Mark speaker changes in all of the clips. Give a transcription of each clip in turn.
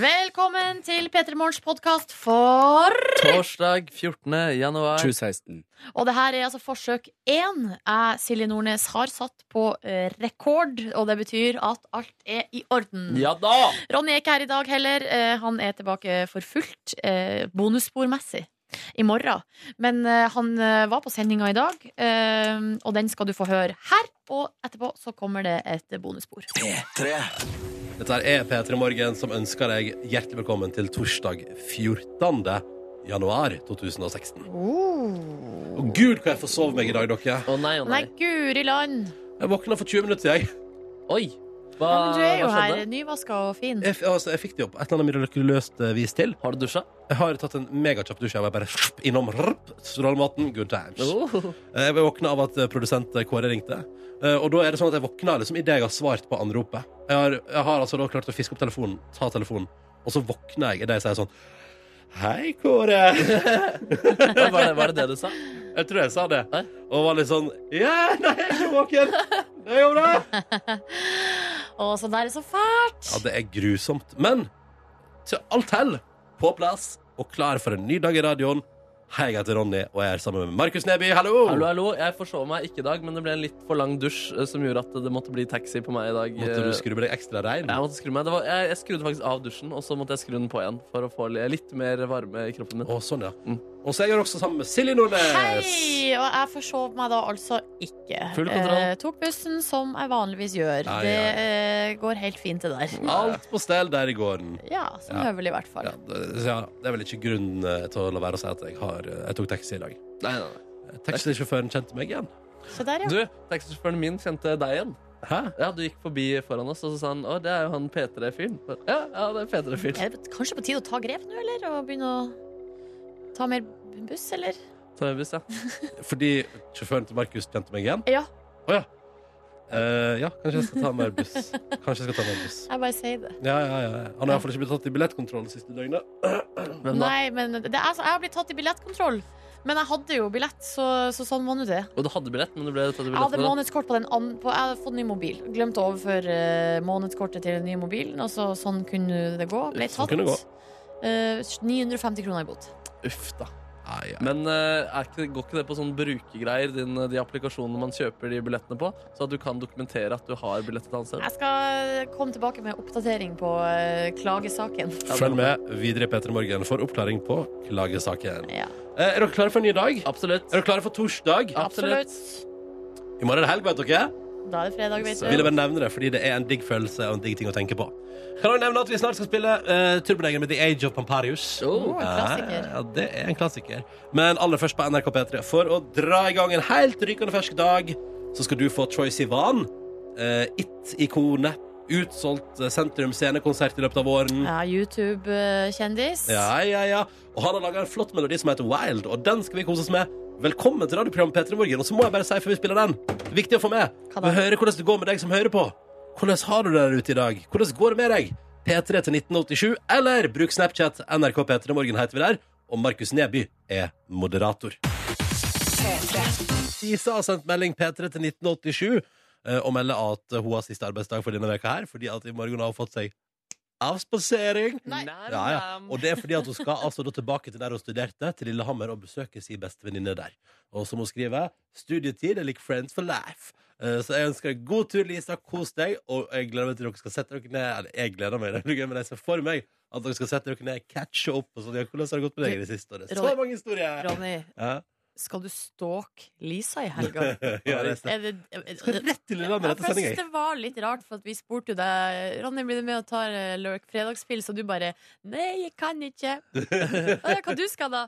Speaker 1: Velkommen til P3 Morgens podkast for
Speaker 2: Torsdag 14. januar.
Speaker 3: 2016.
Speaker 1: Og det her er altså forsøk én jeg, Silje Nordnes, har satt på eh, rekord. Og det betyr at alt er i orden.
Speaker 2: Ja da!
Speaker 1: Ronny er ikke her i dag heller. Eh, han er tilbake for fullt, eh, bonusspormessig, i morgen. Men eh, han eh, var på sendinga i dag, eh, og den skal du få høre her. Og etterpå så kommer det et bonusspor.
Speaker 4: Dette her er P3 Morgen som ønsker deg hjertelig velkommen til torsdag 14. januar 2016.
Speaker 1: Oh.
Speaker 4: Og gud, hva jeg forsov meg i dag, dere.
Speaker 2: Å nei, å nei.
Speaker 1: Nei, guri land!
Speaker 4: Jeg våkna for 20 minutter siden. jeg.
Speaker 2: Oi! Hva,
Speaker 1: Ja, men du er jo
Speaker 2: hva
Speaker 1: her
Speaker 2: skjedde?
Speaker 1: nyvaska og fin.
Speaker 4: Jeg, f- altså, jeg fikk det opp et eller annet mirakuløst eh, vis til.
Speaker 2: Har du dusja?
Speaker 4: Jeg har tatt en megakjapp dusj. Jeg var bare shup, innom rrp, strålematen. Good times.
Speaker 2: Oh.
Speaker 4: Eh, Jeg våkna av at eh, produsent eh, Kåre ringte. Eh, Og da er det sånn at jeg våkna liksom idet jeg har svart på anropet. Jeg har, jeg har altså da klart å fiske opp telefonen, ta telefonen, og så våkner jeg idet jeg sier sånn Hei, Kåre.
Speaker 2: Var, det, var det det du sa?
Speaker 4: Jeg tror jeg sa det.
Speaker 2: Hæ?
Speaker 4: Og var litt sånn Ja, nei, jeg er ikke våken. Det går bra.
Speaker 1: Å, så der er så fælt!
Speaker 4: Ja, det er grusomt. Men til alt hell på plass og klar for en ny dag i radioen. Hei, jeg heter Ronny, og jeg er sammen med Markus Neby. Hallo!
Speaker 2: Hallo, hallo. Jeg forsov meg ikke i dag, men det ble en litt for lang dusj eh, som gjorde at det måtte bli taxi på meg i dag.
Speaker 4: Måtte du
Speaker 2: Eh,
Speaker 4: skru på deg ekstra rein?
Speaker 2: Jeg måtte skru meg. Det var, jeg, jeg skrudde faktisk av dusjen, og så måtte jeg skru den på igjen for å få li- litt mer varme i kroppen min.
Speaker 4: Å, sånn, ja.
Speaker 2: Mm.
Speaker 4: Og så er jeg også sammen med Silje Nordnes.
Speaker 1: Hei! Og jeg forsov meg da altså ikke.
Speaker 2: Full kontroll.
Speaker 1: Eh, tok bussen som jeg vanligvis gjør.
Speaker 4: Ai,
Speaker 1: det
Speaker 4: ai.
Speaker 1: eh, går helt fint, det der.
Speaker 4: Alt på stell der i gården.
Speaker 1: Ja, sånn som
Speaker 4: Ja.
Speaker 1: høvelig i hvert fall.
Speaker 4: Ja, det, så ja, det er vel ikke grunn eh, til å la være å si at jeg, har, eh, jeg tok taxi i dag.
Speaker 2: Nei, nei, nei.
Speaker 4: Taxisjåføren kjente meg igjen.
Speaker 1: Så der, ja.
Speaker 2: Du, taxisjåføren min kjente deg igjen.
Speaker 4: Hæ?
Speaker 2: Ja, Du gikk forbi foran oss, og så sa han å, det er jo han P3-fyren. Ja, ja, det er P3-fyren.
Speaker 1: Er det kanskje på tide å ta grep nå, eller? Og begynne å ta mer buss, eller?
Speaker 2: Ta en buss, ja.
Speaker 4: Fordi sjåføren til Markus kjente meg igjen?
Speaker 1: Ja.
Speaker 4: Å ja. Eh, ja, kanskje jeg skal ta mer buss. Kanskje jeg skal ta mer buss.
Speaker 1: Jeg bare sier det.
Speaker 4: Ja, ja, ja. Han har iallfall ikke blitt tatt i billettkontroll det siste døgnet.
Speaker 2: Hvem da?
Speaker 1: Nei, men det er, så- jeg har blitt tatt i billettkontroll. Men jeg hadde jo billett, så, så sånn må nå det.
Speaker 2: Og du hadde billett, men du ble tatt i
Speaker 1: Jeg hadde
Speaker 2: billetten.
Speaker 1: månedskort på den an på, Jeg hadde fått ny mobil. Glemte å overføre eh, månedskortet til den nye mobilen, og så, sånn kunne det gå. Ble
Speaker 4: Sånn
Speaker 1: tatt.
Speaker 4: kunne det gå.
Speaker 1: Eh, 950 kroner i bot.
Speaker 2: Uff, da.
Speaker 4: Nei, ja.
Speaker 2: Men eh, er ikke, går ikke det på sånne brukergreier, din, eh, de applikasjonene man kjøper de billettene på, så at du kan dokumentere at du har billett et annet sted?
Speaker 1: Jeg skal eh, komme tilbake med oppdatering på eh, klagesaken.
Speaker 4: Følg med videre i P3 Morgen for oppklaring på klagesaken.
Speaker 1: Ja,
Speaker 4: Eh, er dere klare for en ny dag?
Speaker 2: Absolutt.
Speaker 4: Er dere klare for torsdag?
Speaker 2: Absolutt.
Speaker 1: absolutt.
Speaker 4: I morgen er det helg, vet dere.
Speaker 1: Da er det fredag, vet
Speaker 4: Ville
Speaker 1: du.
Speaker 4: bare nevne det, fordi det er en digg følelse og en digg ting å tenke på. Kan også nevne at vi snart skal spille uh, Turbonegger med The Age of Pamparius.
Speaker 2: Oh.
Speaker 1: en klassiker.
Speaker 4: Ja, ja, det er en klassiker. Men aller først på NRK P3, for å dra i gang en helt rykende fersk dag, så skal du få Troy Sivan, eh, It-ikonet, utsolgt eh, sentrum scenekonsert i løpet av våren.
Speaker 1: Ja, eh, YouTube-kjendis.
Speaker 4: Ja, ja, ja. Og han har laga en flott melodi som heter Wild, og den skal vi kose oss med. Velkommen til radioprogrammet P3 Morgen. Og så må jeg bare si før vi spiller den, viktig å få med,
Speaker 1: Hva da?
Speaker 4: vi hører hvordan det går med deg som hører på. Hvordan har du det der ute i dag? Hvordan går det med deg? P3 til 1987, eller bruk Snapchat. NRK P3 Morgen heter vi der. Og Markus Neby er moderator. Isa har sendt melding P3 til 1987 eh, og melder at hun har siste arbeidsdag for denne veka her, fordi at i morgen har hun fått seg avspasering.
Speaker 1: Nei.
Speaker 4: Ja, ja. Og det er fordi at hun skal altså da tilbake til der hun studerte, til Lillehammer, og besøke sin bestevenninne der. Og som hun skriver, studietid er like friends for life. Eh, Så jeg ønsker deg god tur, Lisa. Kos deg. Og jeg gleder meg til dere skal sette dere ned. Eller jeg gleder meg, det er noe gøy, men jeg ser for meg at dere skal sette dere ned, catche opp og sånn. Ja, hvordan har det gått med deg i det siste året? Så
Speaker 1: Ronny.
Speaker 4: mange historier!
Speaker 1: Ronny,
Speaker 4: Ja,
Speaker 1: skal du stalke Lisa i helga?
Speaker 4: ja, det er
Speaker 1: Er det,
Speaker 4: Skal rett til Lillehammer
Speaker 1: Ja, for
Speaker 4: etter
Speaker 1: jeg
Speaker 4: sending,
Speaker 1: synes
Speaker 4: jeg.
Speaker 1: det var litt rart, for at vi spurte jo deg Ronny, blir du med og tar eh, Lurk fredagspils? Og du bare Nei, jeg kan ikke. «Å ja, Hva du skal da?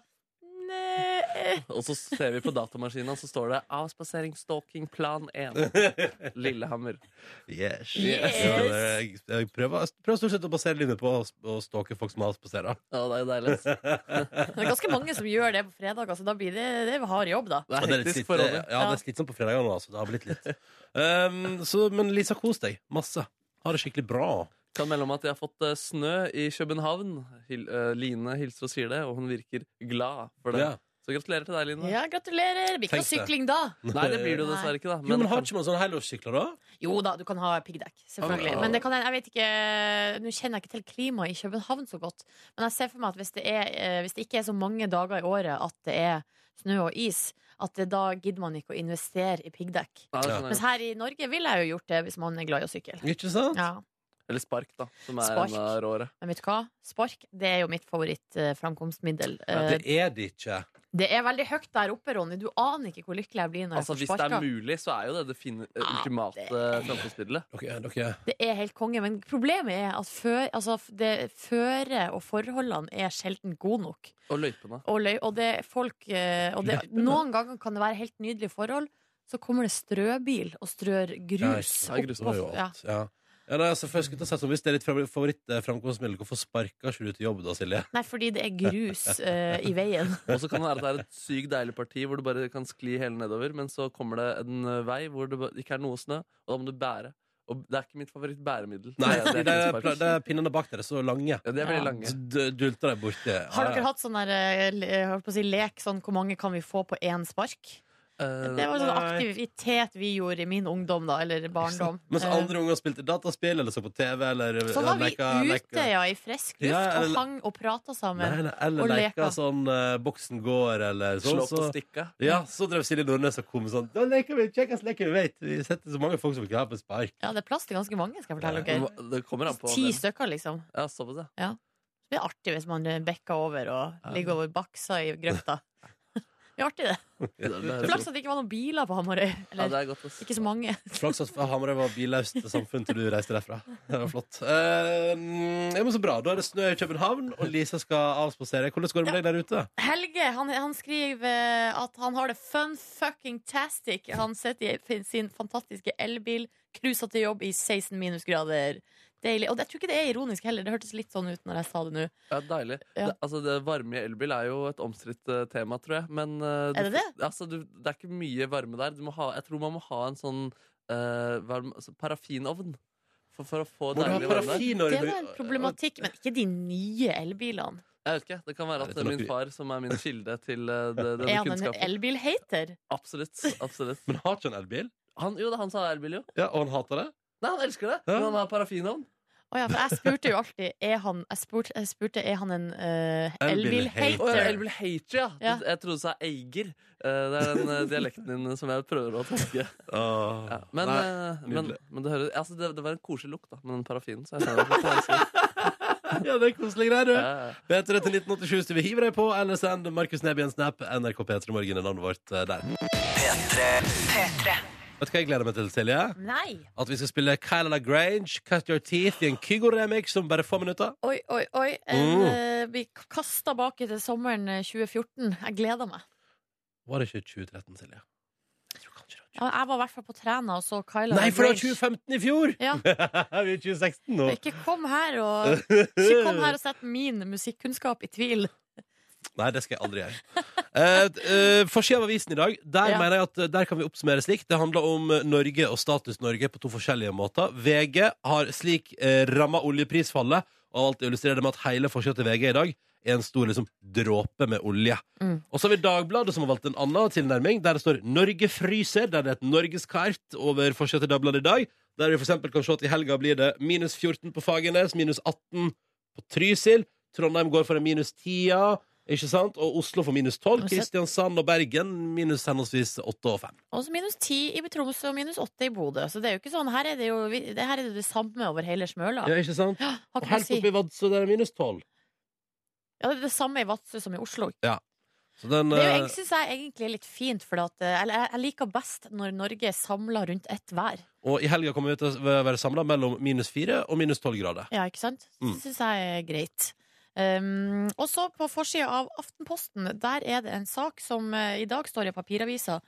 Speaker 1: Nei eh,
Speaker 2: Og så ser vi på datamaskinen, så står det 'Avspasering, stalking, plan 1'. Lillehammer.
Speaker 4: Yes.
Speaker 1: Yes.
Speaker 4: Ja, det er- jeg, jeg prøver, prøver stort sett å basere linje på å sp- å stalke folk som avspaserer.
Speaker 2: Ja, det er jo deilig. ass.
Speaker 1: Det er ganske mange som gjør det på fredag, altså. Da blir det, det er hard jobb, da.
Speaker 2: Det
Speaker 4: Ja,
Speaker 2: er
Speaker 4: det er litt
Speaker 2: hektisk
Speaker 4: slitt-
Speaker 2: forhold.
Speaker 4: Ja, det er slitsomt på fredagene. Altså. Det har blitt litt. Um, så, men Lisa, kos deg masse. Ha det skikkelig bra.
Speaker 2: Kan melde om at jeg har fått eh, snø i København. Hil eh, Line hilser og sier det, og hun virker glad for det.
Speaker 4: Ja.
Speaker 2: Så gratulerer til deg, Line.
Speaker 1: Ja, gratulerer. Det blir ikke noe
Speaker 4: Tenk det.
Speaker 1: sykling da.
Speaker 2: Nei, det blir du dessverre ikke, da.
Speaker 4: Jo, men har
Speaker 2: kan-
Speaker 4: ikke man sånne helårssykler, da?
Speaker 1: Jo da, du kan ha piggdekk, selvfølgelig.
Speaker 4: Ja.
Speaker 1: Men det kan, jeg vet ikke Nå kjenner jeg ikke til klimaet i København så godt. Men jeg ser for meg at hvis det, er, eh, hvis det ikke er så mange dager i året at det er snø og is, at det, da gidder man ikke å investere i piggdekk.
Speaker 2: Nei, det
Speaker 4: Ja.
Speaker 2: skjønner jeg
Speaker 1: Mens
Speaker 2: godt.
Speaker 1: her i Norge ville jeg jo gjort det hvis man er glad i å sykle.
Speaker 4: Ikke sant?
Speaker 1: Ja.
Speaker 2: Eller spark, da, som er
Speaker 1: Spark.
Speaker 2: en eh, av råere.
Speaker 1: Men vet du hva? Spark det er jo mitt favorittframkomstmiddel.
Speaker 4: Det er det ikke.
Speaker 1: Eh, Det er veldig høyt der oppe, Ronny. Du aner ikke hvor lykkelig jeg blir når
Speaker 2: Altså,
Speaker 1: jeg
Speaker 2: Hvis
Speaker 1: får
Speaker 2: det er
Speaker 1: sparka.
Speaker 2: mulig, så er jo det det fine, eh,
Speaker 1: Ja, Ah,
Speaker 2: ultimate
Speaker 1: det-
Speaker 2: framtidsbildet.
Speaker 4: Dere, dere.
Speaker 1: Det er helt konge, men problemet er at før, altså, f- det føret og forholdene er sjelden gode nok.
Speaker 2: Og løypene.
Speaker 1: Og, løy, og det er folk eh, og det, Noen ganger kan det være helt nydelige forhold, så kommer det strøbil og strør grus.
Speaker 2: Ja, grus
Speaker 1: oppå-
Speaker 4: Det var jo
Speaker 1: ja.
Speaker 4: alt. Ja. Ja, nei, altså, først skulle jeg sett om Hvis det er ditt favoritt- favorittframkomstmiddel, hvorfor sparker ikke du til jobb da, Silje?
Speaker 1: Nei, fordi det er grus eh, i veien.
Speaker 2: Og så kan det være at det er et sykt deilig parti hvor du bare kan skli hele nedover, men så kommer det en eh, vei hvor det ba- ikke er noe snø, og da må du bære. Og det er ikke mitt favoritt-bæremiddel.
Speaker 4: Nei,
Speaker 2: Det er-
Speaker 4: fordi
Speaker 2: det er ikke
Speaker 4: det
Speaker 2: spark.
Speaker 4: er- det er pinnene bak dere er så lange.
Speaker 2: ja, de er veldig lange.
Speaker 4: Så du- dulter deg borti. Ja,
Speaker 1: Har
Speaker 4: ja.
Speaker 1: dere hatt sånn der, eh, le- jeg holdt på å si, lek sånn hvor mange kan vi få på én spark?
Speaker 2: Eh,
Speaker 1: Det var sånn
Speaker 4: Nei.
Speaker 1: aktivitet vi gjorde i min ungdom, da, eller barndom.
Speaker 4: Mens
Speaker 1: Eh,
Speaker 4: andre unger spilte dataspill eller så på TV eller
Speaker 1: Så var vi
Speaker 4: leka-
Speaker 1: ute,
Speaker 4: leka-
Speaker 1: ja, i frisk luft
Speaker 4: Ja, eller-
Speaker 1: og hang og prata sammen.
Speaker 4: Nei, nei, eller
Speaker 1: og
Speaker 4: leka
Speaker 1: leka.
Speaker 4: sånn eh, Boksen går eller sånn.
Speaker 2: Slå på
Speaker 4: Så,
Speaker 2: stikka.
Speaker 4: ja, så drev Silje Nordnes og kom sånn Da leker vi, kjekkest leker vi vet. Vi setter så mange folk som vil ha på spark.
Speaker 1: Ja, det er plass til ganske mange, skal jeg fortelle
Speaker 2: Det
Speaker 1: dere.
Speaker 2: var- Det kommer an på
Speaker 1: Ti
Speaker 2: hvem.
Speaker 1: stykker, liksom.
Speaker 2: Ja, såpass, ja.
Speaker 1: Det er artig hvis man eh, bekker over og ligger over baksa i grøfta. Det er artig, det.
Speaker 2: Det er- det er-
Speaker 1: Flaks at det ikke var noen biler på Hamarøy.
Speaker 2: Ja,
Speaker 1: Eller
Speaker 2: det er godt, ass.
Speaker 1: ikke så mange.
Speaker 4: Flaks at Hamarøy var billaust samfunn til du reiste derfra. Det var flott. Eh, mm, ja, men så bra. Da er det snø i København, og Lise skal avspasere. Hvordan går det med deg der ute?
Speaker 1: Helge han, han skriver eh, at han har det fun fucking tastic. Han sitter i sin fantastiske elbil, cruiser til jobb i 16 minusgrader. Deilig. Og jeg tror ikke det er ironisk heller. Det hørtes litt sånn ut når jeg sa det nå.
Speaker 2: Ja, deilig.
Speaker 1: Ja.
Speaker 2: Det, altså, det varme i elbil er jo et omstridt eh, tema, tror jeg. Men eh,
Speaker 1: Er det
Speaker 2: du, Altså, du, det er ikke mye varme der. Du må ha, jeg tror man må ha en sånn eh, varm, altså, parafinovn for, for å få
Speaker 4: Må du ha
Speaker 2: deilig varme.
Speaker 4: parafin?
Speaker 1: Det
Speaker 4: når
Speaker 1: var en
Speaker 4: du-
Speaker 1: problematikk, men ikke de nye elbilene.
Speaker 2: Jeg vet ikke, Det kan være
Speaker 4: Jeg
Speaker 2: at
Speaker 4: tror
Speaker 2: eh, min
Speaker 4: nok-
Speaker 2: far, som er min kilde til eh, det,
Speaker 1: Er
Speaker 2: denne
Speaker 1: han en
Speaker 2: kunnskapen
Speaker 1: elbil-hater?
Speaker 2: Absolutt. absolutt
Speaker 4: Men har ikke han elbil?
Speaker 2: han, Jo, det er han som har elbil, jo.
Speaker 4: Ja, Og han hater det?
Speaker 2: Nei, han elsker det!
Speaker 4: Ja.
Speaker 2: Men han har parafinovn.
Speaker 1: Å ja, for jeg spurte jo alltid Er han, jeg spurte, jeg spurte, er han en eh,
Speaker 4: Elbil-hater.
Speaker 2: Å, ja,
Speaker 1: elbil-hater?
Speaker 2: elbil hater, ja.
Speaker 1: Ja.
Speaker 2: Jeg trodde du sa eiger. Eh, det er den eh, dialekten din som jeg prøver å tolke.
Speaker 4: Åh.
Speaker 2: Ja, men,
Speaker 4: Nei.
Speaker 2: eh, men,
Speaker 4: nydelig.
Speaker 2: men det, hører, altså det, det var en koselig lukt da med den parafinen. Så jeg skjønner at det er vanskelig.
Speaker 4: Ja, det er koselige greier, du.
Speaker 2: Ja, ja, ja.
Speaker 4: Vet dere til 1987 hvis du vil hive deg på, eller send Markus Neby en snap. NRK P3 Morgen er navnet vårt eh, der. Vet du hva jeg gleder meg til, Silje?
Speaker 1: Nei!
Speaker 4: At vi skal spille Kyla LaGrange, Cut Your Teeth, i en Kygo-remix om bare få minutter.
Speaker 1: Oi, oi, oi.
Speaker 4: Mm.
Speaker 1: En, eh, vi kasta baki til sommeren eh, 2014. Jeg gleder meg.
Speaker 4: Var det ikke 2013, Silje? Jeg tror kanskje det var 2013.
Speaker 1: Ja, jeg var i hvert fall på Træna og så Kyla
Speaker 4: Nei, for det var
Speaker 1: LaGrange.
Speaker 4: 2015 i fjor!
Speaker 1: Ja.
Speaker 4: vi er 2016 nå.
Speaker 1: Ikke kom her og, ikke kom her og sett min musikkunnskap i tvil.
Speaker 4: Nei, det skal jeg aldri gjøre. Eh, eh, Forsida av avisen i dag, der
Speaker 1: Ja.
Speaker 4: mener jeg at eh, der kan vi oppsummere slik. Det handler om eh, Norge og status Norge på to forskjellige måter. VG har slik eh, ramma oljeprisfallet, og alt illustrerer det med at hele forsida til VG i dag er en stor liksom, dråpe med olje.
Speaker 1: Mm.
Speaker 4: Og så har vi Dagbladet, som har valgt en annen tilnærming, der det står 'Norge fryser', der det er et norgeskart over forsida til Dagbladet i dag. Der vi for eksempel kan se at i helga blir det minus 14 på Fagernes, minus 18 på Trysil. Trondheim går for en minus 10, ikke sant? Og Oslo for minus 12.
Speaker 1: Men se-
Speaker 4: Kristiansand og Bergen minus henholdsvis 8 og 5.
Speaker 1: Og så minus 10 i Troms og minus 8 i Bodø. Så det er jo ikke sånn. Her er det jo vi- det, her er det, det samme over hele smøla.
Speaker 4: Ja, ikke sant?
Speaker 1: Har ikke noe
Speaker 4: Og
Speaker 1: å
Speaker 4: helt
Speaker 1: si.
Speaker 4: oppe i Vadsø der er minus 12.
Speaker 1: Ja, det er det samme i Vadsø som i Oslo.
Speaker 4: Så den,
Speaker 1: Det er jo,
Speaker 4: eh,
Speaker 1: jeg syns jeg egentlig er litt fint, for at, eh, eller jeg, jeg liker best når Norge er samla rundt ett vær.
Speaker 4: og i helga kommer vi til å være samla mellom minus 4 og minus 12 grader.
Speaker 1: Ja, ikke sant?
Speaker 4: Mm.
Speaker 1: Det syns jeg er greit. Um, og så på forsida av Aftenposten, der er det en sak som eh, i dag står i papiravisa,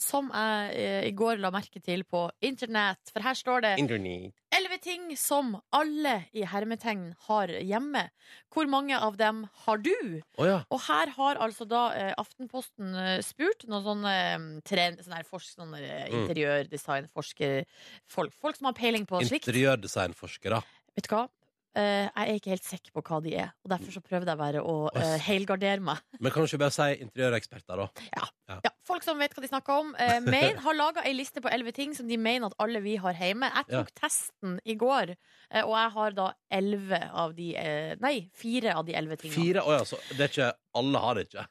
Speaker 1: som jeg eh, i går la merke til på internett. For her står det
Speaker 4: Internet.
Speaker 1: elleve ting som alle i hermetegn har hjemme. Hvor mange av dem har du?
Speaker 4: Å ja.
Speaker 1: Og her har altså da eh, Aftenposten eh, spurt noen sånne, eh, trend, sånne, her forsk, sånne eh,
Speaker 4: Mm.
Speaker 1: interiørdesignforskere folk, folk som har peiling på slikt.
Speaker 4: Interiørdesignforskere.
Speaker 1: Vet du hva? Eh, jeg er ikke helt sikker på hva de er, og derfor så prøvde jeg bare å eh, helgardere meg.
Speaker 4: Men kan du ikke bare si interiøreksperter, da?
Speaker 1: Ja, folk som vet hva de snakker om. Eh, Maine har laga ei liste på elleve ting som de mener at alle vi har hjemme. Jeg tok testen i går, eh, og jeg har da elleve av de eh, Nei, fire av de elleve tingene.
Speaker 4: Fire? Å ja, så det er ikke Alle har det ikke.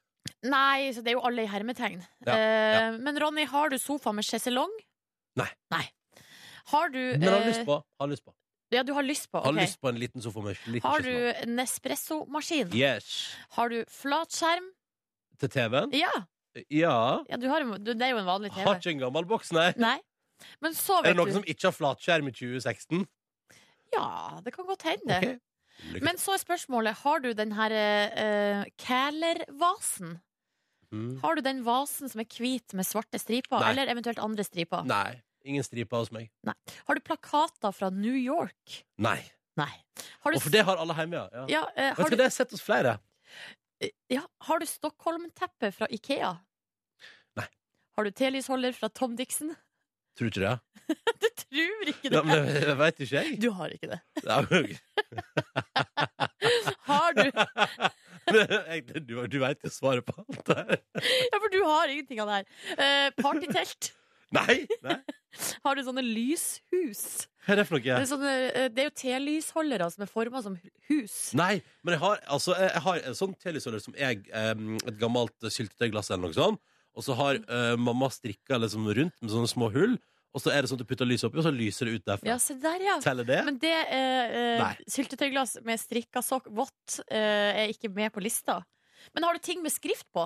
Speaker 1: Nei, så det er jo alle i hermetegn.
Speaker 4: Ja,
Speaker 1: Eh, Men Ronny, har du sofa med sjeselong?
Speaker 4: Nei.
Speaker 1: Nei. Har du
Speaker 4: Men har
Speaker 1: eh,
Speaker 4: lyst på. Har lyst på.
Speaker 1: Ja, du har lyst på.
Speaker 4: Har
Speaker 1: ok.
Speaker 4: lyst på en liten sofa med liten
Speaker 1: Har
Speaker 4: kjøttbolle.
Speaker 1: du Nespresso-maskin?
Speaker 4: Yes.
Speaker 1: Har du flatskjerm?
Speaker 4: Til TV-en?
Speaker 1: Ja,
Speaker 4: Ja.
Speaker 1: ja du har, en- du, det er jo en vanlig TV.
Speaker 4: Har ikke en gammel boks, nei.
Speaker 1: Nei. Men så
Speaker 4: Er
Speaker 1: vet
Speaker 4: det noen
Speaker 1: du
Speaker 4: som ikke har flatskjerm i 2016?
Speaker 1: Ja, det kan godt hende.
Speaker 4: Ok. Lykke
Speaker 1: Men så er spørsmålet, har du den her uh, Kæler-vasen?
Speaker 4: til. Mm.
Speaker 1: Har du den vasen som er hvit med svarte striper,
Speaker 4: Nei.
Speaker 1: eller eventuelt andre striper?
Speaker 4: Nei. Ingen striper hos meg.
Speaker 1: Har du plakater fra New York?
Speaker 4: Nei.
Speaker 1: Nei. Har
Speaker 4: Og
Speaker 1: du,
Speaker 4: for det har alle hjemme, ja. ja.
Speaker 1: ja, eh, har
Speaker 4: Vet du hva,
Speaker 1: du, eh,
Speaker 4: det har jeg sett hos flere.
Speaker 1: ja, har du Stockholm-teppe fra Ikea?
Speaker 4: Nei.
Speaker 1: Har du telysholder fra Tom Dixon?
Speaker 4: Tror du ikke det?
Speaker 1: Du tror ikke det!
Speaker 4: Ja, men det det vet ikke jeg.
Speaker 1: Du har ikke det.
Speaker 4: Ja, men-
Speaker 1: Har du?
Speaker 4: Men eh, jeg- Du, du veit jo svaret på alt det her.
Speaker 1: Ja, for du har ingenting av det her. Eh, partytelt.
Speaker 4: Nei! nei.
Speaker 1: Har du sånne lyshus?
Speaker 4: Hva er det for
Speaker 1: Det,
Speaker 4: noe?
Speaker 1: er sånne, eh, det er jo telysholdere som er forma som hu- hus.
Speaker 4: Nei, men jeg har, altså, jeg har en sånn telysåler som jeg em, Et gammelt syltetøyglass eller noe sånt. Og så har eh, mamma strikka liksom rundt med sånne små hull, og så er det sånn at du putter lyset oppi, og så lyser det ut derfra.
Speaker 1: Ja, se der, ja.
Speaker 4: Teller det?
Speaker 1: Men det eh, eh,
Speaker 4: Nei.
Speaker 1: syltetøyglass med strikka sokk vått eh, er ikke med på lista. Men har du ting med skrift på?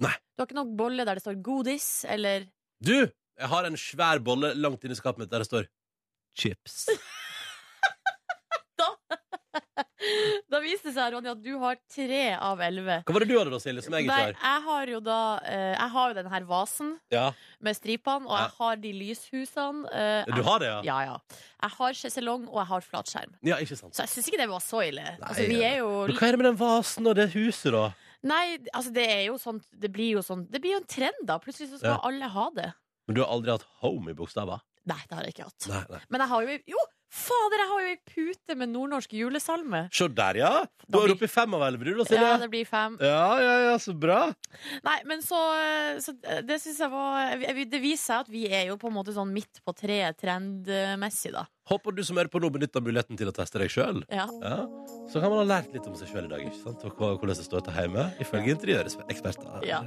Speaker 4: Nei.
Speaker 1: Du har ikke noen bolle der det står 'godis' eller
Speaker 4: Du! Jeg har en svær bolle langt inn i skapet mitt der det står chips.
Speaker 1: Da viser det seg, Ronny, at du har tre av elleve.
Speaker 4: Hva var det du hadde da, Silje, som jeg ikke
Speaker 1: Nei,
Speaker 4: har?
Speaker 1: jeg har jo da eh, Jeg har jo den her vasen
Speaker 4: Ja.
Speaker 1: med stripene, og jeg
Speaker 4: Ja.
Speaker 1: har de lyshusene. eh,
Speaker 4: Du har det, ja?
Speaker 1: Ja, ja. Jeg har sjeselong, og jeg har flatskjerm.
Speaker 4: Ja, ikke sant.
Speaker 1: Så jeg syns ikke det var så ille. altså, vi
Speaker 4: ja.
Speaker 1: er jo
Speaker 4: Men hva er det med den vasen og det huset, da?
Speaker 1: Nei, altså, det er jo sånn Det blir jo sånn Det blir jo en trend, da. Plutselig så skal
Speaker 4: Ja.
Speaker 1: alle ha det.
Speaker 4: Men du har aldri hatt home i bokstaver?
Speaker 1: Nei, det har jeg ikke hatt.
Speaker 4: Nei, nei.
Speaker 1: Men jeg har jo ei- Jo, fader, jeg har jo ei pute med nordnorsk julesalme.
Speaker 4: Se der, ja! Da er du oppe i fem av elleve, du, da, Silje.
Speaker 1: Ja, det blir fem.
Speaker 4: Ja, ja, ja, så bra.
Speaker 1: Nei, men så, eh, så Det syns jeg var Det viser seg at vi er jo på en måte sånn midt på treet trendmessig, da.
Speaker 4: Håper du som hører på nå, benytter muligheten til å teste deg sjøl.
Speaker 1: Ja.
Speaker 4: Ja. Så kan man ha lært litt om seg sjøl i dag, ikke sant? Og hva- hvordan det står til hjemme, ifølge interiøreksperter.
Speaker 1: Ja.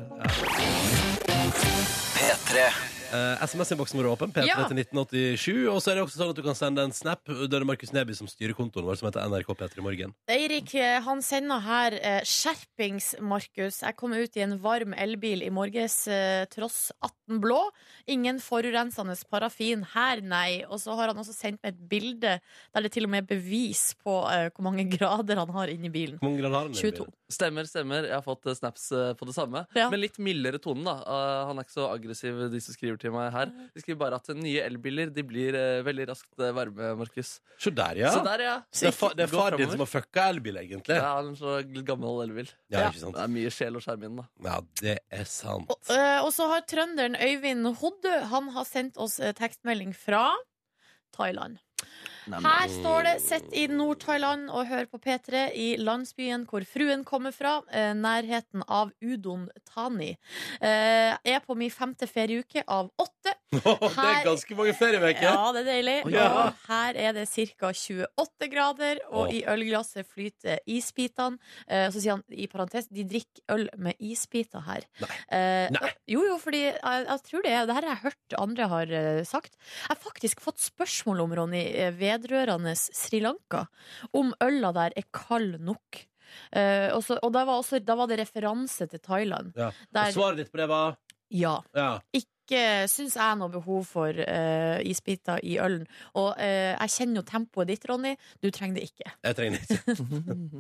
Speaker 4: Eh, SMS-innboksen vår er åpen, P3
Speaker 1: Ja.
Speaker 4: til 1987. Og så er det også sånn at du kan sende en snap. Det er Markus Neby som styrer kontoen vår, som heter NRK P3 Morgen.
Speaker 1: Eirik eh, han sender her eh, skjerpings, Markus. Jeg kom ut i en varm elbil i morges, eh, tross 18 blå. Ingen forurensende parafin her, nei. Og så har han også sendt meg et bilde der det til og med er bevis på eh, hvor mange grader han har inni bilen.
Speaker 4: Hvor mange grader har den? i
Speaker 1: 22.
Speaker 4: bilen?
Speaker 2: Stemmer, stemmer. Jeg har fått eh, snaps eh, på det samme.
Speaker 1: Ja.
Speaker 2: Men litt mildere tonen, da. Eh, han er ikke så aggressiv, de som skriver til meg her. De skriver bare at eh, nye elbiler de blir eh, veldig raskt eh, varme, Markus.
Speaker 4: Se der, ja.
Speaker 2: Så der, ja.
Speaker 4: det er, fa det er
Speaker 2: Gå
Speaker 4: far din
Speaker 2: fremover.
Speaker 4: som har fucka elbil, egentlig.
Speaker 2: Jeg
Speaker 4: Ja.
Speaker 2: har en så gammel elbil.
Speaker 4: ikke sant?
Speaker 2: Det er mye sjel og skjerm i den, da.
Speaker 4: Ja, det er sant.
Speaker 1: Og, eh, og så har trønderen Øyvind Hodø Han har sendt oss eh, tekstmelding fra Thailand. Her står det 'Sett i Nord-Thailand og hør på P3 i landsbyen hvor fruen kommer fra', eh, nærheten av Udon Thani. Eh, er på min femte ferieuke av åtte.
Speaker 4: det er ganske mange ferieveker.
Speaker 1: Ja, det er deilig.
Speaker 4: Ja.
Speaker 1: Og her er det ca. 28 grader, og
Speaker 4: Åh.
Speaker 1: i ølglasset flyter isbitene. Eh, så sier han i parentes de drikker øl med isbiter her.
Speaker 4: Nei.
Speaker 1: Eh,
Speaker 4: Nei.
Speaker 1: Jo, jo, fordi jeg, jeg tror det er Det her har jeg hørt andre har eh, sagt. Jeg har faktisk fått spørsmål om, Ronny, eh, vedrørende Sri Lanka. Om øla der er kald nok. Eh, og så- og da, var også, da var det referanse til Thailand.
Speaker 4: Ja. Og
Speaker 1: Der,
Speaker 4: svaret ditt på det var
Speaker 1: ja
Speaker 4: ja.
Speaker 1: ikke syns jeg noe behov for eh, isbiter i ølen. Og eh, jeg kjenner jo tempoet ditt, Ronny. Du trenger det ikke.
Speaker 4: Jeg trenger det ikke.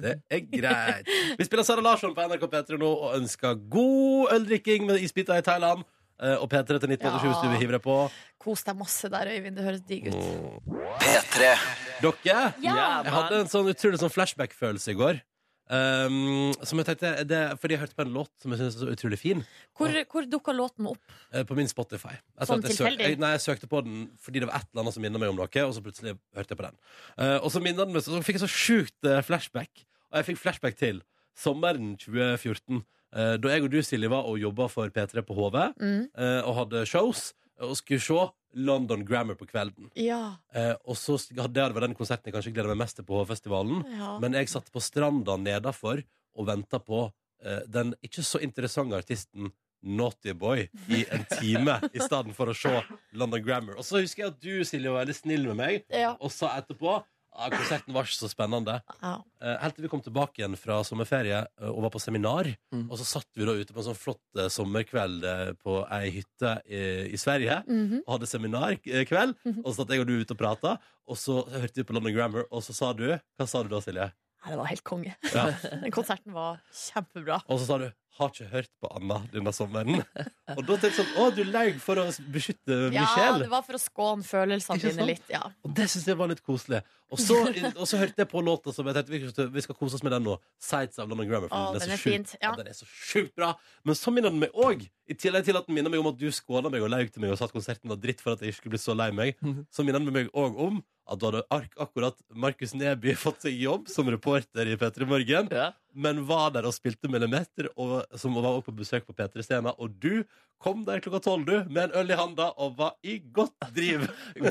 Speaker 4: Det er greit. Vi spiller Sara Larsson på NRK P3 nå og ønsker god øldrikking med isbiter i Thailand. Eh, Og P3 til 1987 hvis du vil hive deg på.
Speaker 1: Kos deg masse der, Øyvind. Det høres digg
Speaker 4: Mm.
Speaker 1: ut.
Speaker 4: Dere,
Speaker 1: Ja!
Speaker 4: jeg hadde en sånn utrolig sånn flashback-følelse i går. Eh, Um, som jeg tenkte, det, fordi jeg hørte på en låt som jeg synes er så utrolig fin,
Speaker 1: Hvor, hvor dukka låten opp?
Speaker 4: eh, på min Spotify. Jeg
Speaker 1: Sånn
Speaker 4: satt- jeg søk-
Speaker 1: tilfeldig?
Speaker 4: jeg, nei, jeg søkte på den fordi det var et eller annet som minnet meg om noe, og så plutselig hørte jeg på den. Eh, og så minnet den meg, så, så fikk jeg så sjukt eh, flashback. Og jeg fikk flashback til sommeren 2014, eh, da jeg og du, Silje, var og jobba for P3 på HV,
Speaker 1: Mm.
Speaker 4: eh, og hadde shows, og skulle se London Grammar på kvelden.
Speaker 1: Ja.
Speaker 4: Eh, og så hadde det var den konserten jeg kanskje gleda meg mest til på H-festivalen.
Speaker 1: ja.
Speaker 4: Men jeg satt på stranda nedafor og venta på eh, den ikke så interessante artisten Naughty Boy i en time, i stedet for å se London Grammar. Og så husker jeg at du, Silje, var veldig snill med meg
Speaker 1: ja.
Speaker 4: og sa etterpå at konserten var ikke så spennende.
Speaker 1: ja.
Speaker 4: Eh, Helt til vi kom tilbake igjen fra sommerferie eh, og var på seminar.
Speaker 2: Mm.
Speaker 4: Og så satt vi da ute på en sånn flott eh, sommerkveld eh, på ei hytte i, i Sverige
Speaker 1: Mhm.
Speaker 4: og hadde seminarkveld.
Speaker 1: Mhm.
Speaker 4: Og så satt jeg og du ute og prata, og så hørte vi på London Grammar, og så sa du Hva sa du da, Silje?
Speaker 1: Nei, Det var helt konge.
Speaker 4: Ja.
Speaker 1: Den konserten var kjempebra.
Speaker 4: Og så sa du har ikke hørt på Anna denne sommeren. Og da tenkte jeg sånn, å, du laug for å beskytte
Speaker 1: Ja,
Speaker 4: Michelle.
Speaker 1: det var for å skåne følelsene
Speaker 4: Ikke sant?
Speaker 1: dine litt. Ja.
Speaker 4: Og det syns jeg var litt koselig. Og så, og så hørte jeg på låta som jeg tenkte vi skal, vi skal kose oss med den nå. Sights av London Grammar.
Speaker 1: Å,
Speaker 4: For den,
Speaker 1: den er
Speaker 4: er så sjukt,
Speaker 1: fint, ja.
Speaker 4: ja, den er så sjukt bra. Men så minner den meg òg, i tillegg til at den minner meg om at du skåla meg og laug til meg og sa at konserten var dritt for at jeg ikke skulle bli så lei meg,
Speaker 2: Mhm.
Speaker 4: så minner den meg òg om at da hadde ark akkurat Markus Neby fått seg jobb som reporter i P3 Morgen,
Speaker 2: Ja.
Speaker 4: men var der og spilte millimeter, og, som var også på besøk på P3 Stena, og du kom der klokka tolv, du, med en øl i handa og var i godt driv.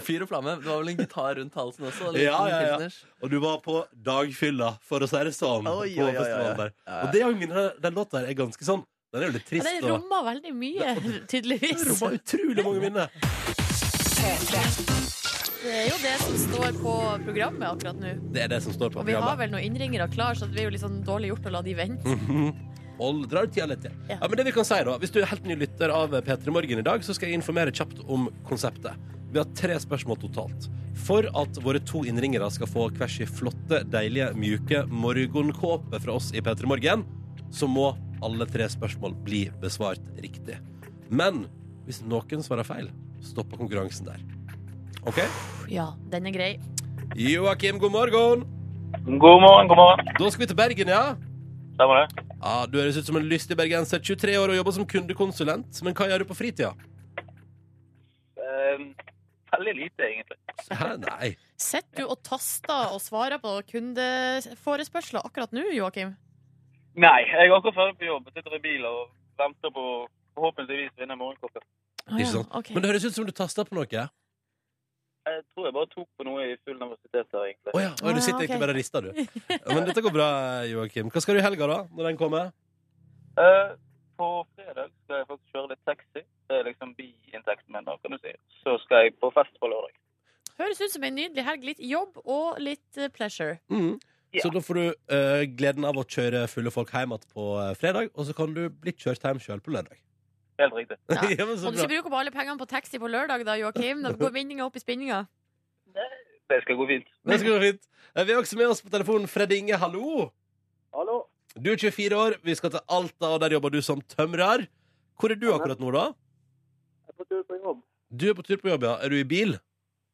Speaker 2: Fyr og flamme. Det var vel en gitar rundt halsen også? eller?
Speaker 4: Ja, ja, ja.
Speaker 2: Pilsners.
Speaker 4: Og du var på dagfylla, for å si det sånn.
Speaker 2: Oi,
Speaker 4: på
Speaker 2: oi, oi, oi.
Speaker 4: festivalen der.
Speaker 2: Ja.
Speaker 4: Og det er jo min, den låta her er ganske sånn Den er jo litt
Speaker 1: Ja,
Speaker 4: trist.
Speaker 1: den
Speaker 4: og-
Speaker 1: romma veldig mye,
Speaker 4: Den
Speaker 1: tydeligvis.
Speaker 4: rommer utrolig mange minner.
Speaker 1: Det er jo det som står på programmet akkurat nå.
Speaker 4: Det er det som står på
Speaker 1: Og vi har
Speaker 4: programmet.
Speaker 1: vel noen innringere klar, så det er jo litt sånn dårlig gjort å la de vente.
Speaker 4: Hold, drar tida litt til. Ja.
Speaker 1: Ja.
Speaker 4: men det vi kan si da Hvis du er helt ny lytter av P3 Morgen i dag, så skal jeg informere kjapt om konseptet. Vi har tre spørsmål totalt. For at våre to innringere skal få hver sin flotte, deilige, mjuke morgenkåpe fra oss i P3 Morgen, så må alle tre spørsmål bli besvart riktig. Men hvis noen svarer feil, stopper konkurransen der. OK?
Speaker 1: Ja, den er grei.
Speaker 4: Joakim, god morgen!
Speaker 3: God morgen, god morgen.
Speaker 4: Da skal vi til Bergen, ja?
Speaker 3: Stemmer det?
Speaker 4: Ja, Du høres ut som en lystig bergenser, 23 år og jobber som kundekonsulent. Men hva gjør du på fritida?
Speaker 3: Ehm, veldig lite, egentlig.
Speaker 4: Hæ, nei.
Speaker 1: Sitter du og taster og svarer på kundeforespørsler akkurat nå, Joakim?
Speaker 3: Nei, jeg er akkurat ferdig på jobb. Sitter i bil og venter på å forhåpentligvis vinne morgenkoppen.
Speaker 1: Å
Speaker 4: Ikke sant?
Speaker 1: ja, ok.
Speaker 4: Men det høres ut som du taster på noe.
Speaker 3: Jeg tror jeg bare tok på noe i full nervøsitet her, egentlig.
Speaker 4: Å ja. Å, du
Speaker 1: Ah,
Speaker 4: sitter
Speaker 1: ok.
Speaker 4: egentlig bare og rister, du. Ja, Men dette går bra, Joakim. Hva skal du i helga, da? Når den kommer?
Speaker 3: Eh, på fredag skal jeg faktisk kjøre litt taxi. Det er liksom biinntekten min, da, kan du si. Så skal jeg på fest på lørdag.
Speaker 1: Høres ut som en nydelig helg. Litt jobb og litt eh, pleasure.
Speaker 4: Mm.
Speaker 3: Ja.
Speaker 4: Så da får du eh, gleden av å kjøre fulle folk hjem igjen på eh, fredag, og så kan du bli kjørt hjem sjøl på lørdag.
Speaker 3: Helt riktig.
Speaker 1: Ja.
Speaker 4: men
Speaker 1: Må
Speaker 4: så
Speaker 1: du
Speaker 4: bra.
Speaker 1: ikke bruke opp alle pengene på taxi på lørdag, da, Joakim? Da går vinninga opp i spinninga.
Speaker 3: Det skal gå fint.
Speaker 4: Det skal gå fint. Eh, Vi har også med oss på telefonen Fred Inge, hallo.
Speaker 3: Hallo.
Speaker 4: Du er 24 år, vi skal til Alta, og der jobber du som tømrer. Hvor er du akkurat nå, da?
Speaker 3: Jeg er på tur på jobb.
Speaker 4: Du er på tur på jobb, ja. Er du i bil?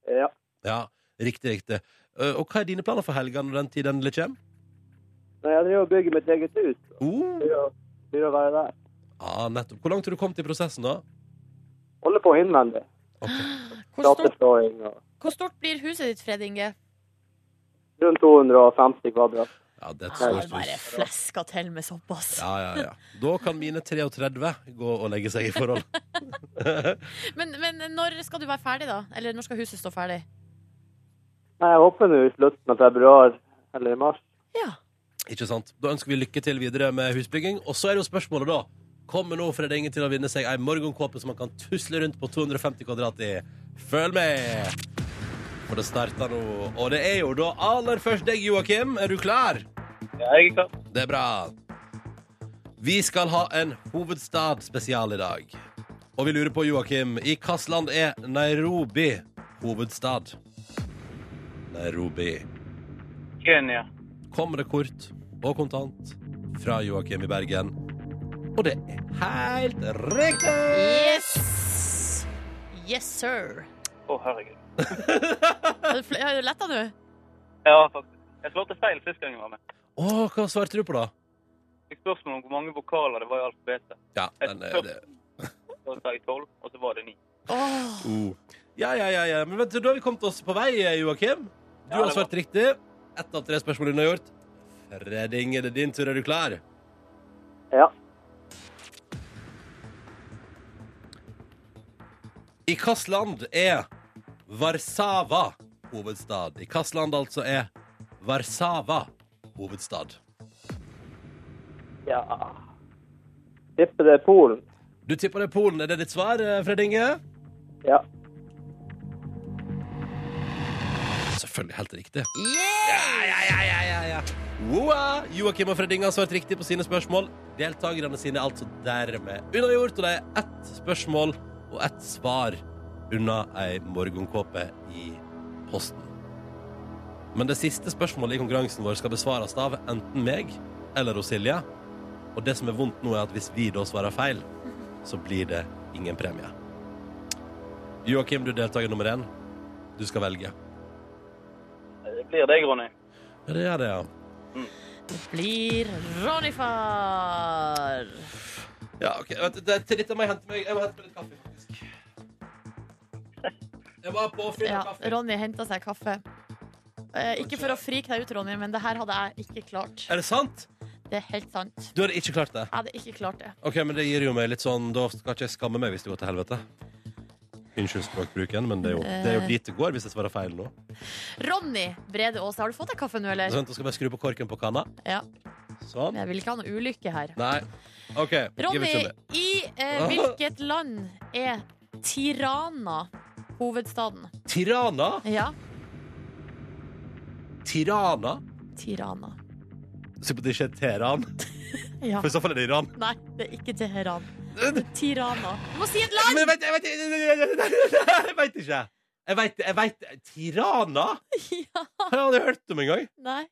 Speaker 3: Ja.
Speaker 4: Ja, riktig, riktig. Eh, Og hva er dine planer for helga når den tid endelig kommer?
Speaker 3: Jeg driver og bygger mitt eget hus.
Speaker 4: Oh.
Speaker 3: Blir å være der.
Speaker 4: Ja, nettopp. Hvor langt har du kommet i prosessen, da?
Speaker 3: Holder på innvendig.
Speaker 1: Hvor stort,
Speaker 3: og
Speaker 1: hvor stort blir huset ditt, Fred Inge?
Speaker 3: rundt 250 kvadrat.
Speaker 4: Ja, det er et
Speaker 1: Ja, det
Speaker 4: stort
Speaker 1: er bare
Speaker 4: hus.
Speaker 1: fleska til med såpass.
Speaker 4: Ja, ja, ja. Da kan mine 33 gå og legge seg i forhold.
Speaker 1: Men, men når skal du være ferdig, da? Eller når skal huset stå ferdig?
Speaker 3: Nei, jeg håper nå i slutten av februar eller i mars.
Speaker 1: Ja.
Speaker 4: Ikke sant? Da ønsker vi lykke til videre med husbygging. Og så er jo spørsmålet, da. Kommer nå Fred Inge til å vinne seg ei morgenkåpe som han kan tusle rundt på 250 kvadrat i? Følg med! For det starter nå. Og det er jo da aller først deg, Joakim. Er du klar?
Speaker 3: Ja, jeg er klar.
Speaker 4: Det er bra. Vi skal ha en hovedstadspesial i dag. Og vi lurer på, Joakim, i hvilket land er Nairobi hovedstad? Nairobi.
Speaker 3: Kenya.
Speaker 4: Kommer det kort og kontant fra Joakim i Bergen? Og det er helt riktig!
Speaker 1: Yes! Yes, sir.
Speaker 3: Å, herregud.
Speaker 1: Er det fl- er det letta nå?
Speaker 3: Ja, faktisk. Jeg slåtte feil sist gang jeg var med.
Speaker 4: Å, hva svarte du på, da?
Speaker 3: Fikk spørsmål om hvor mange vokaler det var i alfabetet.
Speaker 4: Ja, den, er- det,
Speaker 3: Så sa jeg tolv, og så var det ni.
Speaker 1: Åh.
Speaker 4: ja, ja, ja, ja. Men vent, da har vi kommet oss på vei, Joakim. Du
Speaker 3: Ja,
Speaker 4: har
Speaker 3: det var-
Speaker 4: svart riktig. Ett av tre spørsmål du har gjort. Redding, er det din tur? Er du klar?
Speaker 5: Ja.
Speaker 4: I hvilket land er Warszawa hovedstad? I hvilket land altså er Warszawa hovedstad?
Speaker 5: Ja Tipper det er Polen.
Speaker 4: Du tipper det er Polen. Er det ditt svar, eh, Fred Inge?
Speaker 5: Ja.
Speaker 4: Selvfølgelig helt riktig. Ja, ja, ja, ja, ja, ja. Woa! Joakim og Fred Inge har svart riktig på sine spørsmål. Deltakerne sine er altså dermed unnagjort, og det er ett spørsmål og ett svar unna ei morgenkåpe i posten. Men det siste spørsmålet i konkurransen vår skal besvares av enten meg eller hos Silje. Og det som er vondt nå, er at hvis vi da svarer feil, så blir det ingen premie. Joakim, du er deltaker nummer én. Du skal velge.
Speaker 3: Blir det, Eh, Ronny?
Speaker 4: Ja, det gjør det, ja.
Speaker 1: Det blir Ronny-far.
Speaker 4: Ja, ok. Vent, det, til dette må jeg hente meg Jeg må hente meg litt kaffe, faktisk. Jeg var på å finne
Speaker 1: Ja,
Speaker 4: kaffe.
Speaker 1: Ronny henta seg kaffe. Eh, ikke for å frike deg ut, Ronny, men det her hadde jeg ikke klart.
Speaker 4: Er det sant?
Speaker 1: Det er helt sant.
Speaker 4: Du hadde ikke klart det?
Speaker 1: Jeg hadde ikke klart det.
Speaker 4: Ok, men det gir jo meg litt sånn Da skal ikke jeg skamme meg hvis det går til helvete. Unnskyld språkbruken, men det er jo, det
Speaker 1: Eh.
Speaker 4: er jo dit det går hvis jeg svarer feil nå.
Speaker 1: Ronny Brede Aase, har du fått deg kaffe nå, eller?
Speaker 4: Sånn, da skal jeg bare skru på korken på kanna.
Speaker 1: Eh. Ja.
Speaker 4: Sånn.
Speaker 1: Men jeg vil ikke ha noe ulykke her.
Speaker 4: Nei. OK. Give it
Speaker 1: Ronny,
Speaker 4: to me.
Speaker 1: i eh,
Speaker 4: Ah.
Speaker 1: hvilket land er Tirana hovedstaden?
Speaker 4: Tirana?
Speaker 1: Ja,
Speaker 4: Tirana?
Speaker 1: Tirana.
Speaker 4: Se på at det ikke er Teheran,
Speaker 1: Ja.
Speaker 4: for i så fall er det Iran.
Speaker 1: Nei, det er ikke Teheran. Det er Tirana. Du må si et land!
Speaker 4: Men jeg vet, jeg vet, jeg vet ikke. Jeg vet, jeg vet Tirana?
Speaker 1: Ja,
Speaker 4: Jeg har aldri hørt om engang.
Speaker 1: nei.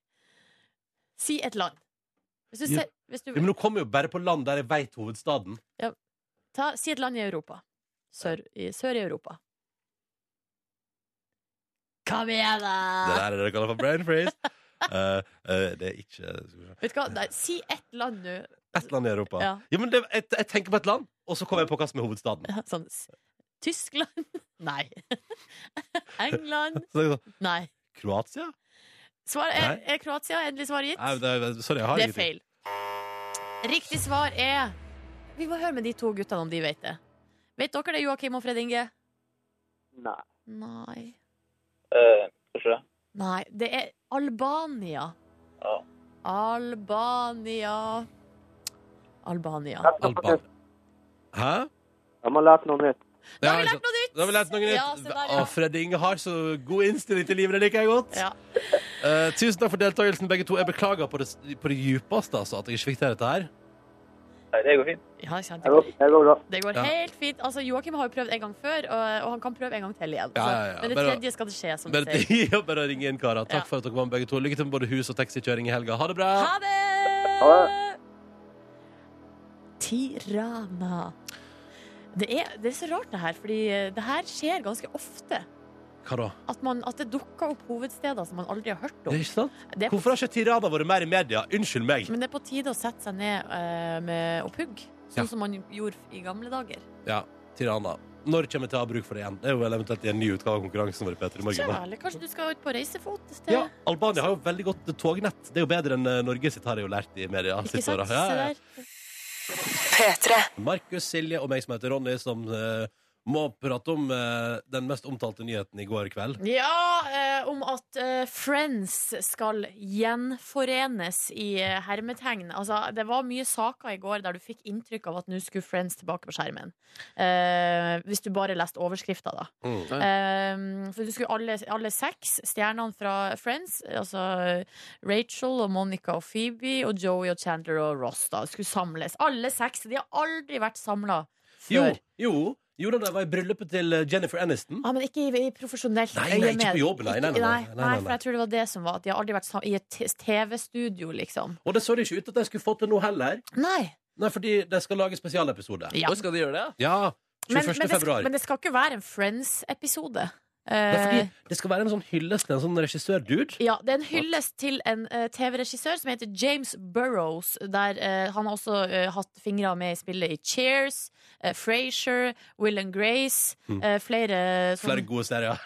Speaker 1: Si et land. Hvis du
Speaker 4: Ja.
Speaker 1: ser, hvis du,
Speaker 4: Ja, Men nå kommer jeg jo bare på land der jeg veit hovedstaden.
Speaker 1: ta, si et land i Europa. Sør i, sør i Europa. Kom igjen,
Speaker 4: Det
Speaker 1: da!
Speaker 4: der er det jeg kaller for brain freeze. Eh, eh, det er ikke skal vi se.
Speaker 1: Vet du hva? Nei, si ett land nå.
Speaker 4: Et land i Europa. Ja.
Speaker 1: Ja,
Speaker 4: men det, jeg, jeg tenker på et land, og så kommer jeg på hva som er hovedstaden.
Speaker 1: ja, sånn s- Tyskland? Nei. England?
Speaker 4: Så tenker jeg sånn,
Speaker 1: Nei.
Speaker 4: Kroatia?
Speaker 1: Svar er, er Kroatia endelig svar gitt?
Speaker 4: Nei, det, er- sorry, jeg har
Speaker 1: Det er
Speaker 4: ingenting.
Speaker 1: feil. Riktig svar er Vi må høre med de to guttene om de vet det. Vet dere det, Joakim og Fred Inge?
Speaker 5: Nei.
Speaker 1: Nei.
Speaker 3: Eh, Kanskje det?
Speaker 1: Nei. Det er Albania.
Speaker 3: Ja.
Speaker 1: Albania Albania.
Speaker 4: Alban. Hæ?
Speaker 5: Jeg må lære noe nytt.
Speaker 1: Da har vi lært noe nytt!
Speaker 4: Da har vi lært noe nytt.
Speaker 1: Ja, se der, ja.
Speaker 4: Å, Fred Inge har så god innstilling til livet, det liker jeg godt.
Speaker 1: Ja.
Speaker 4: Eh, tusen takk for deltakelsen, begge to. Jeg beklager på det, på det djupeste altså, at jeg ikke fikk til dette her.
Speaker 3: Nei, det går fint.
Speaker 1: Ja, ikke sant?
Speaker 5: Jeg går, jeg går bra.
Speaker 1: det går
Speaker 4: Ja.
Speaker 1: helt fint. Altså, Joakim har jo prøvd en gang før, og, og han kan prøve en gang til igjen.
Speaker 4: Ja,
Speaker 1: så-
Speaker 4: ja, ja.
Speaker 1: Men det
Speaker 4: Bare-
Speaker 1: tredje skal det skje, som du
Speaker 4: Bare,
Speaker 1: sier.
Speaker 4: ja, bare ringe inn, karer.
Speaker 1: Ja.
Speaker 4: Takk for at dere var med, begge to. Lykke til med både hus- og taxikjøring i helga. Ha det bra!
Speaker 1: Ha det!
Speaker 5: Ha
Speaker 1: Tirana. Det er, det er så rart, det her, fordi eh, det her skjer ganske ofte.
Speaker 4: Hva da?
Speaker 1: At, man, at det dukker opp hovedsteder som man aldri har hørt
Speaker 4: Det
Speaker 1: om.
Speaker 4: er ikke sant?
Speaker 1: Det er på,
Speaker 4: Hvorfor har ikke Tirana vært mer i media? Unnskyld meg.
Speaker 1: men det er på tide å sette seg ned eh, med opphugg,
Speaker 4: Ja.
Speaker 1: sånn som man gjorde i gamle dager.
Speaker 4: Ja, Tirana. Når kommer jeg til å ha bruk for det igjen? Det er jo vel eventuelt i en ny utgave av konkurransen vår. Peter, i
Speaker 1: Ikke,
Speaker 4: morgen. da.
Speaker 1: eller kanskje du skal ut på reisefot et sted?
Speaker 4: Ja, Albania har jo veldig godt tognett. Det er jo bedre enn eh, Norge sitt, har jeg jo lært i media.
Speaker 1: Ikke
Speaker 4: siste
Speaker 1: sant?
Speaker 4: året. Ja,
Speaker 1: Se
Speaker 4: ja, ja.
Speaker 1: der.
Speaker 4: Markus, Silje og meg som heter Ronny, som eh, må prate om eh, den mest omtalte nyheten i går kveld.
Speaker 1: Ja, eh, om at eh, Friends skal gjenforenes i eh, hermetegn. Altså, det var mye saker i går der du fikk inntrykk av at nå skulle Friends tilbake på skjermen. Eh, hvis du bare leste overskrifta, da.
Speaker 2: Ja.
Speaker 1: Eh, for du skulle alle, alle seks stjernene fra Friends, altså Rachel og Monica og Phoebe og Joey og Chandler og Ross, da, skulle samles. Alle seks. De har aldri vært samla
Speaker 4: Jo,
Speaker 1: før.
Speaker 4: jo, jo da det var i bryllupet til eh, Jennifer Aniston.
Speaker 1: Ja, men ikke i, i profesjonelt
Speaker 4: Nei, nei, ikke
Speaker 1: øyemed.
Speaker 4: på jobb, nei, nei, nei,
Speaker 1: Ikke-
Speaker 4: nei, nei, nei,
Speaker 1: for jeg tror det var det som var at de har aldri vært sam- i et t- TV-studio, liksom.
Speaker 4: Og det så det ikke ut at de skulle få til nå heller.
Speaker 1: Nei.
Speaker 4: Nei, fordi de skal lage spesialepisode.
Speaker 1: Ja.
Speaker 2: Oi, skal de gjøre det?
Speaker 4: Ja,
Speaker 1: Men,
Speaker 4: 21.
Speaker 1: men, det, skal-
Speaker 4: februar.
Speaker 1: men det skal ikke være en Friends-episode.
Speaker 4: Det, er
Speaker 1: Eh,
Speaker 4: fordi det skal være en sånn hyllest til en sånn regissør-dude.
Speaker 1: Ja, det er en hyllest til en eh, TV-regissør som heter James Burrows. Der eh, han har også eh, hatt fingre med i spillet i Cheers, uh, Frasier, Will and Grace.
Speaker 4: Mm.
Speaker 1: eh, flere, sånn,
Speaker 4: Flere
Speaker 1: flere,
Speaker 4: gode serier.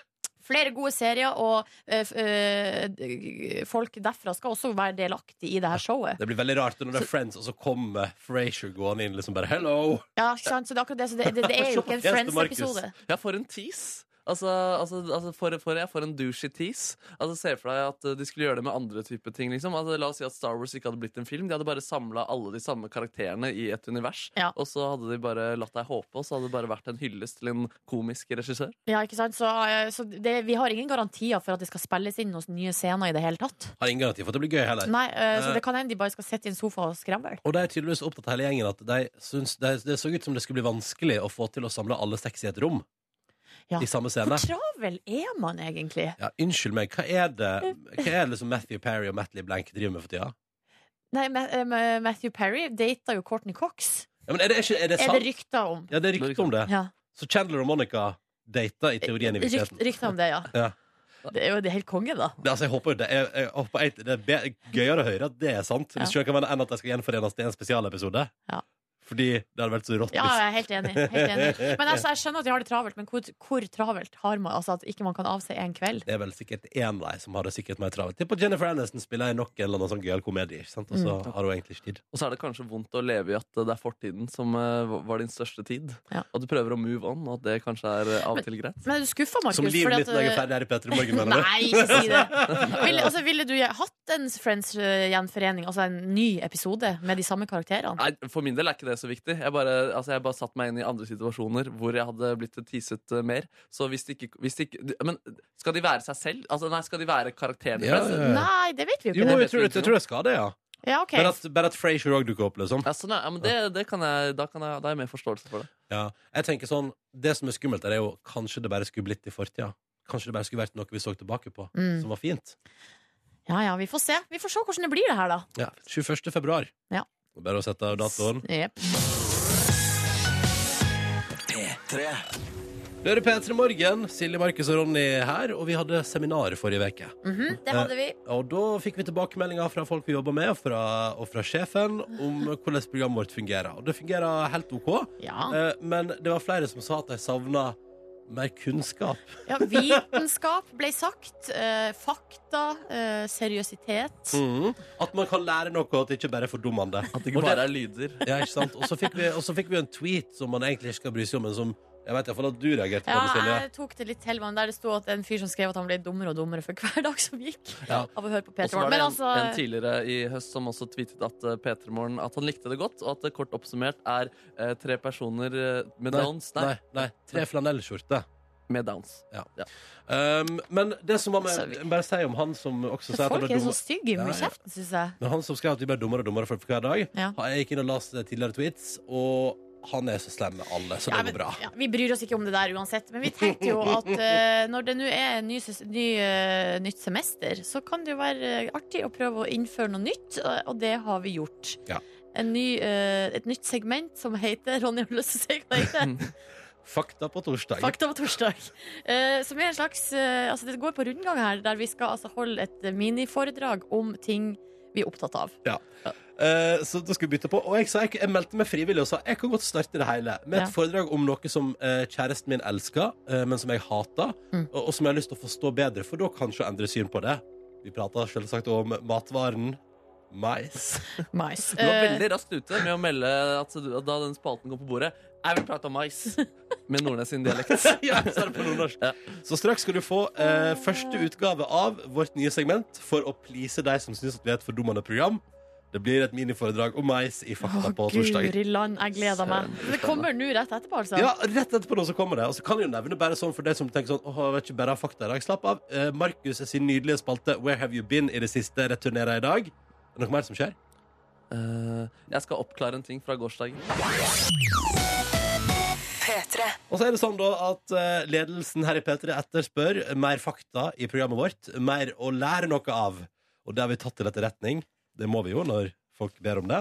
Speaker 1: gode serier, og eh, f- eh, d- folk derfra skal også være delaktig i det her showet.
Speaker 4: Det blir veldig rart når det er Friends, og så kommer Frasier gående inn liksom bare Hello!
Speaker 1: Ja, ikke sant? Så det er akkurat det. Så det, det, det er jo ikke en
Speaker 4: Fjes til Markus.
Speaker 1: Friends-episode.
Speaker 2: Jeg får en tease. Altså, altså, altså for, for, jeg får en douchey tease. Altså, Se for deg at eh, de skulle gjøre det med andre type ting. liksom altså, La oss si at Star Wars ikke hadde blitt en film. De hadde bare samla alle de samme karakterene i et univers.
Speaker 1: Ja.
Speaker 2: Og så hadde de bare latt deg håpe, og så hadde det bare vært en hyllest til en komisk regissør.
Speaker 1: Ja, ikke sant? Så, eh, så det, vi har ingen garantier for at det skal spilles inn noen nye scener i det hele tatt.
Speaker 4: Har ingen garanti for at det blir gøy heller.
Speaker 1: Nei, eh, så
Speaker 4: Eh.
Speaker 1: det kan hende de bare skal sitte i en sofa og skremme.
Speaker 4: Og de er tydeligvis opptatt hele gjengen at de syns det, det så ut som det skulle bli vanskelig å få til å samle alle seks i et rom.
Speaker 1: Ja.
Speaker 4: I samme scene.
Speaker 1: Hvor travel er man egentlig?
Speaker 4: Ja, unnskyld meg, hva er det Hva er det liksom Matthew Perry og Matley Blank driver med for tida?
Speaker 1: Nei, Ma- eh, Ma- Matthew Perry data jo Courtney Cox.
Speaker 4: Ja, men er det, er ikke, er det
Speaker 1: Er
Speaker 4: sant?
Speaker 1: det rykter om?
Speaker 4: ja, det er rykte om det.
Speaker 1: Ja.
Speaker 4: Så Chandler og Monica data i teorien i
Speaker 1: Rykt,
Speaker 4: virkeligheten.
Speaker 1: rykter om det, ja.
Speaker 4: Ja.
Speaker 1: Det er jo det helt konge, da.
Speaker 4: Det, altså, jeg håper jo det er, jeg håper egentlig det er be- gøyere å høre at det er sant, hvis ikke det kan være enn at de skal gjenforenes til en spesialepisode.
Speaker 1: Ja.
Speaker 4: Fordi det hadde vært så rått.
Speaker 1: Ja,
Speaker 4: hvis-
Speaker 1: jeg er helt enig. Helt enig. Men altså, jeg skjønner at de har det travelt, men hvor, hvor travelt har man altså at ikke man kan avse en kveld?
Speaker 4: Det er vel sikkert én vei som har det sikkert mer travelt. Tipper Jennifer Aniston spiller i nok en eller annen sånn gøyal komedie, ikke sant? og så
Speaker 1: Mm.
Speaker 4: har hun egentlig ikke tid.
Speaker 2: Og så er det kanskje vondt å leve i at eh, det er fortiden som eh, var din største tid.
Speaker 1: Ja.
Speaker 2: Og du prøver å move on, og at det kanskje er eh, av
Speaker 1: Men-
Speaker 2: og til greit.
Speaker 1: Men er du skuffa, Markus?
Speaker 4: Som livet
Speaker 1: fordi
Speaker 4: mitt når jeg er ferdig her i Petter i morgen, mener du?
Speaker 1: Nei, ikke si det. Ville, altså, ville du hatt en Friends-gjenforening, altså en ny episode med de samme karakterene?
Speaker 2: Nei, For min del er ikke det så viktig. Jeg bare, altså jeg bare satt meg inn i andre situasjoner hvor jeg hadde blitt teaset eh, mer. Så hvis det ikke, hvis det ikke Men skal de være seg selv? Altså, nei, skal de være karakterene?
Speaker 4: Ja,
Speaker 2: deres?
Speaker 4: ja, ja.
Speaker 1: Nei, det vet vi jo
Speaker 4: Jo,
Speaker 1: ikke.
Speaker 4: jeg tror, jeg tror jeg skal det, ja.
Speaker 1: Ja, ok.
Speaker 4: Bare at, bare at Frasier òg dukker opp, liksom.
Speaker 2: Ja, sånn, ja. ja men det, det kan jeg, da, kan jeg, da har jeg mer forståelse for det.
Speaker 4: Ja, jeg tenker sånn Det som er skummelt, der er jo kanskje det bare skulle blitt i fortida. Kanskje det bare skulle vært noe vi så tilbake på,
Speaker 1: Mm.
Speaker 4: som var fint.
Speaker 1: Ja, ja, vi får se. Vi får se hvordan det blir det her, da.
Speaker 4: Ja, 21. februar.
Speaker 1: Ja.
Speaker 4: Det er Bare å sette av datoen.
Speaker 1: Jep.
Speaker 4: Da er det P3 Morgen. Silje, Markus og Ronny her, og vi hadde seminar forrige uke.
Speaker 1: Mhm, det hadde vi.
Speaker 4: Og da fikk vi tilbakemeldinger fra folk vi jobber med, og fra, og fra sjefen, om hvordan programmet vårt fungerer. Og det fungerer helt OK,
Speaker 1: Ja.
Speaker 4: eh, men det var flere som sa at de savna mer kunnskap.
Speaker 1: ja. Vitenskap ble sagt. eh, fakta. eh, seriøsitet.
Speaker 4: Mm. At man kan lære noe, og at det ikke bare er fordummende.
Speaker 2: At det
Speaker 4: Og
Speaker 2: ikke bare er lyder.
Speaker 4: Ja, ikke sant? Og så fikk, vi- og så fikk vi en tweet som man egentlig ikke skal bry seg om, men som jeg vet i hvert fall at du reagerte på. det,
Speaker 1: Ja,
Speaker 4: Silje.
Speaker 1: jeg tok det litt til, men der det sto at en fyr som skrev at han ble dummere og dummere for hver dag som gikk.
Speaker 4: Ja.
Speaker 1: Av å høre på
Speaker 2: Og
Speaker 1: Peter
Speaker 2: så var
Speaker 1: Morgen.
Speaker 2: det
Speaker 1: Men
Speaker 2: en, en
Speaker 1: altså
Speaker 2: tidligere i høst som også tweetet at eh, P3 Morgen At han likte det godt, og at det kort oppsummert er eh, tre personer eh, med downs. Nei,
Speaker 4: Nei, nei, tre flanellskjorter.
Speaker 2: med downs.
Speaker 4: Um, men det som var med
Speaker 1: Så vi-
Speaker 4: jeg må Bare si om han som også sier at han
Speaker 1: Folk
Speaker 4: ble
Speaker 1: er så
Speaker 4: dummer
Speaker 1: stygge
Speaker 4: Ja,
Speaker 1: med
Speaker 4: ja.
Speaker 1: kjeften, syns jeg.
Speaker 4: Men han som skrev at vi ble dummere og dummere for hver dag,
Speaker 1: Ja.
Speaker 4: han- jeg gikk inn og leste tidligere tweets, og han er så slem med alle, så
Speaker 1: Ja,
Speaker 4: det
Speaker 1: men-
Speaker 4: går bra.
Speaker 1: ja, vi bryr oss ikke om det der uansett, men vi tenkte jo at eh, når det nå er ny, ses- ny, eh, nytt semester, så kan det jo være eh, artig å prøve å innføre noe nytt, og- og det har vi gjort.
Speaker 4: Ja.
Speaker 1: En ny, eh, et nytt segment som heter Ronny har lyst til å si hva det heter.
Speaker 4: Fakta på torsdag.
Speaker 1: Fakta på torsdag. Eh, som er en slags eh, altså Det går på rundgang her, der vi skal altså, holde et miniforedrag om ting vi er opptatt av.
Speaker 4: Eh, så da skulle vi bytte på. Og jeg, sa, jeg, jeg meldte meg frivillig og sa jeg kan godt starte det hele med et
Speaker 1: Ja.
Speaker 4: foredrag om noe som eh, kjæresten min elsker, eh, men som jeg hater,
Speaker 1: Mm.
Speaker 4: og, og som jeg har lyst til å forstå bedre, for da kanskje jeg endrer syn på det. Vi prata selvsagt om matvaren mais.
Speaker 1: Mais.
Speaker 2: Du var
Speaker 1: Eh,
Speaker 2: veldig raskt ute med å melde at du, da den spalten kom på bordet Jeg vil prate om mais med Nordnes sin dialekt.
Speaker 4: ja, så, er det på nordnorsk.
Speaker 2: Ja.
Speaker 4: så straks skal du få eh, første utgave av vårt nye segment for å please deg som syns at vi er et fordummende program. Det blir et miniforedrag om mais i Fakta
Speaker 1: Eh, Å,
Speaker 4: på torsdag.
Speaker 1: Guri land, jeg gleder meg. Det kommer nå rett etterpå, altså.
Speaker 4: Ja, rett etterpå nå så kommer det. Og så kan jeg jo nevne bare sånn for deg som tenker sånn Åh, jeg vet ikke bare ha fakta i dag. Slapp av. Eh, Markus sin nydelige spalte Where Have You Been i det siste returnerer i dag. Er det noe mer som skjer?
Speaker 2: Eh, jeg skal oppklare en ting fra gårsdagen.
Speaker 4: Og så er det sånn da at eh, ledelsen her i P3 etterspør mer fakta i programmet vårt. Mer å lære noe av. Og det har vi tatt til etterretning. Det må vi jo når folk ber om det.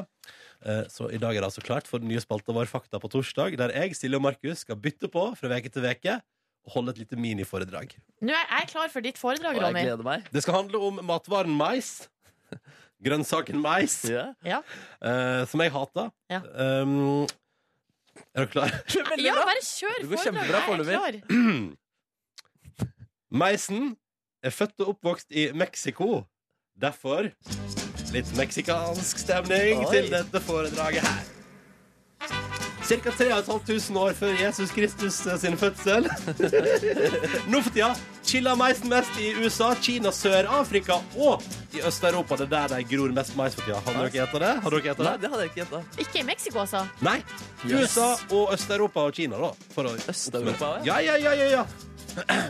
Speaker 4: Eh, Så i dag er det altså klart for den nye spalta vår Fakta på torsdag, der jeg, Silje og Markus skal bytte på fra veke til veke holde et lite miniforedrag.
Speaker 1: Nå er jeg klar for ditt foredrag,
Speaker 2: Og jeg
Speaker 1: Ronny.
Speaker 2: gleder meg.
Speaker 4: Det skal handle om matvaren mais. Grønnsaken mais,
Speaker 2: Ja.
Speaker 1: Ja.
Speaker 4: eh, som jeg hater.
Speaker 1: Ja.
Speaker 4: Um, er dere klare?
Speaker 1: ja, bare kjør
Speaker 2: Det går
Speaker 1: foredrag. Jeg
Speaker 2: kjempebra
Speaker 1: er
Speaker 2: foreløpig.
Speaker 1: klar.
Speaker 4: Meisen er født og oppvokst i Mexico. Derfor litt meksikansk stemning
Speaker 2: Oi.
Speaker 4: til dette foredraget her. Ca. 3500 år før Jesus Kristus eh, sin fødsel. Nå for tida chiller meisen mest i USA, Kina, Sør-Afrika og i Øst-Europa. Det er der de gror mest mais for tida. Har dere gjetta det? Har dere
Speaker 2: Nei,
Speaker 4: gjettet det?
Speaker 2: det hadde jeg ikke gjetta.
Speaker 1: Ikke i Mexico, altså.
Speaker 4: Nei.
Speaker 2: Yes.
Speaker 4: USA og Øst-Europa og Kina, da. For å
Speaker 2: Øst-Europa ja.
Speaker 4: ja, ja, ja, ja, ja.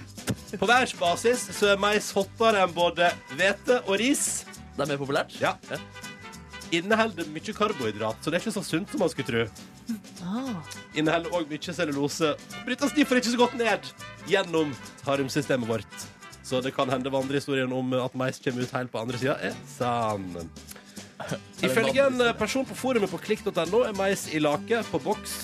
Speaker 4: På verdensbasis så er mais hottere enn både hvete og ris.
Speaker 2: Det er mer populært?
Speaker 4: Ja. Inneholder mye karbohydrat, så det er ikke så sunt som man skulle tro.
Speaker 1: Ah.
Speaker 4: Inneholder òg mye cellulose. Brytes derfor ikke så godt ned gjennom tarmsystemet vårt. Så det kan hende vandrehistorien om at mais kommer ut helt på andre sida, er sann. Ifølge en person på forumet på klikk.no er mais i lake på boks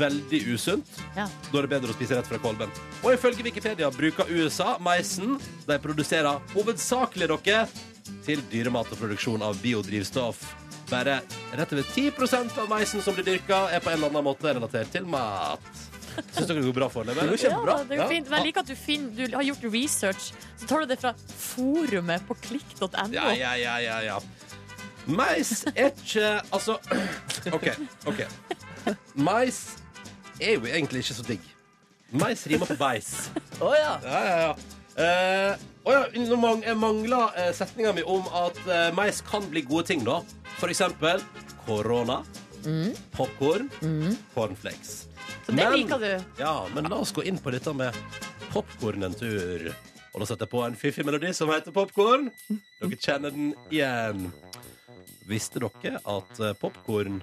Speaker 4: veldig usunt.
Speaker 1: Ja.
Speaker 4: Da er det bedre å spise rett fra kolben. Og ifølge Wikipedia bruker USA meisen de produserer hovedsakelig dere til dyremat og produksjon av biodrivstoff. Bare rett over 10 av meisen som blir dyrka, er på en eller annen måte relatert til mat. Syns dere det går bra foreløpig?
Speaker 1: Ja, da, det er
Speaker 4: Ja.
Speaker 1: jo fint. Men jeg liker at du, finner, du har gjort research. Så tar du det fra forumet på klikk.no.
Speaker 4: Ja, ja, ja, ja, ja. Mais er ikke Altså OK. ok Mais er jo egentlig ikke så digg. Mais rimer på beis.
Speaker 2: Å ja.
Speaker 4: Ja, ja, ja. Eh, åja, nå mang jeg mangler eh, setninga mi om at eh, mais kan bli gode ting, da. For eksempel korona, popkorn, cornflakes.
Speaker 1: Så det liker du.
Speaker 4: Ja, men la oss gå inn på dette med popkorn en tur. Og nå setter jeg på en fiffig melodi som heter Popkorn. Dere kjenner den igjen. Visste dere at popkorn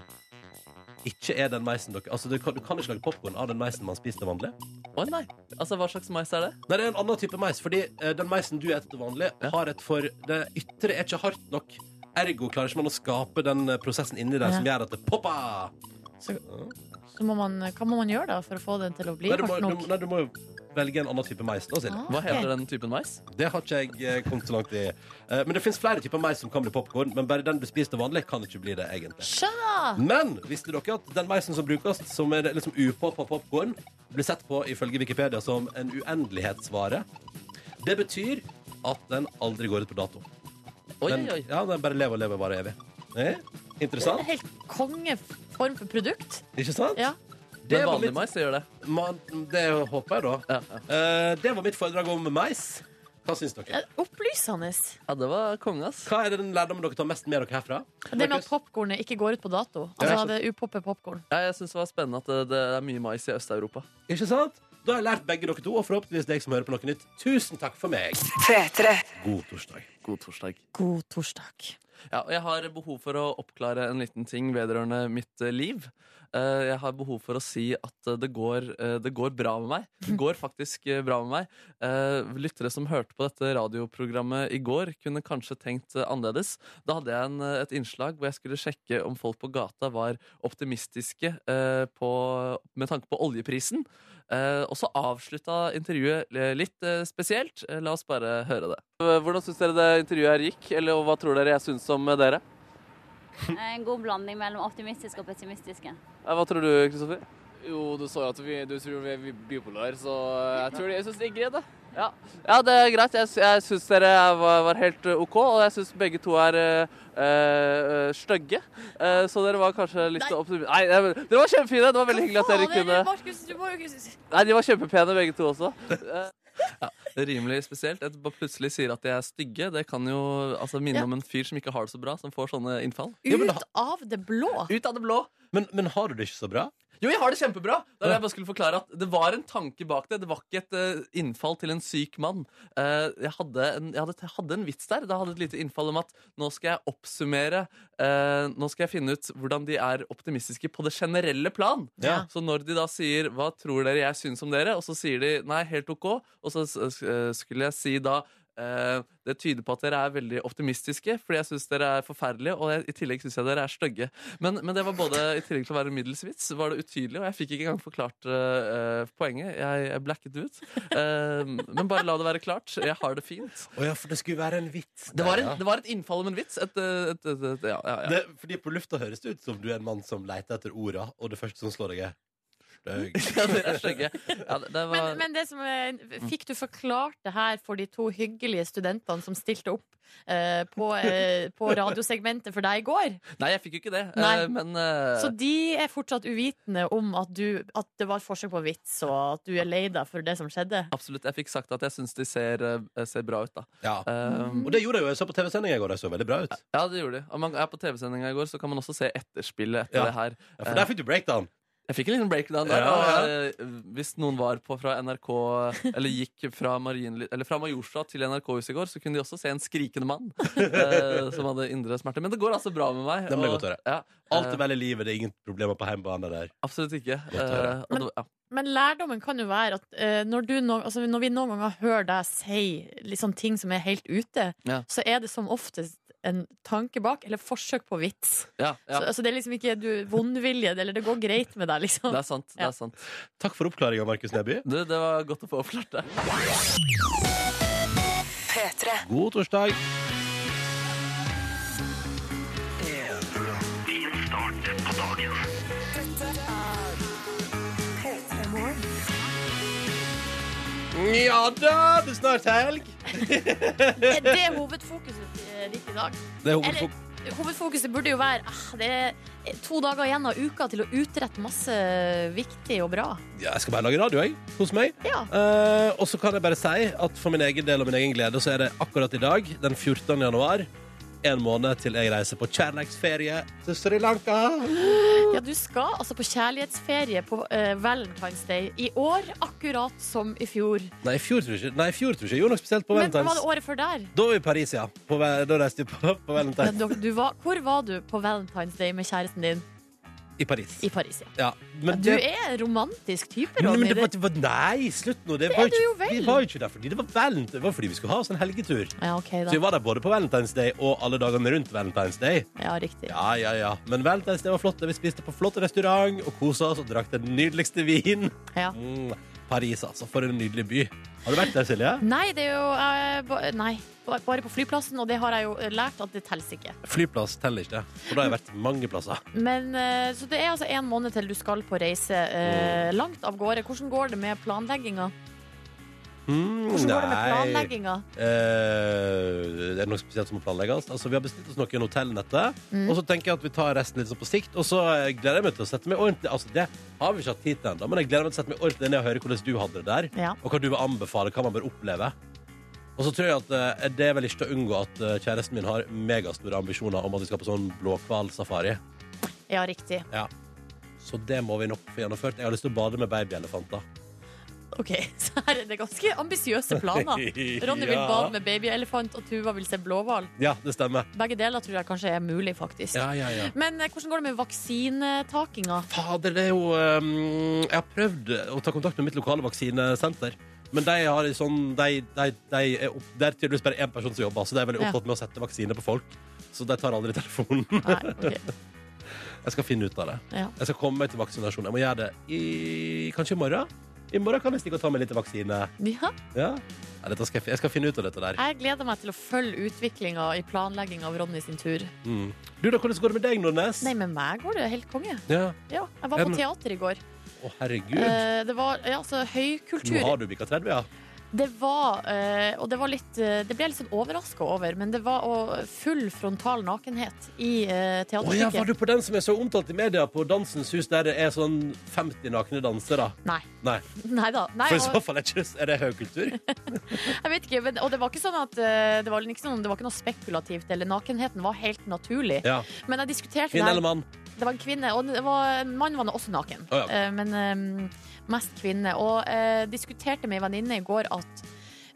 Speaker 4: ikke er den meisen dere Altså, du kan, du kan ikke lage popkorn av den meisen man spiser til vanlig.
Speaker 2: Å, nei. Altså, hva slags mais er det?
Speaker 4: Nei, det er en annen type mais, fordi eh, den meisen du spiser til vanlig, har et for Det ytre er ikke hardt nok. Ergo klarer ikke man å skape den eh, prosessen inni der
Speaker 1: Ja.
Speaker 4: som gjør at det popper.
Speaker 1: Så må man, hva må man gjøre da for å få den til å bli
Speaker 4: Nei, du må,
Speaker 1: hardt
Speaker 4: du,
Speaker 1: nok?
Speaker 4: nei, du må jo velge en annen type mais, da, Silje.
Speaker 1: Ah,
Speaker 2: Hva
Speaker 1: ok.
Speaker 2: heter den typen mais?
Speaker 4: Det har ikke jeg eh, kommet så langt i. Eh, Men det fins flere typer mais som kan bli popkorn, men bare den du spiser til vanlig, kan ikke bli det, egentlig.
Speaker 1: Skjønner!
Speaker 4: Men visste dere at den meisen som brukes som er liksom upoppa popkorn, blir sett på ifølge Wikipedia som en uendelighetsvare? Det betyr at den aldri går ut på dato.
Speaker 2: Oi,
Speaker 4: Den,
Speaker 2: oi, oi.
Speaker 4: ja, den bare lever og lever bare evig. Eh?
Speaker 1: Det er en
Speaker 4: Interessant,
Speaker 1: helt kongeform for produkt.
Speaker 4: ikke sant?
Speaker 1: Ja.
Speaker 2: Det
Speaker 4: var
Speaker 2: vanlig
Speaker 4: mitt-
Speaker 2: mais gjør det.
Speaker 4: Man, det håper jeg, da.
Speaker 2: Ja, ja.
Speaker 4: Eh, det var mitt foredrag om mais. Hva syns dere?
Speaker 1: Ja, Opplysende.
Speaker 2: ja, det var konge, ass.
Speaker 4: Hva er den lærdommen dere tar mest med dere herfra?
Speaker 1: Det med at popkornet ikke går ut på dato. Altså det upoppet popkorn.
Speaker 2: Ja, jeg syns det var spennende at det, det er mye mais i Øst-Europa.
Speaker 4: Ikke sant? Da har jeg lært begge dere to, og forhåpentligvis deg som hører på noe nytt. Tusen takk for meg. God torsdag.
Speaker 2: God torsdag.
Speaker 1: God torsdag.
Speaker 2: Ja, og jeg har behov for å oppklare en liten ting vedrørende mitt eh, liv. Eh, Jeg har behov for å si at eh, det går, eh, det går bra med meg. Det går faktisk eh, bra med meg. Eh, Lyttere som hørte på dette radioprogrammet i går, kunne kanskje tenkt eh, annerledes. Da hadde jeg en, eh, et innslag hvor jeg skulle sjekke om folk på gata var optimistiske eh, på, med tanke på oljeprisen. Eh, Og så avslutta intervjuet eh, litt eh, spesielt. Eh, La oss bare høre det. Hvordan syns dere det intervjuet her gikk, eller hva tror dere jeg syns om dere?
Speaker 6: Eh, En god blanding mellom optimistisk og pessimistisk.
Speaker 2: Hva tror du, Kristoffer?
Speaker 7: Jo, du så jo at vi, du tror vi er bipolar, så jeg tror det, jeg synes det er greit, da.
Speaker 2: Ja. ja, det er greit. Jeg, sy- jeg syns dere var, var helt eh, OK, og jeg syns begge to er uh, stygge. Eh, så dere var kanskje litt
Speaker 1: Nei.
Speaker 2: optimistiske. Nei, det- dere var kjempefine. Det var veldig hyggelig at dere kunne
Speaker 1: Markus, du må jo ikke
Speaker 2: Nei, de var kjempepene begge to også. Eh, ja, rimelig spesielt. At man plutselig sier at de er stygge, det kan jo altså, minne
Speaker 1: Ja.
Speaker 2: om en fyr som ikke har det så bra, som får sånne innfall.
Speaker 4: Ja, men da-
Speaker 1: Ut av det blå!
Speaker 2: Ut av det blå.
Speaker 4: Men, men har du det ikke så bra?
Speaker 2: Jo, jeg har det kjempebra. Det, jeg bare skulle forklare at det var en tanke bak det. Det var ikke et eh, innfall til en syk mann. Eh, jeg, hadde en, jeg, hadde, jeg hadde en vits der. Da hadde jeg et lite innfall om at nå skal jeg oppsummere eh, Nå skal jeg finne ut hvordan de er optimistiske på det generelle plan.
Speaker 1: Ja.
Speaker 2: Så når de da sier 'Hva tror dere jeg syns om dere?', og så sier de 'Nei, helt OK', og så s- s- eh, skulle jeg si da Eh, det tyder på at dere er veldig optimistiske, fordi jeg syns dere er forferdelige. Og jeg, i tillegg syns jeg dere er stygge. Men, men det var både i tillegg til å være middels vits, var det utydelig, og jeg fikk ikke engang forklart eh, eh, poenget. Jeg, jeg blacket ut. Eh, men bare la det være klart. Jeg har det fint.
Speaker 4: Å ja, for det skulle være en vits.
Speaker 2: Det var,
Speaker 4: der,
Speaker 2: en,
Speaker 4: ja.
Speaker 2: det var et innfall om en vits. Et, eh, et, et, et, ja, ja, ja.
Speaker 4: det, fordi på lufta høres det ut som du er en mann som leter etter orda, og det første som slår deg, er stygg.
Speaker 2: ja, dere er stygge. Ja, det, det var...
Speaker 1: Men, men det som er,
Speaker 2: Mm.
Speaker 1: fikk du forklart det her for de to hyggelige studentene som stilte opp eh, på, eh, på radiosegmentet for deg i går?
Speaker 2: Nei, jeg fikk jo ikke det.
Speaker 1: Nei.
Speaker 2: eh, Men eh,
Speaker 1: Så de er fortsatt uvitende om at, du, at det var et forsøk på vits, og at du er lei deg for det som skjedde?
Speaker 2: absolutt, jeg fikk sagt at jeg syns de ser, eh, ser bra ut, da.
Speaker 4: Ja.
Speaker 2: Um,
Speaker 4: Og det gjorde jeg jo. Jeg så på TV-sendinga i går, de så veldig bra ut.
Speaker 2: ja, det gjorde de. Og man er på TV-sendinga i går, så kan man også se etterspillet etter
Speaker 4: Ja.
Speaker 2: det her.
Speaker 4: Ja, for der fikk du breakdown.
Speaker 2: Jeg fikk en liten breakdown der.
Speaker 4: Ja, ja.
Speaker 2: og, eh, hvis noen var på fra NRK, eller gikk fra, Marienly- eller fra Majorstua til NRK-huset i går, så kunne de også se en skrikende mann eh, som hadde indre smerter. Men det går altså bra med meg.
Speaker 4: Det ble
Speaker 2: og-
Speaker 4: godt å høre.
Speaker 2: Ja,
Speaker 4: Alt
Speaker 2: eh,
Speaker 4: er vel i livet, det er ingen problemer på heimbane der.
Speaker 2: absolutt ikke.
Speaker 4: å høre.
Speaker 2: Eh, og det- ja.
Speaker 1: Men lærdommen kan jo være at eh, når, du no, altså, når vi noen ganger hører deg si litt sånn ting som er helt ute,
Speaker 2: Ja.
Speaker 1: så er det som oftest en tanke bak, eller forsøk på vits.
Speaker 2: Ja, ja.
Speaker 1: Så, altså, det er liksom ikke du, vondvilje, det- eller det går greit med deg, liksom.
Speaker 2: Det er sant. det
Speaker 1: Ja.
Speaker 2: er sant
Speaker 4: Takk for oppklaringa, Markus Neby.
Speaker 2: Du, Det var godt å få oppklart det.
Speaker 4: God torsdag. Ja da, det er snart helg.
Speaker 1: Er det hovedfokuset eh, ditt i dag?
Speaker 4: Det er
Speaker 1: Eller,
Speaker 4: hovedfok
Speaker 1: hovedfokuset burde jo være ah, det er to dager igjen av uka til å utrette masse viktig og bra.
Speaker 4: ja, jeg skal bare lage radio, jeg. Hos meg.
Speaker 1: Ja.
Speaker 4: Eh, og så kan jeg bare si at for min egen del og min egen glede, så er det akkurat i dag, den 14. januar, en måned til jeg reiser på kjærleiksferie til Sri Lanka.
Speaker 1: Ja, du skal altså på kjærlighetsferie på eh, Valentine's Day i år, akkurat som i fjor.
Speaker 4: Nei, i fjor tror jeg ikke. Nei, i fjor tror jeg ikke. Jeg gjorde noe spesielt på
Speaker 1: Men hva var
Speaker 4: Valentine's.
Speaker 1: det året før der?
Speaker 4: Da var vi i Paris, ja. På, ve- da reiste vi på, på
Speaker 1: Ja,
Speaker 4: Valentine's
Speaker 1: du, du var, hvor var du på Valentine's Day med kjæresten din?
Speaker 4: i Paris.
Speaker 1: I Paris, ja.
Speaker 4: Ja, men
Speaker 1: Du
Speaker 4: det,
Speaker 1: er romantisk type,
Speaker 4: Nei, men
Speaker 1: Ronny.
Speaker 4: det var, det var, nei, slutt nå. Det,
Speaker 1: er
Speaker 4: var
Speaker 1: du jo
Speaker 4: ikke,
Speaker 1: vel.
Speaker 4: vi var jo ikke der fordi det var Valentine. Det var fordi vi skulle ha oss en helgetur.
Speaker 1: Ja, OK,
Speaker 4: Så
Speaker 1: da.
Speaker 4: vi var der både på Valentine's Day og alle dagene rundt Valentine's Day.
Speaker 1: Ja, riktig.
Speaker 4: Ja, ja, ja. Men Valentine's Day var flott. og Vi spiste på flott restaurant og kosa oss og drakk den nydeligste vin.
Speaker 1: Ja.
Speaker 4: Mm, Paris, altså. For en nydelig by. Har du vært der, Silje?
Speaker 1: Nei, det er jo eh, ba, Nei, ba- bare på flyplassen, og det har jeg jo eh, lært at det teller ikke.
Speaker 4: Flyplass teller ikke. For da har jeg vært mange plasser.
Speaker 1: Men, eh, så det er altså en måned til du skal på reise eh, langt av gårde. Hvordan går det med planlegginga?
Speaker 4: Mm,
Speaker 1: Hvordan går det med
Speaker 4: nei.
Speaker 1: planlegginga?
Speaker 4: Eh, det er noe spesielt som må planlegges. Altså, vi har bestilt oss noen hotellnettet,
Speaker 1: Mm.
Speaker 4: og så tenker jeg at vi tar resten litt sånn på sikt. Og så eh, gleder jeg meg til å sette meg ordentlig Altså, det har vi ikke hatt tid til ennå, men jeg gleder meg til å sette meg ordentlig ned og høre hvordan du hadde det der,
Speaker 1: Ja.
Speaker 4: og hva du vil anbefale, hva man bør oppleve. Og så tror jeg at eh, det er vel ikke til å unngå at eh, kjæresten min har megastore ambisjoner om at vi skal på sånn blåhvalsafari.
Speaker 1: ja, riktig.
Speaker 4: Så det må vi nok få gjennomført. Jeg har lyst til å bade med babyelefanter.
Speaker 1: Ok, Så her er det ganske ambisiøse planer. Ronny vil
Speaker 4: Ja.
Speaker 1: bade med babyelefant, og Tuva vil se blåhval.
Speaker 4: Ja, det stemmer.
Speaker 1: Begge deler tror jeg kanskje er mulig, faktisk.
Speaker 4: Ja, ja, ja.
Speaker 1: Men eh, hvordan går det med vaksinetakinga?
Speaker 4: Fader, det er jo ehm, Jeg har prøvd å ta kontakt med mitt lokale vaksinesenter. Men de har sånn de, de, de er opp, Det er tydeligvis bare én person som jobber, så de er veldig
Speaker 1: Ja.
Speaker 4: opptatt med å sette vaksine på folk. Så de tar aldri telefonen.
Speaker 1: Nei, ok.
Speaker 4: Jeg skal finne ut av det.
Speaker 1: Ja.
Speaker 4: Jeg skal komme meg til vaksinasjon. Jeg må gjøre det i kanskje i morgen. I morgen kan jeg stikke og ta meg litt vaksine.
Speaker 1: ja.
Speaker 4: Ja. Nei, dette skal jeg, fi- jeg skal finne ut av dette der.
Speaker 1: Jeg gleder meg til å følge utviklinga i planlegginga av Ronny sin tur.
Speaker 4: Mm. Du, da, hvordan går det med deg, Nordnes?
Speaker 1: Nei, med meg går det helt konge.
Speaker 4: Ja.
Speaker 1: Ja, jeg var
Speaker 4: En-
Speaker 1: på teater i går.
Speaker 4: Å, herregud.
Speaker 1: Eh, Det var ja, altså, høykultur.
Speaker 4: Nå har du bikka 30, ja.
Speaker 1: Det var, eh, og det var litt eh, Det ble jeg litt sånn overraska over, men det var å- full frontal nakenhet i eh,
Speaker 4: Å ja, var
Speaker 1: teaterstykket.
Speaker 4: du på den som er så omtalt i media på Dansens Hus, der det er sånn 50 nakne dansere?
Speaker 1: Nei.
Speaker 4: Nei.
Speaker 1: Nei da. Nei,
Speaker 4: For i så
Speaker 1: og,
Speaker 4: fall er, ikke, er det høykultur.
Speaker 1: jeg vet ikke, men, og det var ikke sånn at eh, det, var liksom, det var ikke noe spekulativt, eller nakenheten var helt naturlig.
Speaker 4: Ja.
Speaker 1: Men jeg diskuterte
Speaker 4: Kvinne
Speaker 1: det her.
Speaker 4: eller mann?
Speaker 1: Det var en kvinne, og det var, en mann var nå også naken.
Speaker 4: Å, ja.
Speaker 1: Eh, Men eh, mest kvinne. Og eh, diskuterte med ei venninne i går at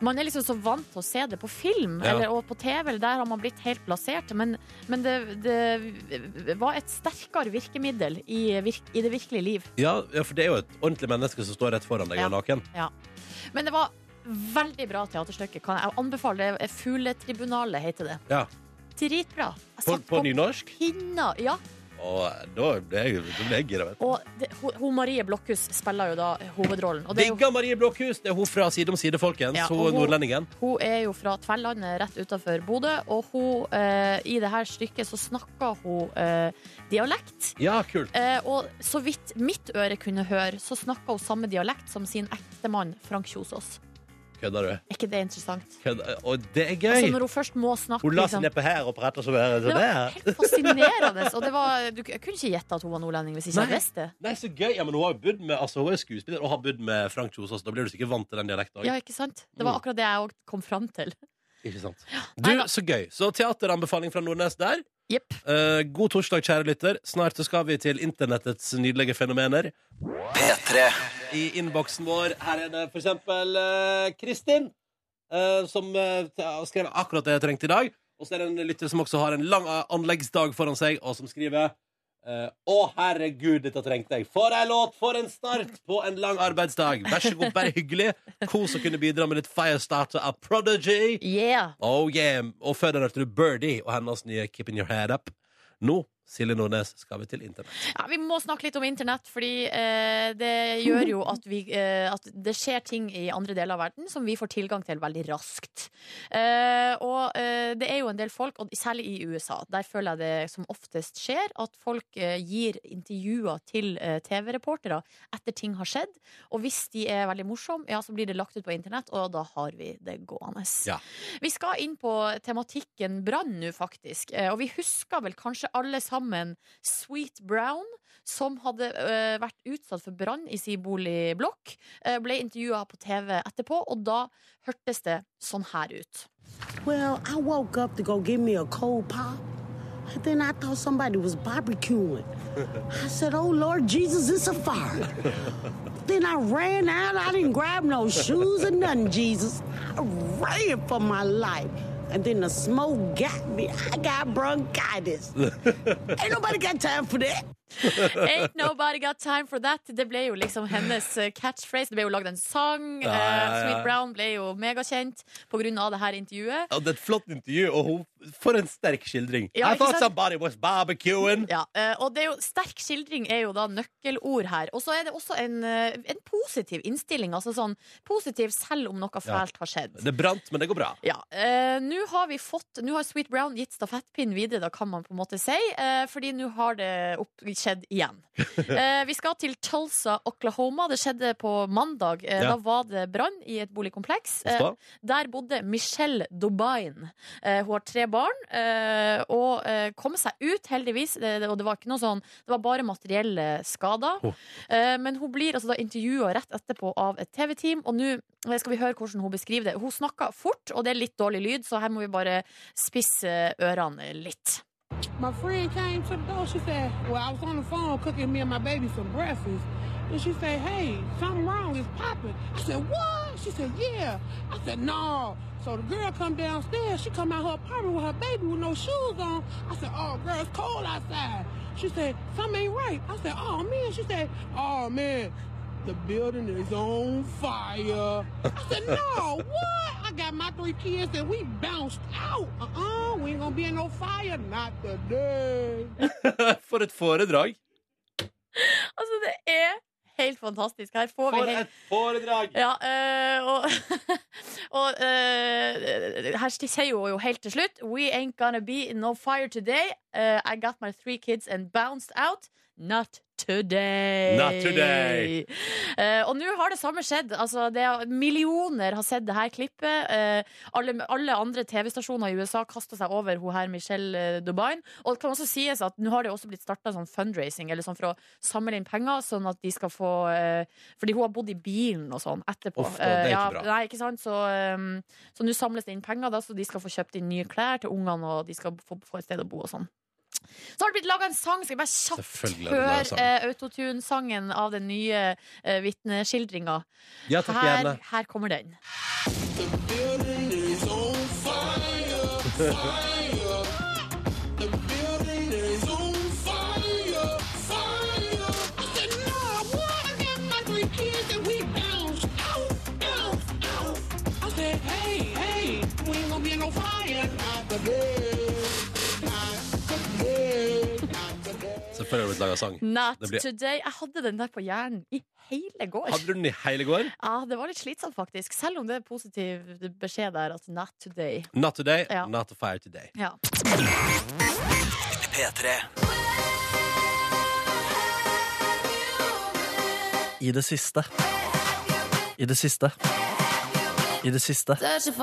Speaker 1: man er liksom så vant til å se det på film
Speaker 4: Ja.
Speaker 1: eller, og på TV, eller der har man blitt helt plassert. Men, men det, det var et sterkere virkemiddel i, virk, i det virkelige liv.
Speaker 4: Ja, ja, for det er jo et ordentlig menneske som står rett foran deg og er naken.
Speaker 1: Men det var Veldig bra teaterstykke. Kan jeg anbefale det. Fugletribunalet heter det.
Speaker 4: Ja.
Speaker 1: Dritbra. Jeg
Speaker 4: På,
Speaker 1: satt
Speaker 4: på nynorsk?
Speaker 1: pinna. Ja.
Speaker 4: Og da ble jeg, da ble jeg gira, vet du.
Speaker 1: Og det, hun, hun Marie Blokhus spiller jo da hovedrollen. Og det er jo,
Speaker 4: Digga Marie Blokhus! Det er hun fra Side om side, folkens.
Speaker 1: Ja,
Speaker 4: hun
Speaker 1: og
Speaker 4: er
Speaker 1: hun-
Speaker 4: nordlendingen.
Speaker 1: hun er jo fra Tverlandet, rett utenfor Bodø. Og hun, eh, i det her stykket så snakker hun eh, dialekt.
Speaker 4: Ja, kult.
Speaker 1: Eh, og så vidt mitt øre kunne høre, så snakka hun samme dialekt som sin ektemann Frank Kjosås.
Speaker 4: Kødder du?
Speaker 1: Er ikke det interessant?
Speaker 4: Kødder. Og det er
Speaker 1: Altså,
Speaker 4: gøy!
Speaker 1: når hun først må snakke
Speaker 4: Hun la seg
Speaker 1: liksom-
Speaker 4: nedpå her og på rett og slett.
Speaker 1: Det
Speaker 4: Så
Speaker 1: var
Speaker 4: der.
Speaker 1: helt fascinerende. Og det var, du, jeg kunne ikke gjette at hun var nordlending hvis ikke jeg
Speaker 4: Nei.
Speaker 1: visste det.
Speaker 4: Nei, så gøy. Ja, men hun har jo bodd med, altså, hun er skuespiller og har bodd med Frank Kjosås. Da blir du sikkert vant til den dialekten.
Speaker 1: Ja, ikke sant? Det var
Speaker 4: Mm.
Speaker 1: akkurat det jeg òg kom fram til.
Speaker 4: Ikke sant? Du,
Speaker 1: Nei da.
Speaker 4: så gøy. Så teateranbefaling fra Nordnes der.
Speaker 1: Jepp.
Speaker 4: Eh, god torsdag, kjære lytter. Snart så skal vi til internettets nydelige fenomener. P3. I innboksen vår her er det for eksempel eh, Kristin, eh, som eh, ta- skrev akkurat det jeg trengte i dag. Og så er det en lytter som også har en lang eh, anleggsdag foran seg, og som skriver eh, Å, herregud, dette trengte jeg. For ei låt! For en start på en lang arbeidsdag. Vær så god, bare hyggelig. Kos å kunne bidra med litt Firestarter av Prodigy.
Speaker 1: Yeah!
Speaker 4: Oh yeah, Og før den hørte du Birdie og hennes nye Keeping Your Head Up. Nå, Silje Nordnes, skal vi til internett.
Speaker 1: Ja, vi må snakke litt om internett, fordi eh, det gjør jo at, vi, eh, at det skjer ting i andre deler av verden som vi får tilgang til veldig raskt. Eh, og eh, det er jo en del folk, og særlig i USA, der føler jeg det som oftest skjer, at folk eh, gir intervjuer til eh, TV-reportere etter ting har skjedd. Og hvis de er veldig morsomme, ja, så blir det lagt ut på internett, og da har vi det gående.
Speaker 4: Ja.
Speaker 1: Vi skal inn på tematikken brann nå, faktisk. Eh, og vi husker vel kanskje alle sammen Sweet Brown, som hadde eh, vært utsatt for brann i sin boligblokk, eh, ble intervjua på TV etterpå, og da hørtes det sånn her ut.
Speaker 8: Well, I woke up to go get me a cold pop. And then I thought somebody was barbecuing. I said, Oh Lord Jesus, it's a fire. then I ran out. I didn't grab no shoes or nothing, Jesus. I ran for my life. And then the smoke got me. I got bronchitis. Ain't nobody got time for that.
Speaker 1: Ain't nobody got time for that. Det ble jo liksom hennes eh, catchphrase. Det ble jo lagd en sang.
Speaker 4: Ja, ja,
Speaker 1: Eh,
Speaker 4: ja.
Speaker 1: Sweet Brown ble jo megakjent på grunn av det her intervjuet.
Speaker 4: Ja, det er et flott intervju, og hun for en sterk skildring.
Speaker 1: Ja,
Speaker 4: I
Speaker 1: ikke
Speaker 4: thought
Speaker 1: sant?
Speaker 4: somebody was barbecuing.
Speaker 1: Ja, eh, og det er jo, sterk skildring er jo da nøkkelord her. Og så er det også en, eh, en positiv innstilling. Altså sånn positiv selv om noe
Speaker 4: Ja.
Speaker 1: fælt har skjedd.
Speaker 4: Det brant, men det går bra.
Speaker 1: Ja, eh, Nå har vi fått Nå har Sweet Brown gitt stafettpinnen videre, da kan man på en måte si. Eh, fordi nå har det opp, skjedd igjen. Eh, vi skal til Tulsa, Oklahoma. Det skjedde på mandag. Eh,
Speaker 4: Ja.
Speaker 1: Da var det brann i et boligkompleks. Eh,
Speaker 4: Hva?
Speaker 1: der bodde Michelle Dubain. Eh, hun har tre barn eh, og eh, kom seg ut, heldigvis. Eh, og det var ikke noe sånn Det var bare materielle skader.
Speaker 4: Oh.
Speaker 1: Eh, men hun blir altså da intervjua rett etterpå av et TV-team, og nå eh, skal vi høre hvordan hun beskriver det. Hun snakka fort, og det er litt dårlig lyd, så her må vi bare spisse ørene litt.
Speaker 8: My friend came to the door. She said, Well, I was on the phone cooking me and my baby some breakfast. And she said, Hey, something wrong. It's popping. I said, What? She said, Yeah. I said, No. So the girl come downstairs. She come out her apartment with her baby with no shoes on. I said, Oh, girl, it's cold outside. She said, Something ain't right. I said, Oh, man. She said, Oh, man. The building is on fire. I said, no, what? I got my three kids and we bounced out. Uh-uh, we ain't gonna be in no fire, not today.
Speaker 4: For et foredrag.
Speaker 1: Altså, det er helt fantastisk. Her får vi
Speaker 4: For
Speaker 1: helt
Speaker 4: et foredrag!
Speaker 1: Ja, eh, og, og eh, her sier hun jo helt til slutt We ain't gonna be in no fire today. Eh, I got my three kids and bounced out. Not today.
Speaker 4: Not today.
Speaker 1: Eh, og nå har det samme skjedd. Altså, det er, millioner har sett det her klippet. Eh, alle, alle andre TV-stasjoner i USA kasta seg over hun her Michelle eh, Dubain. Og det kan også sies at nå har det også blitt starta sånn fundraising eller sånn for å samle inn penger, sånn at de skal få eh, Fordi hun har bodd i bilen og sånn etterpå.
Speaker 4: Uff, da,
Speaker 1: Eh,
Speaker 4: det er ikke bra.
Speaker 1: Nei, ikke sant? Så eh, så nå samles det inn penger, da, så de skal få kjøpt inn nye klær til ungene, og de skal få, få et sted å bo og sånn. Så har det blitt laga en sang. Skal vi bare kjapt
Speaker 4: Selvfølgelig er det laget en
Speaker 1: høre
Speaker 4: sang.
Speaker 1: eh, autotune-sangen av den nye eh, vitneskildringa?
Speaker 4: Ja, takk
Speaker 1: Her,
Speaker 4: gjerne.
Speaker 1: her kommer den.
Speaker 8: I said, no, what? I got my three kids and we bounced out, bounced out.
Speaker 4: før det ble laga sang.
Speaker 1: Not
Speaker 4: Det blir-
Speaker 1: today. Jeg hadde den der på hjernen i hele går.
Speaker 4: Hadde du den i hele går?
Speaker 1: Ja, det var litt slitsomt, faktisk. Selv om det er positiv beskjed der, at not today.
Speaker 4: Not today,
Speaker 1: Ja.
Speaker 4: not a fire today.
Speaker 1: Ja.
Speaker 9: I det siste. I det siste. I det siste.
Speaker 1: Altså,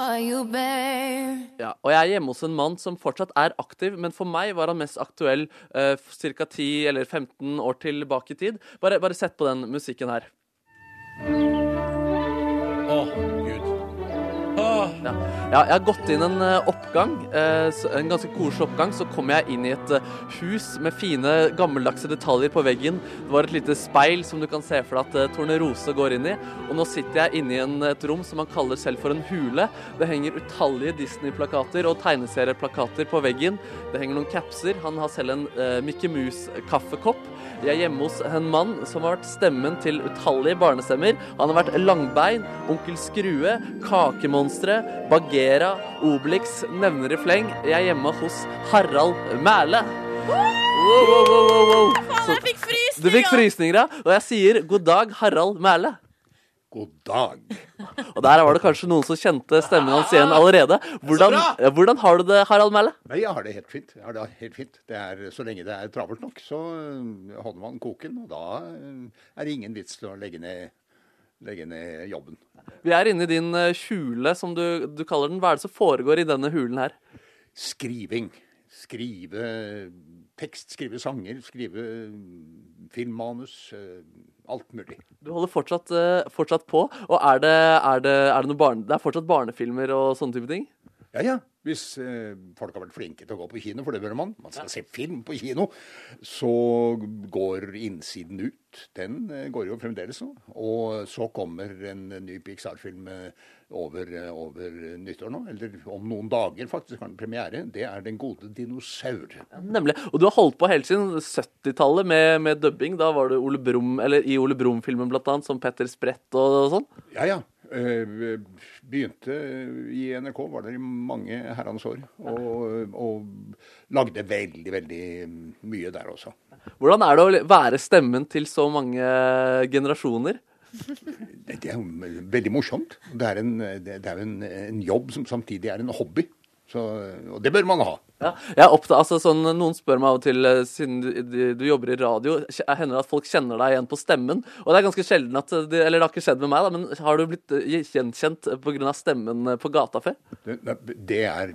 Speaker 2: Ja, og jeg er hjemme hos en mann som fortsatt er aktiv, men for meg var han mest aktuell uh, ca. 10 eller 15 år tilbake i tid. Bare, bare sett på den musikken her.
Speaker 4: Å, gud. Åh.
Speaker 2: Ja. ja, jeg har gått inn en eh, oppgang, eh, s- en ganske koselig oppgang. Så kom jeg inn i et eh, hus med fine, gammeldagse detaljer på veggen. Det var et lite speil som du kan se for deg at eh, Tornerose går inn i. Og nå sitter jeg inne i en, et rom som han kaller selv for en hule. Det henger utallige Disney-plakater og tegneserieplakater på veggen. Det henger noen capser. Han har selv en eh, Mickey Mouse-kaffekopp. Jeg er hjemme hos en mann som har vært stemmen til utallige barnestemmer. Han har vært Langbein, Onkel Skrue, Kakemonstre, Bagheera, Obelix, nevner i fleng. Jeg er hjemme hos Harald Mæle. Wow, wow, wow, wow, wow. Så,
Speaker 1: Jeg fikk frysninger! altså.
Speaker 2: du fikk frysninger, ja. Og jeg sier god dag, Harald Mæle.
Speaker 4: God dag.
Speaker 2: Og der var det kanskje noen som kjente stemmen hans igjen
Speaker 1: Ah!
Speaker 2: allerede. Hvordan, ja, hvordan har du det, Harald Mæle?
Speaker 10: Nei, jeg har det helt fint. Jeg har det helt fint. Det er, så lenge det er travelt nok, så øh, holder man koken. Og da øh, er det ingen vits til å legge ned, legge ned jobben.
Speaker 2: Vi er inne i din eh, kjule, som du, du kaller den. Hva er det som foregår i denne hulen her?
Speaker 10: Skriving. Skrive tekst, skrive sanger, skrive øh, filmmanus. øh, Alt mulig.
Speaker 2: Du holder fortsatt, eh, fortsatt på, og er det, er det, er det noe barne... Det er fortsatt barnefilmer og sånne type ting?
Speaker 10: Ja, ja. Hvis eh, folk har vært flinke til å gå på kino, for det bør man, man skal se film på kino, så går innsiden ut. Den eh, går jo fremdeles nå. Og så kommer en ny Pixar-film eh, over, eh, over nyttår nå, eller om noen dager faktisk har den premiere. Det er Den gode dinosaur.
Speaker 2: Nemlig. Og du har holdt på helt siden 70-tallet med, med dubbing. Da var du Ole Brumm, eller i Ole Brumm-filmen blant annet, som Petter Sprett og, og sånn.
Speaker 10: Ja, ja. Eh, Begynte i NRK, var der i mange herrens år, og, og lagde veldig, veldig mye der også.
Speaker 2: Hvordan er det å være stemmen til så mange eh, generasjoner?
Speaker 10: Det det er jo veldig morsomt. Det er, en, det det er jo en, en jobb som samtidig er en hobby. Så, og det bør man ha.
Speaker 2: Ja, jeg er opptatt, altså sånn, Noen spør meg av og til, eh, siden du, du- du jobber i radio, kje- hender det at folk kjenner deg igjen på stemmen? Og det er ganske sjelden at eh, det, Eller det har ikke skjedd med meg, da, men har du blitt eh, gjenkjent pga. stemmen eh, på gata før?
Speaker 10: Det, det er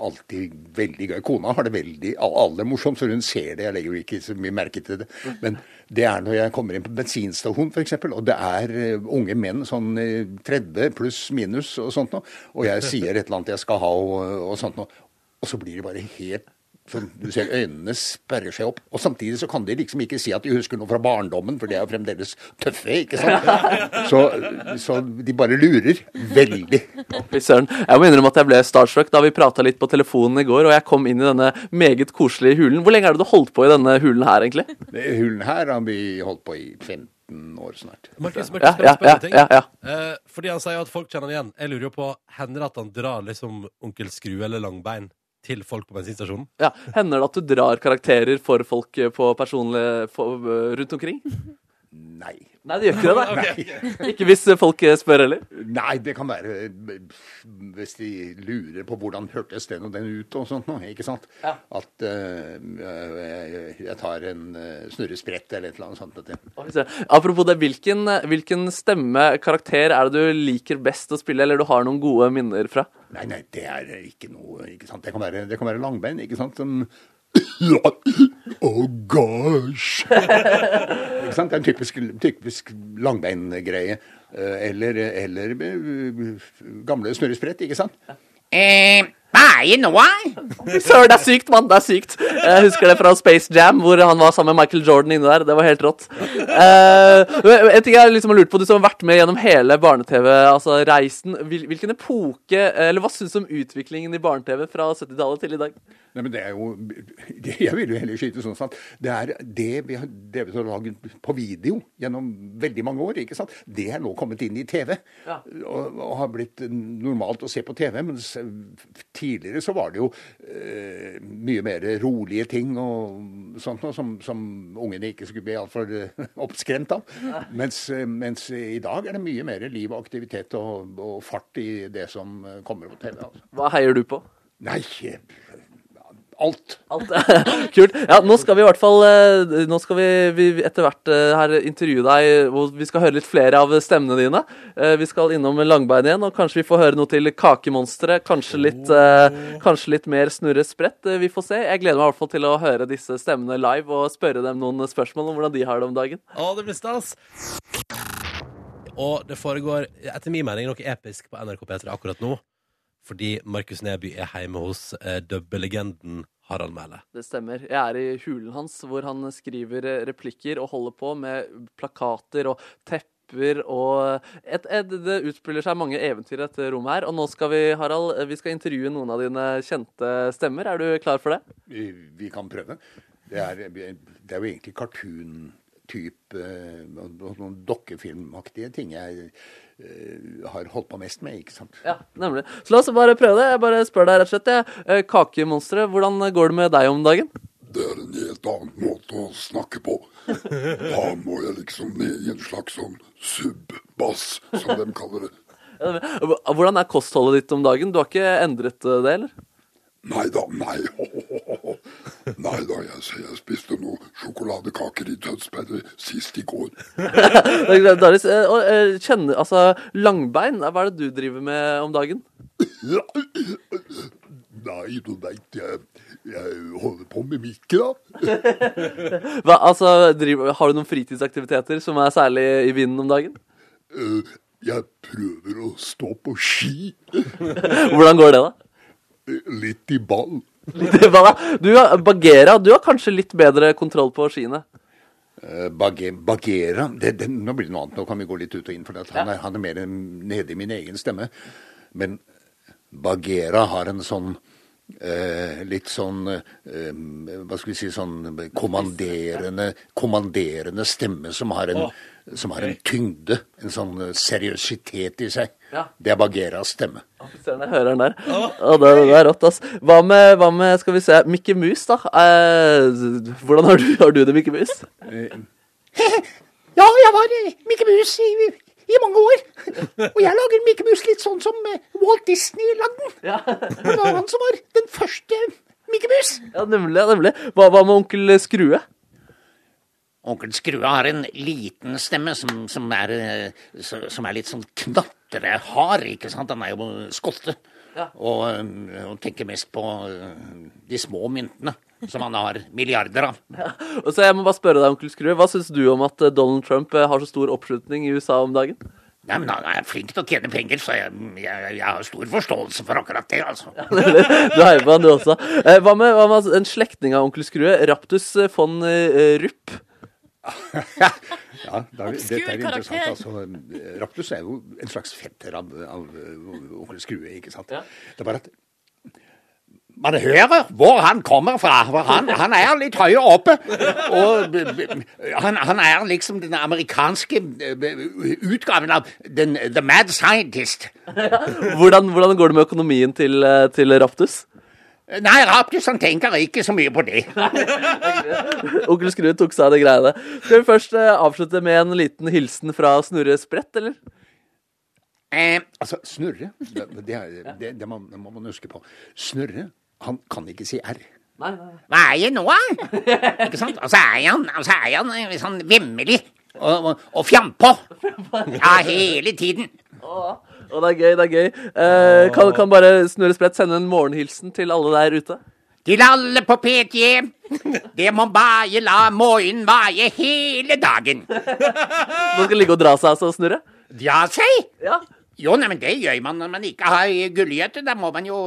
Speaker 10: alltid veldig gøy. Kona har det veldig aller morsomt, så hun ser det. Jeg legger jo ikke så mye merke til det. Men det er når jeg kommer inn på bensinstasjon f.eks., og det er eh, unge menn sånn eh, 30 pluss minus og sånt noe, og jeg sier et eller annet jeg skal ha og, og sånt noe, og så blir de bare helt Som du ser øynene sperrer seg opp. Og samtidig så kan de liksom ikke si at de husker noe fra barndommen, for de er jo fremdeles tøffe, ikke sant. Så, så de bare lurer veldig.
Speaker 2: Fy søren. Jeg må innrømme at jeg ble starstruck da vi prata litt på telefonen i går, og jeg kom inn i denne meget koselige hulen. Hvor lenge er det du holdt på i denne hulen her, egentlig?
Speaker 10: Det Hulen her har vi holdt på i 15 år snart.
Speaker 4: Markus, Markus,
Speaker 2: Ja, ja,
Speaker 4: kan jeg spørre
Speaker 2: ja,
Speaker 4: en ting?
Speaker 2: ja, ja.
Speaker 4: Eh, fordi han sier at folk kjenner han igjen. Jeg lurer jo på, hender det at han drar liksom onkel Skrue eller Langbein til folk på bensinstasjonen?
Speaker 2: ja. Hender det at du drar karakterer for folk eh, på personlig, for, eh, rundt omkring?
Speaker 10: Nei.
Speaker 2: Nei, det gjør ikke det. da.
Speaker 10: Nei.
Speaker 2: Ikke hvis eh, folk eh, spør heller.
Speaker 10: Nei, det kan være eh, hvis de lurer på hvordan hørtes den og den ut og sånt noe, ikke sant?
Speaker 2: Ja.
Speaker 10: At eh, jeg- jeg tar en eh, snurresprett eller et eller annet sånt. at jeg-
Speaker 2: Fy søren. Apropos det, hvilken, hvilken stemme, karakter, er det du liker best å spille, eller du har noen gode minner fra?
Speaker 10: Nei, nei, det er ikke noe, ikke sant? Det kan være, det kan være langbein, ikke sant? Som Oh gosh! ikke sant? Det er en typisk, typisk langbeingreie. Eh, Eller, eller eh, gamle snurresprett, ikke sant?
Speaker 2: Fy Søren, det er sykt, mann! Det er sykt. Jeg husker det fra Space Jam, hvor han var sammen med Michael Jordan inne der. Det var helt rått. Eh, men en ting jeg liksom har lurt på, du som har vært med gjennom hele altså barne-TV-reisen. hvilken epoke, eller hva syns du om utviklingen i barne-TV fra 70-tallet til i dag?
Speaker 10: Nei, men det er jo Jeg vil jo heller skyte sånn at det er det vi har drevet og laget på video gjennom veldig mange år, ikke sant? det er nå kommet inn i TV. Og, og har blitt normalt å se på TV. Men tidligere så var det jo eh, mye mer rolige ting og sånt noe som, som ungene ikke skulle bli altfor eh, oppskremt av. Mens, eh, mens i dag er det mye mer liv og aktivitet og, og fart i det som eh, kommer på TV. Altså.
Speaker 2: Hva heier du på?
Speaker 10: Nei, eh, alt.
Speaker 2: Kult. Ja, nå skal vi i hvert fall eh, Nå skal vi, vi vi etter hvert eh, her intervjue deg, hvor vi skal høre litt flere av stemmene dine. Eh, Vi skal innom Langbein igjen, og kanskje vi får høre noe til Kakemonsteret. Kanskje litt eh, Kanskje litt mer Snurre Sprett. eh, Vi får se. Jeg gleder meg i hvert fall til å høre disse stemmene live og spørre dem noen spørsmål om hvordan de har det om dagen.
Speaker 4: Å, det blir stas! Og det foregår, etter min mening, noe episk på NRK P3 akkurat nå. Fordi Markus Neby er hjemme hos eh, dubbelegenden Harald Mæhle.
Speaker 2: Det stemmer. Jeg er i hulen hans, hvor han skriver eh, replikker og holder på med plakater og tepper og eh, et, et, Det utspiller seg mange eventyr i dette rommet her. Og nå skal vi, Harald, eh, vi skal intervjue noen av dine kjente stemmer. Er du klar for det?
Speaker 10: Vi, vi kan prøve. Det er, det er jo egentlig cartoon-type, eh, og noen dokkefilmaktige ting jeg eh, har holdt på mest med, ikke sant.
Speaker 2: Ja, nemlig. Så la oss bare prøve det. Jeg bare spør deg rett og slett, jeg. Eh, Kakemonsteret, hvordan går det med deg om dagen?
Speaker 11: Det er en helt annen måte å snakke på. Da må jeg liksom ned i en slags sånn sub-bass, som de kaller det.
Speaker 2: Ja, det er bra. Eh, Hvordan er kostholdet ditt om dagen? Du har ikke endret eh, det, eller?
Speaker 11: Nei da, nei. Nei da, jeg, ser jeg spiste noen sjokoladekaker i Tønsberg sist i går.
Speaker 2: Det er klart, Darius, eh, og, eh, kjenner, altså, langbein, hva er det du driver med om dagen?
Speaker 11: Nei, du veit, jeg, jeg holder på med Eh, mikke, da.
Speaker 2: Hva, altså, driver, har du noen fritidsaktiviteter som er særlig i vinden om dagen?
Speaker 11: Eh, Jeg prøver å stå på ski. Eh,
Speaker 2: Hvordan går det, da?
Speaker 11: Litt i ball.
Speaker 2: Hva da? Du, har- Bagheera, du har kanskje litt bedre kontroll på skiene?
Speaker 10: Eh, Bage, Bagheera det, det, Nå blir det noe annet, nå kan vi gå litt ut og inn, for at han, er, han er mer nede i min egen stemme. Men Bagheera har en sånn eh, litt sånn eh, Hva skal vi si Sånn kommanderende, kommanderende stemme som har, en,
Speaker 2: Åh,
Speaker 10: som har en tyngde. En sånn eh, seriøsitet i seg.
Speaker 2: Ja.
Speaker 10: Det er Bagheeras stemme.
Speaker 2: Søren, jeg hører den der. Å, det, det er rått, ass. Hva med, hva med skal vi se, Mikke Mus, da? Eh, hvordan har du, har du det, Mikke Mus?
Speaker 12: Ja, jeg var eh, Mikke Mus i, i mange år. Og jeg lager Mikke Mus litt sånn som eh, Walt Disney lagde den. For det var han som var den første Mikke Mus.
Speaker 2: Ja, nemlig. nemlig. Hva, hva med onkel Skrue?
Speaker 12: Onkel Skrue har en liten stemme som, som, er, eh, så- som er litt sånn knatrehard, ikke sant? Han er jo eh, skotte. Og, eh, og tenker mest på eh, de små myntene, som han har milliarder av.
Speaker 2: Og så jeg må bare spørre deg, onkel Skrue, Hva syns du om at eh, Donald Trump eh, har så stor oppslutning i USA om dagen?
Speaker 12: Nei, men han er flink til å tjene penger, så jeg, jeg, jeg har stor forståelse for akkurat det, altså.
Speaker 2: Du heier på han, du også. Eh, hva, med, hva med en slektning av onkel Skrue? Raptus eh, von eh, Rupp?
Speaker 10: Ja, da,
Speaker 2: Obskur
Speaker 10: dette er interessant.
Speaker 2: karakter.
Speaker 10: Altså, eh, Raptus er jo en slags fetter av, av eh, onkel Skrue, ikke sant? Det er bare at
Speaker 12: Man hører hvor han kommer fra. For han, han er litt høyere oppe. Og b- b- han, han er liksom den amerikanske eh, b- utgaven av den, The Mad Scientist.
Speaker 2: Hvordan, hvordan går det med økonomien til, eh, til Raptus?
Speaker 12: Nei, Raptus han tenker ikke så mye på det.
Speaker 2: Onkel Skrue tok seg av de greiene. Skal vi først eh, avslutte med en liten hilsen fra Snurre Sprett, eller?
Speaker 12: Eh.
Speaker 10: Altså, Snurre det, det, er- det, det, må, det må man huske på. Snurre, han kan ikke si R.
Speaker 2: Nei, nei.
Speaker 12: Hva er jeg nå, da? Ikke sant? Og så er han, og så er han eh, sånn vemmelig. Og, og, og fjampå. Ja, hele tiden.
Speaker 2: Og det er gøy, det er gøy. Eh, kan, kan bare Snurre Sprett sende en morgenhilsen til alle der ute?
Speaker 12: Til alle på PTE. Det må bare la morgenen vaie hele dagen.
Speaker 2: Man skal ligge og dra seg, altså, Snurre?
Speaker 12: Ja, si!
Speaker 2: Ja.
Speaker 12: Jo, nei, men det gjør man når man ikke har gullgjøte. Da må man jo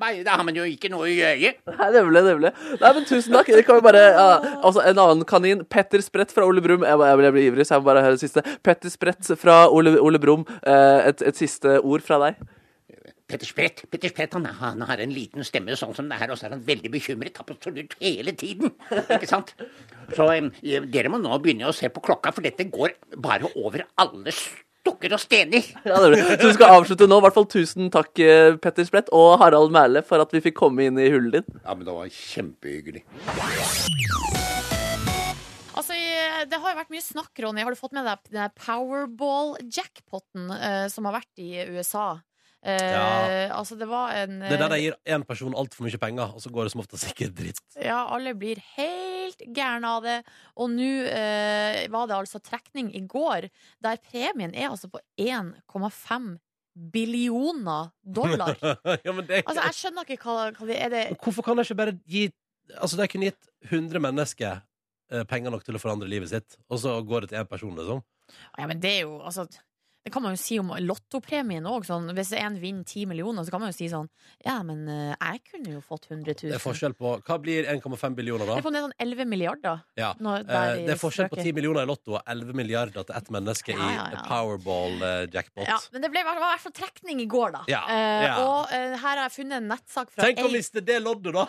Speaker 12: Nei, Da har man jo ikke noe å gjøre.
Speaker 2: Nei, Nemlig, nemlig. Nei, men tusen takk. Det kan vi bare, ja. altså, en annen kanin, Petter Sprett fra Ole Brumm. Jeg, må- jeg, blir- jeg blir ivrig, så jeg må bare høre det siste. Petter Sprett fra Ole, Ole Brumm, eh, et, et siste ord fra deg.
Speaker 12: Petter Spett, Petter Spett han, han har en liten stemme sånn som det her, og så er han veldig bekymret absolutt hele tiden. Ikke sant? Så em, eh, dere må nå begynne å se på klokka, for dette går bare over alle stokker og stener.
Speaker 2: Ja, det blir. Så vi skal avslutte nå. I hvert fall tusen takk, eh, Petter Splett og Harald Mæhle, for at vi fikk komme inn i hullet ditt.
Speaker 10: Ja, men det var kjempehyggelig.
Speaker 1: Altså, i- Det har jo vært mye snakk, Ronny. Har du fått med deg den der Powerball-jackpoten eh, som har vært i USA? Eh,
Speaker 4: Ja.
Speaker 1: Altså, det var en
Speaker 4: Det er der de
Speaker 1: eh,
Speaker 4: gir én person altfor mye penger, og så går det som ofte sikkert dritt.
Speaker 1: Ja, alle blir helt gærne av det. Og nå eh, var det altså trekning i går, der premien er altså på 1,5 billioner dollar.
Speaker 4: ja, men det,
Speaker 1: Altså, jeg skjønner ikke hva, hva det er. Det,
Speaker 4: Hvorfor kan de ikke bare gi Altså, de kunne gitt 100 mennesker eh, penger nok til å forandre livet sitt, og så går det til én person, liksom.
Speaker 1: ja, men det er jo altså, Det kan man jo si om lottopremien òg. Sånn, hvis en vinner 10 millioner, så kan man jo si sånn Ja, men eh, jeg kunne jo fått 100 000.
Speaker 4: Det er forskjell på Hva blir 1,5 billioner,
Speaker 1: Det er
Speaker 4: da?
Speaker 1: på en del sånn 11 milliarder.
Speaker 4: Ja.
Speaker 1: Når- der
Speaker 4: eh,
Speaker 1: i
Speaker 4: Det er forskjell på
Speaker 1: strøket.
Speaker 4: 10 millioner i Lotto og 11 milliarder til ett menneske i eh, Powerball-jackpot.
Speaker 1: Ja, men det ble, var i hvert fall trekning i går, da.
Speaker 4: Ja,
Speaker 1: Eh,
Speaker 4: ja.
Speaker 1: og eh, her har jeg funnet en nettsak fra
Speaker 4: Tenk å
Speaker 1: A-
Speaker 4: miste det loddet, da!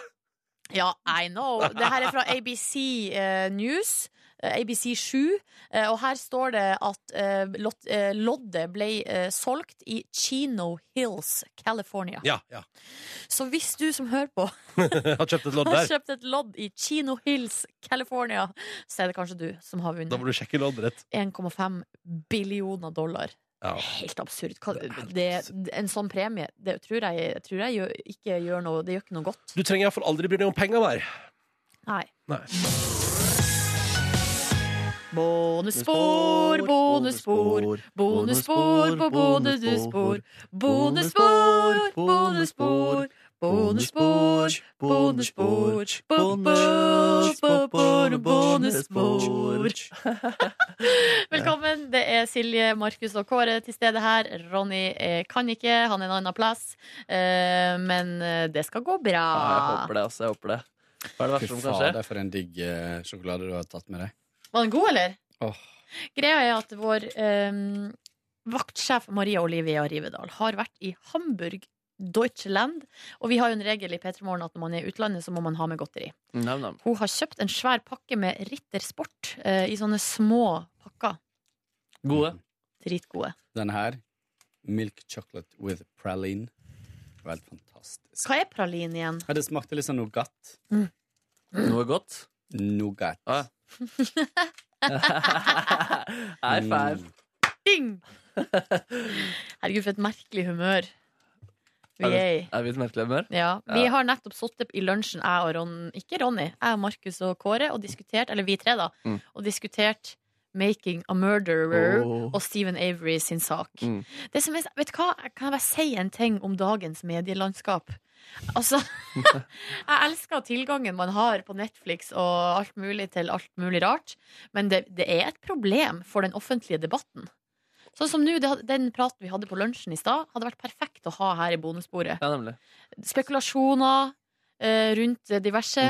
Speaker 1: Ja, I know. Det her er fra ABC eh, News. eh, ABC7, eh, og her står det at eh, lot- eh, loddet ble eh, solgt i Chino Hills, California.
Speaker 4: Ja, ja.
Speaker 1: Så hvis du som hører på
Speaker 4: Har kjøpt et lodd
Speaker 1: har
Speaker 4: der.
Speaker 1: kjøpt et lodd i Chino Hills, California, så er det kanskje du som har
Speaker 4: Da
Speaker 1: vunnet
Speaker 4: må du sjekke loddet ditt.
Speaker 1: 1,5 billioner dollar.
Speaker 4: Ja.
Speaker 1: Helt absurd. Hva- Det, en sånn premie, det tror jeg, jeg tror jeg gjør, ikke gjør noe Det gjør ikke noe godt.
Speaker 4: Du trenger iallfall aldri bry deg om penger mer.
Speaker 1: Nei.
Speaker 4: Nei.
Speaker 1: Bonusspor, bonusspor, bonusspor på bonusspor. Bonusspor, bonusspor, bonusspor, bonusspor. Bonusspor, bonusspor. Velkommen. Det er Silje, Markus og Kåre til stede her. Ronny eh, kan ikke, han er en annen plass. Eh, Men eh, det skal gå bra.
Speaker 2: Ja, jeg håper det, altså. Jeg håper det. Hva er det verste som kan skje?
Speaker 7: fader, for en digg eh, sjokolade du har tatt med deg.
Speaker 1: Var den god, eller?
Speaker 7: Åh.
Speaker 1: Greia er at vår eh, vaktsjef Maria Olivia Rivedal har vært i Hamburg, Deutschland. Og vi har jo en regel i P3 Morgen at når man er i utlandet, så må man ha med godteri.
Speaker 2: Nam, nam.
Speaker 1: Hun har kjøpt en svær pakke med Ritter Sport eh, i sånne små pakker.
Speaker 7: Gode.
Speaker 1: Dritgode.
Speaker 7: Den her. Milk chocolate with praline. Vel fantastisk.
Speaker 1: Hva er pralin igjen?
Speaker 7: Ja, det smakte litt sånn nougat.
Speaker 1: Mm.
Speaker 7: Noe godt? Nougat.
Speaker 2: High five.
Speaker 1: Ding! Herregud, for et merkelig humør vi
Speaker 2: Er vi,
Speaker 1: er i.
Speaker 2: er vi et merkelig humør?
Speaker 1: Ja, Vi har nettopp sittet i lunsjen, jeg og Ron, ikke Ronny, jeg, Markus og Kåre, og diskutert, eller vi tre, da,
Speaker 2: Mm.
Speaker 1: og diskutert 'Making a Murderer'
Speaker 2: Åh.
Speaker 1: og Stephen Avery sin sak.
Speaker 2: Mm.
Speaker 1: Det som er, vet du hva, Kan jeg bare si en ting om dagens medielandskap? Altså, jeg elsker tilgangen man har på Netflix og alt mulig til alt mulig rart, men det, det er et problem for den offentlige debatten. Sånn som nå, det- Den praten vi hadde på lunsjen i stad, hadde vært perfekt å ha her i bonusbordet.
Speaker 2: Ja, nemlig.
Speaker 1: Spekulasjoner eh, rundt diverse.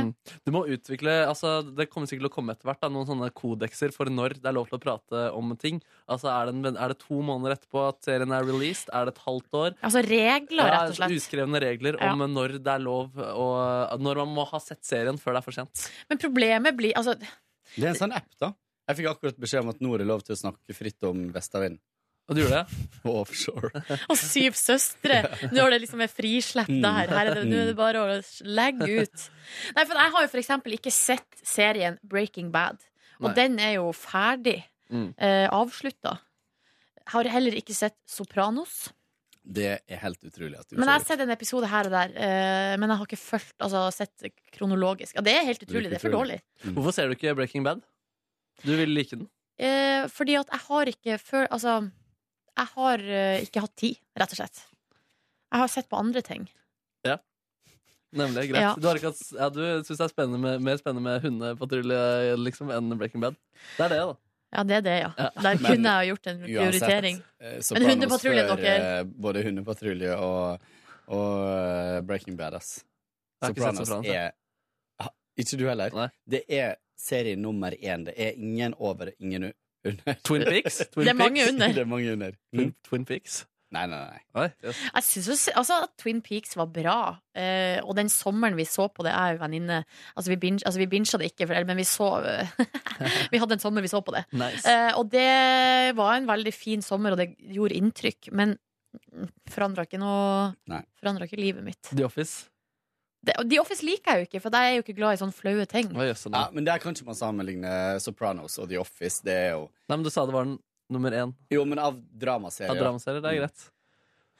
Speaker 2: Du må utvikle, altså Det kommer sikkert til å komme etter hvert da, noen sånne kodekser for når det er lov til å prate om ting. Altså Er det, en, er det to måneder etterpå at serien er released? Er det et halvt år?
Speaker 1: Altså regler, rett og slett.
Speaker 2: Ja, uskrevne regler
Speaker 1: Ja.
Speaker 2: om når det er lov, og når man må ha sett serien før det er for sent.
Speaker 1: Men problemet blir altså,
Speaker 7: Det er en sånn app, da. Jeg fikk akkurat beskjed om at nå er det lov til å snakke fritt om vestavind.
Speaker 2: Og du gjorde det?
Speaker 7: Og offshore.
Speaker 1: Og syv søstre! Når det liksom er frislepp der. Her er det, nå er det bare å legge ut. Nei, for jeg har jo for eksempel ikke sett serien Breaking Bad. Og
Speaker 6: Nei.
Speaker 1: den er jo ferdig.
Speaker 2: Mm.
Speaker 1: Eh, Avslutta. Jeg har heller ikke sett Sopranos.
Speaker 7: Det er helt utrolig at du
Speaker 1: Men jeg har
Speaker 7: ikke
Speaker 1: sett en episode her og der. eh, men jeg har ikke fulgt, altså sett kronologisk. Ja, det er helt utrolig. Det er for dårlig.
Speaker 2: Hvorfor ser du ikke Breaking Bad? Du ville like den.
Speaker 1: Eh, fordi at jeg har ikke før Altså, jeg har eh, ikke hatt tid, rett og slett. Jeg har sett på andre ting.
Speaker 2: Ja. Nemlig. Greit.
Speaker 1: Ja.
Speaker 2: Du, har ikke hatt, ja, du syns det er spennende med, mer spennende med hundepatrulje liksom, enn Breaking Bad? Det er det, da.
Speaker 1: Ja, det er det, ja.
Speaker 2: Ja.
Speaker 1: Der
Speaker 7: Men
Speaker 1: kunne jeg jo gjort en prioritering.
Speaker 7: Eh,
Speaker 1: Men hundepatrulje, dere.
Speaker 7: Både hundepatrulje og, og eh, Breaking Bad, ass.
Speaker 2: Jeg har ikke sett
Speaker 7: Sopranos
Speaker 2: Sopranos, jeg.
Speaker 7: er Ah, Ikke du heller? Det er serie nummer én. Det er ingen over, ingen u- under.
Speaker 2: Twin Peaks? Mm. Twin
Speaker 1: Det er mange Peaks? under.
Speaker 7: Det er mange under.
Speaker 2: Twin, Twin Peaks?
Speaker 7: Nei, nei, nei.
Speaker 1: Jeg synes jo- altså, at Twin Peaks var bra. eh, og den sommeren vi så på det, jeg og en venninne Altså, vi binge- altså, vi binga det ikke, for, eller, men vi så eh, Vi hadde en sommer vi så på det.
Speaker 13: Nice.
Speaker 1: Eh, og det var en veldig fin sommer, og det gjorde inntrykk. Men forandra ikke noe
Speaker 7: Nei.
Speaker 1: Forandra ikke livet mitt.
Speaker 2: The Office.
Speaker 1: Det, og The Office liker jeg jo ikke, for jeg er jo ikke glad i sånne flaue ting.
Speaker 7: Ja, men der kan ikke man sammenligne eh, Sopranos og The Office. Det er jo
Speaker 2: Nei, men Du sa det var den nummer én.
Speaker 7: Jo, men av dramaserier.
Speaker 2: Av dramaserier, det er greit.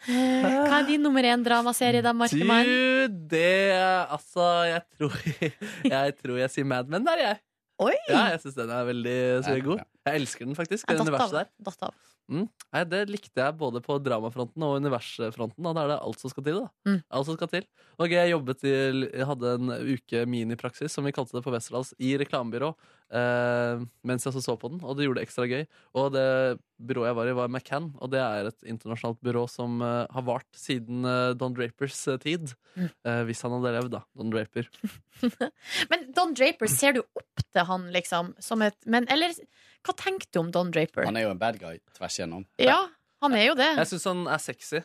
Speaker 1: Mm. Eh, Hva er din nummer én dramaserie, da, Markemann?
Speaker 2: Du, det er- Altså, jeg tror jeg, tror jeg sier Mad Men der, jeg.
Speaker 1: Oi!
Speaker 2: Ja, jeg syns den er veldig så god. Jeg elsker den faktisk. Det
Speaker 1: Jeg datt
Speaker 2: universet
Speaker 1: av.
Speaker 2: der.
Speaker 1: Datt av.
Speaker 2: Mm. Nei, det likte jeg både på dramafronten og universfronten. Og da er det alt som skal til. da
Speaker 1: Mm.
Speaker 2: Alt som skal til Og jeg jobbet i, jeg hadde en uke minipraksis, som vi kalte det på Westerdals, i reklamebyrå. Eh, mens jeg også så på den, og det gjorde det ekstra gøy. Og det byrået jeg var i, var McCann, og det er et internasjonalt byrå som eh, har vart siden eh, Don Drapers eh, tid.
Speaker 1: Mm.
Speaker 2: Eh, hvis han hadde levd, da. Don Draper.
Speaker 1: Men Don Draper, ser du opp til han, liksom? Som et, men eller hva tenker du om Don Draper?
Speaker 7: Han er jo en bad guy tvers igjennom.
Speaker 1: Ja, han er jo det.
Speaker 2: Jeg syns han er sexy.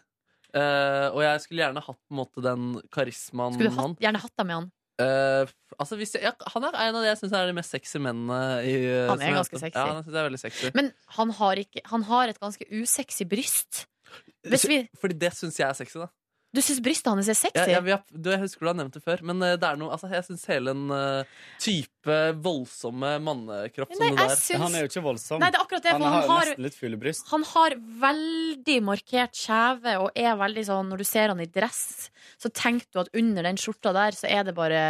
Speaker 2: Eh, og jeg skulle gjerne hatt på en måte den karismaen
Speaker 1: Skulle du
Speaker 2: han
Speaker 1: hatt, gjerne hatt deg med han.
Speaker 2: Eh, altså hvis jeg, ja, han er en av de jeg syns er de mest sexy mennene. I, eh,
Speaker 1: Han er
Speaker 2: som jeg-
Speaker 1: ganske sexy.
Speaker 2: Ja, han synes jeg er veldig sexy.
Speaker 1: Men han har, ikke, han har et ganske usexy bryst. Hvis vi,
Speaker 2: Fordi det syns jeg er sexy, da.
Speaker 1: du syns brystet hans er sexy?
Speaker 2: Jeg, jeg, jeg, du, jeg husker du har nevnt det før, men eh, det er noe, altså, jeg syns hele den eh, type voldsomme mannekropp
Speaker 1: Nei,
Speaker 2: som det
Speaker 1: jeg
Speaker 2: der
Speaker 1: syns- Han er jo
Speaker 7: ikke voldsom.
Speaker 1: Nei, det er akkurat det, for Han han har jo har- nesten
Speaker 7: litt fulle bryst.
Speaker 1: Han har veldig markert kjeve og er veldig sånn Når du ser han i dress, så tenker du at under den skjorta der så er det bare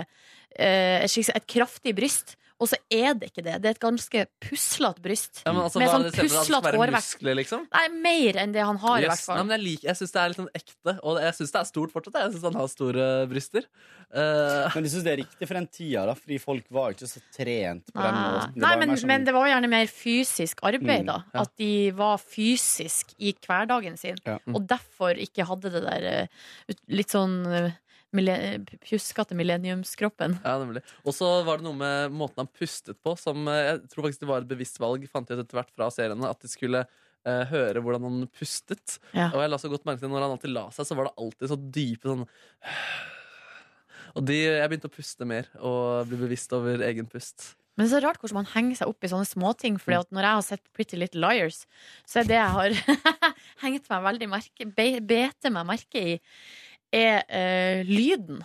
Speaker 1: eh, et, slags- et kraftig bryst. Og så er det ikke det. Det er et ganske puslete bryst.
Speaker 2: Ja, men altså,
Speaker 1: med
Speaker 2: hva er
Speaker 1: sånn
Speaker 2: det ser for deg? At det skal
Speaker 1: puslete
Speaker 2: være
Speaker 1: hårvekst.
Speaker 2: muskler, liksom?
Speaker 1: Nei, mer enn det han har, i
Speaker 2: Yes.
Speaker 1: hvert fall.
Speaker 2: Nei, men jeg, liker, jeg syns det er litt sånn ekte, og jeg syns det er stort fortsatt. Jeg syns han har store eh, bryster. Eh,
Speaker 7: Men du syns det er riktig for den tida, da? Fordi folk var jo ikke så trent på den
Speaker 1: Nei,
Speaker 7: måten. Det
Speaker 1: Ah. Nei
Speaker 7: var jo
Speaker 1: men,
Speaker 7: mer sånn-
Speaker 1: men det var jo gjerne mer fysisk arbeid,
Speaker 7: Mm,
Speaker 1: da.
Speaker 7: ja.
Speaker 1: At de var fysisk i hverdagen sin.
Speaker 7: Ja. Mm.
Speaker 1: Og derfor ikke hadde det der eh, ut- litt sånn eh, mille- pjuskete millenniumskroppen.
Speaker 2: Ja, nemlig. Og så var det noe med måten han pustet på, som eh, jeg tror faktisk det var et bevisst valg, fant jeg ut etter hvert fra seriene, at de skulle eh, høre hvordan han pustet.
Speaker 1: Ja.
Speaker 2: Og jeg la så godt merke til når han alltid la seg, så var det alltid så dype sånn Og de, jeg begynte å puste mer og bli bevisst over egen pust.
Speaker 1: Men det er så rart hvordan man henger seg opp i sånne småting. For når jeg har sett Pretty Little Liars, så er det jeg har hengt meg veldig merke be- Bete meg merke i, er eh, lyden.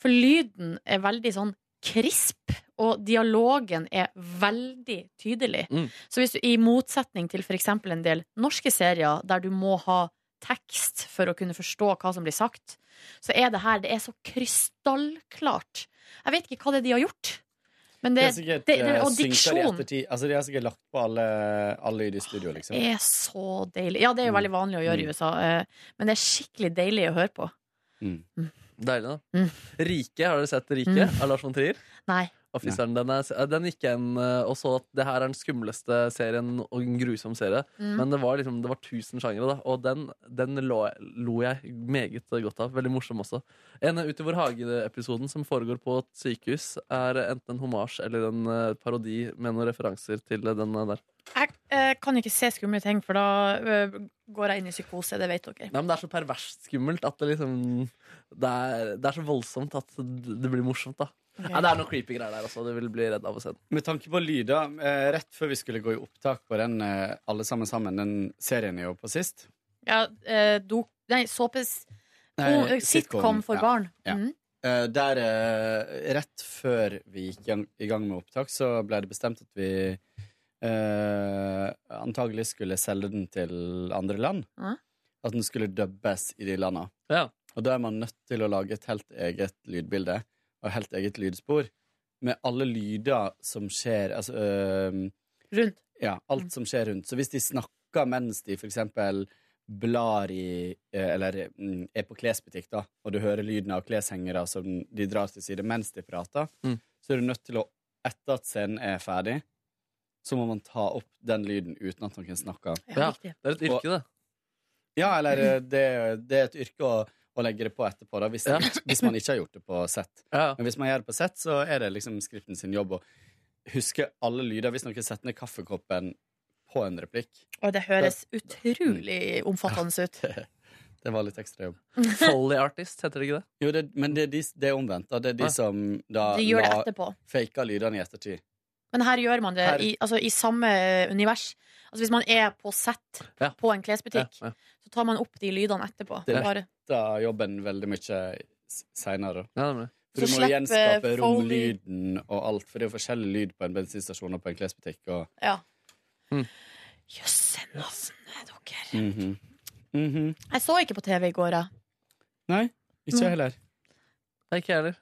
Speaker 1: For lyden er veldig sånn krisp, og dialogen er veldig tydelig.
Speaker 2: Mm.
Speaker 1: Så hvis du, i motsetning til f.eks. en del norske serier der du må ha tekst for å kunne forstå hva som blir sagt, så er det her det er så krystallklart. Jeg vet ikke hva det er de har gjort. Men det,
Speaker 7: er sikkert
Speaker 1: det, det,
Speaker 7: eh,
Speaker 1: og
Speaker 7: synker i
Speaker 1: diksjon
Speaker 7: ettertid. Altså, de har sikkert lagt på alle, alle lyd i studio, liksom.
Speaker 1: er så deilig. Ja, det er jo veldig vanlig å gjøre i USA, eh, men det er skikkelig deilig å høre på.
Speaker 2: Deilig, da.
Speaker 1: Mm.
Speaker 2: Rike, har dere sett Rike
Speaker 1: Mm.
Speaker 2: av Lars von Trier?
Speaker 1: Nei.
Speaker 2: Å, fy søren, den, er, den gikk igjen eh, og så at det her er den skumleste serien og en grusom serie.
Speaker 1: Mm.
Speaker 2: Men det var liksom, det var tusen sjangere, da, og den, den lo, lo jeg meget godt av. Veldig morsom også. En Ut i vår hage-episoden som foregår på et sykehus, er enten en homasj eller en eh, parodi med noen referanser til eh, den der.
Speaker 1: Jeg eh, kan ikke se skumle ting, for da eh, går jeg inn i psykose, det vet dere.
Speaker 2: Nei, men Det er så perverst skummelt at det liksom det er, det er så voldsomt at det blir morsomt, da.
Speaker 7: Ok.
Speaker 2: Nei, det er noen creepy greier der også. Du vil bli redd av å se den.
Speaker 7: Med tanke på lyder, eh, rett før vi skulle gå i opptak på den eh, Alle sammen sammen, den serien jeg jobbet på sist
Speaker 1: Ja, eh, do, nei, såpes oh, eh, Sitcom for
Speaker 7: ja.
Speaker 1: barn.
Speaker 7: Ja.
Speaker 1: Mm.
Speaker 7: Eh, der, eh, rett før vi gikk igjen- i gang med opptak, så ble det bestemt at vi eh, antagelig skulle selge den til andre land.
Speaker 1: Ja.
Speaker 7: At den skulle dubbes i de landa.
Speaker 2: Ja.
Speaker 7: Og da er man nødt til å lage et helt eget lydbilde og helt eget lydspor med alle lyder som skjer altså,
Speaker 2: øh,
Speaker 7: eh,
Speaker 1: Rundt. Mm.
Speaker 7: Ja, alt som skjer rundt. Så hvis de snakker mens de for eksempel blar i eh, Eller mm, er på klesbutikk, da, og du hører lyden av kleshengere som de drar til side mens de prater,
Speaker 2: Mm.
Speaker 7: så er du nødt til å Etter at scenen er ferdig, så må man ta opp den lyden uten at noen snakker.
Speaker 2: Ja, riktig. det er et yrke, det.
Speaker 7: Ja, eller eh, det, det er et yrke å, å legge det på etterpå, da, hvis, hvis man ikke har gjort det på sett. Men hvis man gjør det på sett, så er det liksom skriften sin jobb å huske alle lyder. Hvis noen setter ned kaffekoppen
Speaker 2: på en replikk.
Speaker 1: Og det høres
Speaker 7: Mm.
Speaker 1: utrolig omfattende ut.
Speaker 2: Det var litt ekstra jobb.
Speaker 4: Folly artist, heter det ikke det?
Speaker 2: Jo, det, men det er, de, det er omvendt. Da. Det er de
Speaker 1: Ja.
Speaker 2: som da
Speaker 1: De gjør det
Speaker 2: la-
Speaker 1: etterpå.
Speaker 2: Faka lydene i ettertid.
Speaker 1: Men her gjør man det
Speaker 2: Her-
Speaker 1: i, altså, i samme univers. Altså Hvis man er på sett på en klesbutikk, så tar man opp de lydene etterpå.
Speaker 2: Det
Speaker 1: Bare.
Speaker 2: letter jobben veldig mye seinere. For
Speaker 1: Så
Speaker 2: du må
Speaker 1: slipper
Speaker 2: gjenskape
Speaker 1: Foley-
Speaker 2: romlyden og alt, for det er jo forskjellig lyd på en bensinstasjon og på en klesbutikk. Og...
Speaker 1: Ja.
Speaker 2: Mm.
Speaker 1: Jøsse navnet, dere.
Speaker 2: Mhm. Mhm.
Speaker 1: Jeg så ikke på TV i går, jeg. Mm.
Speaker 2: Nei, ikke jeg heller.
Speaker 4: Ikke jeg heller.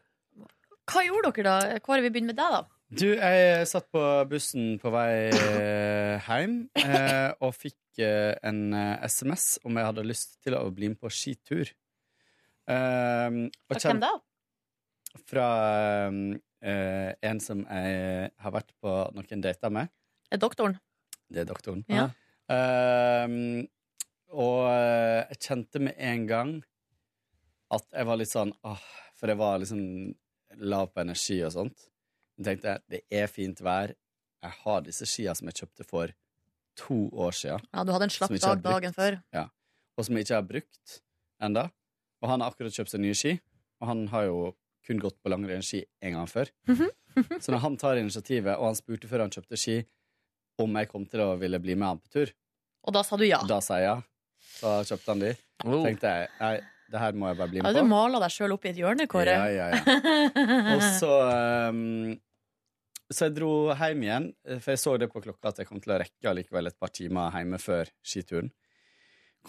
Speaker 1: Hva gjorde dere da? Kåre, vi begynner med deg, da.
Speaker 2: Du,
Speaker 7: eh,
Speaker 2: jeg satt på bussen på vei eh, hjem eh, og fikk eh, en eh, SMS om jeg hadde lyst til å bli med på skitur.
Speaker 7: Eh,
Speaker 2: Um,
Speaker 1: Og hvem da?
Speaker 2: Fra um, eh, en som jeg har vært på noen dater med.
Speaker 1: Er Doktoren.
Speaker 2: Det er doktoren.
Speaker 1: Ja.
Speaker 2: Ehm, og eh, jeg kjente med en gang at jeg var litt sånn åh, For jeg var liksom lav på energi og sånt. Jeg tenkte det er fint vær. Jeg har disse skia som jeg kjøpte for to år siden.
Speaker 1: Ja, du hadde en slapp
Speaker 2: som jeg ikke har
Speaker 1: dag dagen
Speaker 2: brukt.
Speaker 1: før.
Speaker 2: Ja. Og som jeg ikke har brukt enda. Og han har akkurat kjøpt seg nye ski. Og han har jo kun gått på langrennsski en gang før. Så når han tar initiativet, og han spurte før han kjøpte ski om jeg kom til å ville bli med han på tur,
Speaker 1: Og da sa du ja.
Speaker 2: da sa jeg ja. Så kjøpte han de. Tenkte jeg nei, det her må jeg bare bli
Speaker 1: Ja,
Speaker 2: med
Speaker 1: du
Speaker 2: på.
Speaker 1: mala deg sjøl opp i et hjørne, Kåre.
Speaker 2: Ja, ja, ja. Og så ehm, Så jeg dro hjem igjen, for jeg så det på klokka at jeg kom til å rekke allikevel et par timer hjemme før skituren.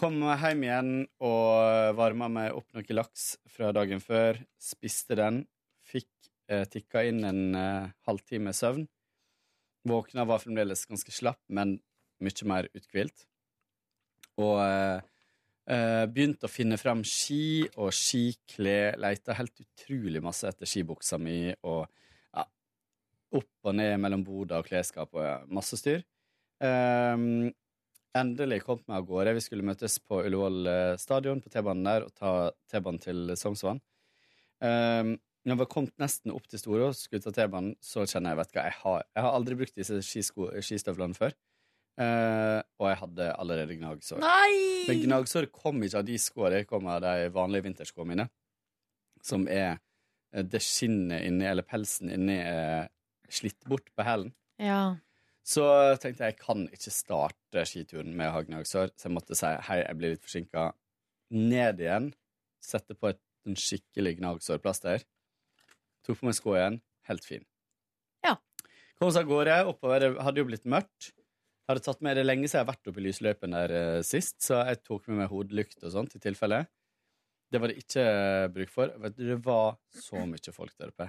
Speaker 2: Kom hjem igjen og varma meg opp noe laks fra dagen før. Spiste den. Fikk eh, tikka inn en eh, halvtime søvn. Våkna var fremdeles ganske slapp, men mye mer uthvilt. Og eh, eh, begynte å finne fram ski og skiklær. Leita helt utrolig masse etter skibuksa mi og ja, opp og ned mellom boder og klesskap og ja, masse styr. Ehm, endelig kom vi av gårde. Vi skulle møtes på Ullevål eh, stadion, på T-banen der, og ta T-banen til Sognsvann. Um, når vi kom nesten opp til Storå, skulle ta T-banen, så kjenner jeg vet du hva, jeg har, jeg har aldri brukt disse skisko, skistøvlene før. Eh, og jeg hadde allerede gnagsår.
Speaker 1: Nei!
Speaker 2: Men gnagsår kom ikke av de skoene, det kom av de vanlige vinterskoene mine. Som er eh, Det skinnet inni, eller pelsen inni, er slitt bort på hælen.
Speaker 1: Ja.
Speaker 2: Så tenkte jeg jeg kan ikke starte skituren med å ha gnagsår, så jeg måtte si hei, jeg blir litt forsinka. Ned igjen, sette på et en skikkelig gnagsårplaster. Tok på meg skoene igjen, helt fin.
Speaker 1: Ja.
Speaker 2: Kom oss av gårde, oppover, det hadde jo blitt mørkt. Hadde tatt med det lenge siden jeg har vært oppe i lysløypen der eh, sist, så jeg tok med meg hodelykt og sånt i tilfelle. Det var det ikke eh, bruk for. Vet du, det var så mye folk der oppe.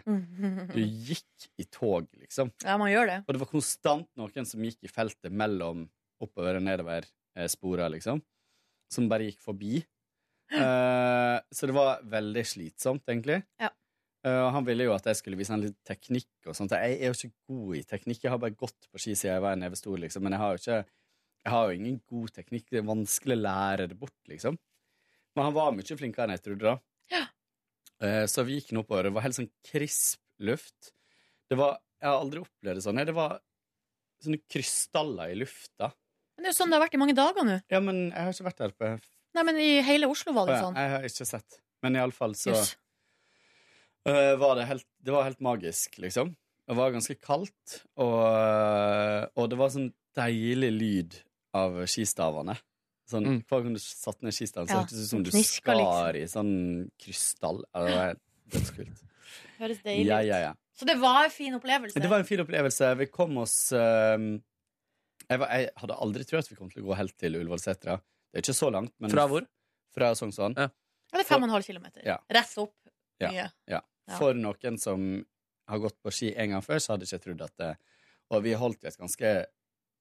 Speaker 2: Du gikk i tog, liksom.
Speaker 1: Ja, man gjør det.
Speaker 2: Og det var konstant noen som gikk i feltet mellom oppover og nedover eh, sporer, liksom. Som bare gikk forbi. Eh, så det var veldig slitsomt, egentlig.
Speaker 1: Ja.
Speaker 2: Eh, og han ville jo at jeg skulle vise han litt teknikk og sånt. Jeg er jo ikke god i teknikk. Jeg har bare gått på ski siden jeg var en neve stor, liksom. Men jeg har jo ikke Jeg har jo ingen god teknikk. Det er vanskelig å lære det bort, liksom. Men han var mye flinkere enn jeg trodde, da. Eh, Så vi gikk nå oppover. Det var helt sånn krisp luft. Det var, jeg har aldri opplevd det sånn. Det var sånne krystaller i lufta.
Speaker 1: Men det er jo sånn det har vært i mange dager nå.
Speaker 2: Ja, men jeg har ikke vært der på
Speaker 1: Nei, men i hele Oslo var det
Speaker 2: Å ja,
Speaker 1: sånn.
Speaker 2: Jeg har ikke sett. Men iallfall så
Speaker 1: Jøss.
Speaker 2: eh, var det helt Det var helt magisk, liksom. Det var ganske kaldt, og, og det var sånn deilig lyd av skistavene. Sånn,
Speaker 4: Mm.
Speaker 2: Hver gang du satte ned skistaven, så
Speaker 1: Ja,
Speaker 2: hørtes det ut som du
Speaker 1: kniska
Speaker 2: skar
Speaker 1: liksom.
Speaker 2: i sånn krystall. Ja, Det var dødskult.
Speaker 1: Høres deilig ut.
Speaker 2: Ja, ja, ja.
Speaker 1: Så det var en fin opplevelse.
Speaker 2: Det var en fin opplevelse. Vi kom oss ehm, jeg, var, jeg hadde aldri trodd at vi kom til å gå helt til Ullevålsetra. Det er ikke så langt. Men
Speaker 4: Fra hvor?
Speaker 2: Fra Sognsvann. Ja.
Speaker 1: Ja, det er fem og en halv kilometer.
Speaker 2: Ja.
Speaker 1: Rett opp.
Speaker 2: Ja,
Speaker 1: Mye. Ja.
Speaker 2: For noen som har gått på ski en gang før, så hadde jeg ikke trodd at det Og vi holdt i et ganske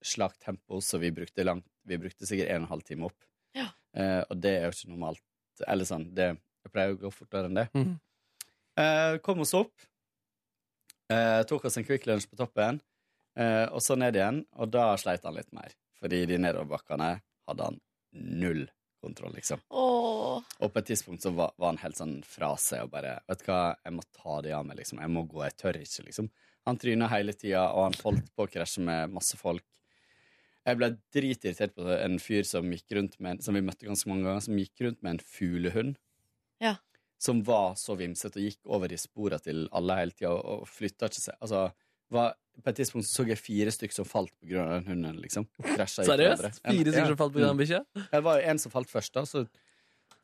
Speaker 2: slakt tempo, så vi brukte, langt, vi brukte sikkert en og en halv time opp.
Speaker 1: Ja.
Speaker 2: Eh, og det er jo ikke normalt. Eller sånn, det, jeg pleier jo å gå fortere enn det.
Speaker 4: Mhm.
Speaker 2: Eh, kom oss opp. Eh, tok oss en Quick Lunch på toppen, eh, og så ned igjen. Og da sleit han litt mer, fordi de nedoverbakkene hadde han null kontroll, liksom.
Speaker 1: Åh.
Speaker 2: Og på et tidspunkt så var, var han helt sånn fra seg og bare Vet du hva, jeg må ta det av meg, liksom. Jeg må gå, jeg tør ikke, liksom. Han tryna hele tida, og han holdt på å krasje med masse folk. Jeg ble dritirritert på en fyr som gikk rundt med en, Som vi møtte ganske mange ganger Som gikk rundt med en fuglehund
Speaker 1: Ja.
Speaker 2: Som var så vimset og gikk over i sporet til alle hele tiden Og, og flyttet ikke seg altså, var, På et tidspunkt så jeg fire stykker som falt på grunn av den hunden liksom. Krasjet i
Speaker 7: Seriøst?
Speaker 2: hverandre.
Speaker 7: Fire stykker som falt på grunn av en bikkje?
Speaker 2: Mm. Det var jo en som falt først da Så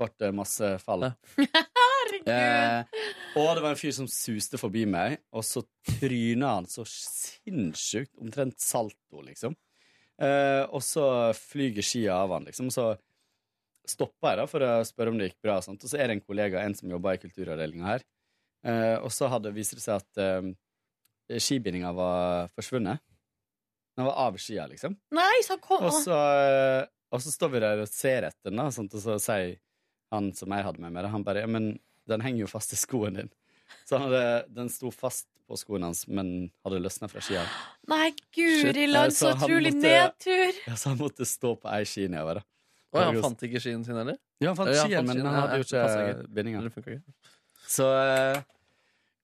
Speaker 2: ble det masse fall Eh, og det var en fyr som suste forbi meg, og så tryna han så sinnssykt, omtrent salto, liksom. Eh, og så flyger skia av han, liksom. Så stoppa jeg da for å spørre om det gikk bra, og sånt. Og så er det en kollega, en som jobber i kulturavdelinga her, eh, og så hadde, viser det seg at eh, skibindinga var forsvunnet. Den var av skia, liksom.
Speaker 1: Nei, så kom
Speaker 2: Og så, eh, og så står vi der og ser etter den, da, sånt, og så sier han som jeg hadde med meg, det, han bare ja, men den henger jo fast i skoen din. Så han hadde, den sto fast på skoen hans, men hadde løsna fra skia.
Speaker 1: Nei, guri land, så
Speaker 2: Eh, han
Speaker 1: utrolig
Speaker 2: måtte-
Speaker 1: nedtur!
Speaker 2: Ja, så han måtte stå på ei ski nedover. da.
Speaker 7: Å, han fant ikke skien sin heller?
Speaker 2: Ja, han fant
Speaker 7: Eller,
Speaker 2: skien, men han hadde jo
Speaker 7: det passer
Speaker 2: ikke bindinga. Så eh,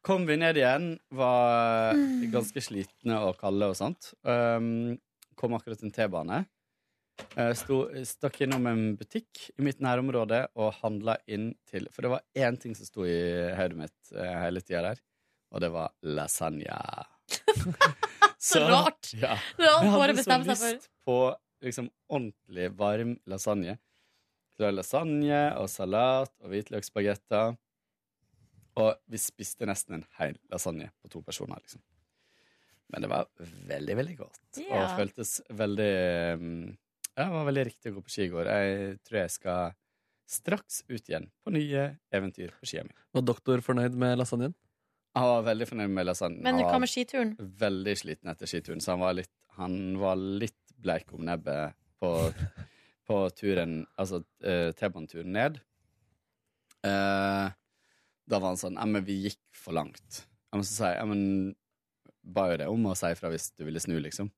Speaker 2: kom vi ned igjen, var ganske slitne og kalde og sånt. Um, kom akkurat en T-bane. Eh, sto- stakk innom en butikk i mitt nærområde og handla inn til For det var én ting som sto i hodet mitt eh, hele tida der, og det var lasagne.
Speaker 1: Så rart.
Speaker 2: Ja.
Speaker 1: Det var
Speaker 2: Jeg
Speaker 1: bare
Speaker 2: hadde så
Speaker 1: bestemt seg
Speaker 2: lyst
Speaker 1: for.
Speaker 2: på liksom ordentlig varm lasagne. Så det var lasagne og salat og hvitløksbagetter. Og vi spiste nesten en hel lasagne på to personer, liksom. Men det var veldig, veldig godt. Og
Speaker 14: Ja.
Speaker 2: føltes veldig mm, ja, Det var veldig riktig å gå på ski i går. Jeg tror jeg skal straks ut igjen på nye eventyr på skia mi.
Speaker 7: Var doktor fornøyd med lasagnen?
Speaker 2: Han var veldig fornøyd med lasagnen.
Speaker 1: Men
Speaker 2: Han
Speaker 1: hva
Speaker 2: var
Speaker 1: med skituren?
Speaker 2: Veldig sliten etter skituren, så han var litt, han var litt bleik om nebbet på, på turen, altså eh, T-baneturen ned. Eh, da var han sånn, ja, men vi gikk for langt. Ja, men så sa jeg, ja, men ba jo det om å si fra hvis du ville snu, liksom.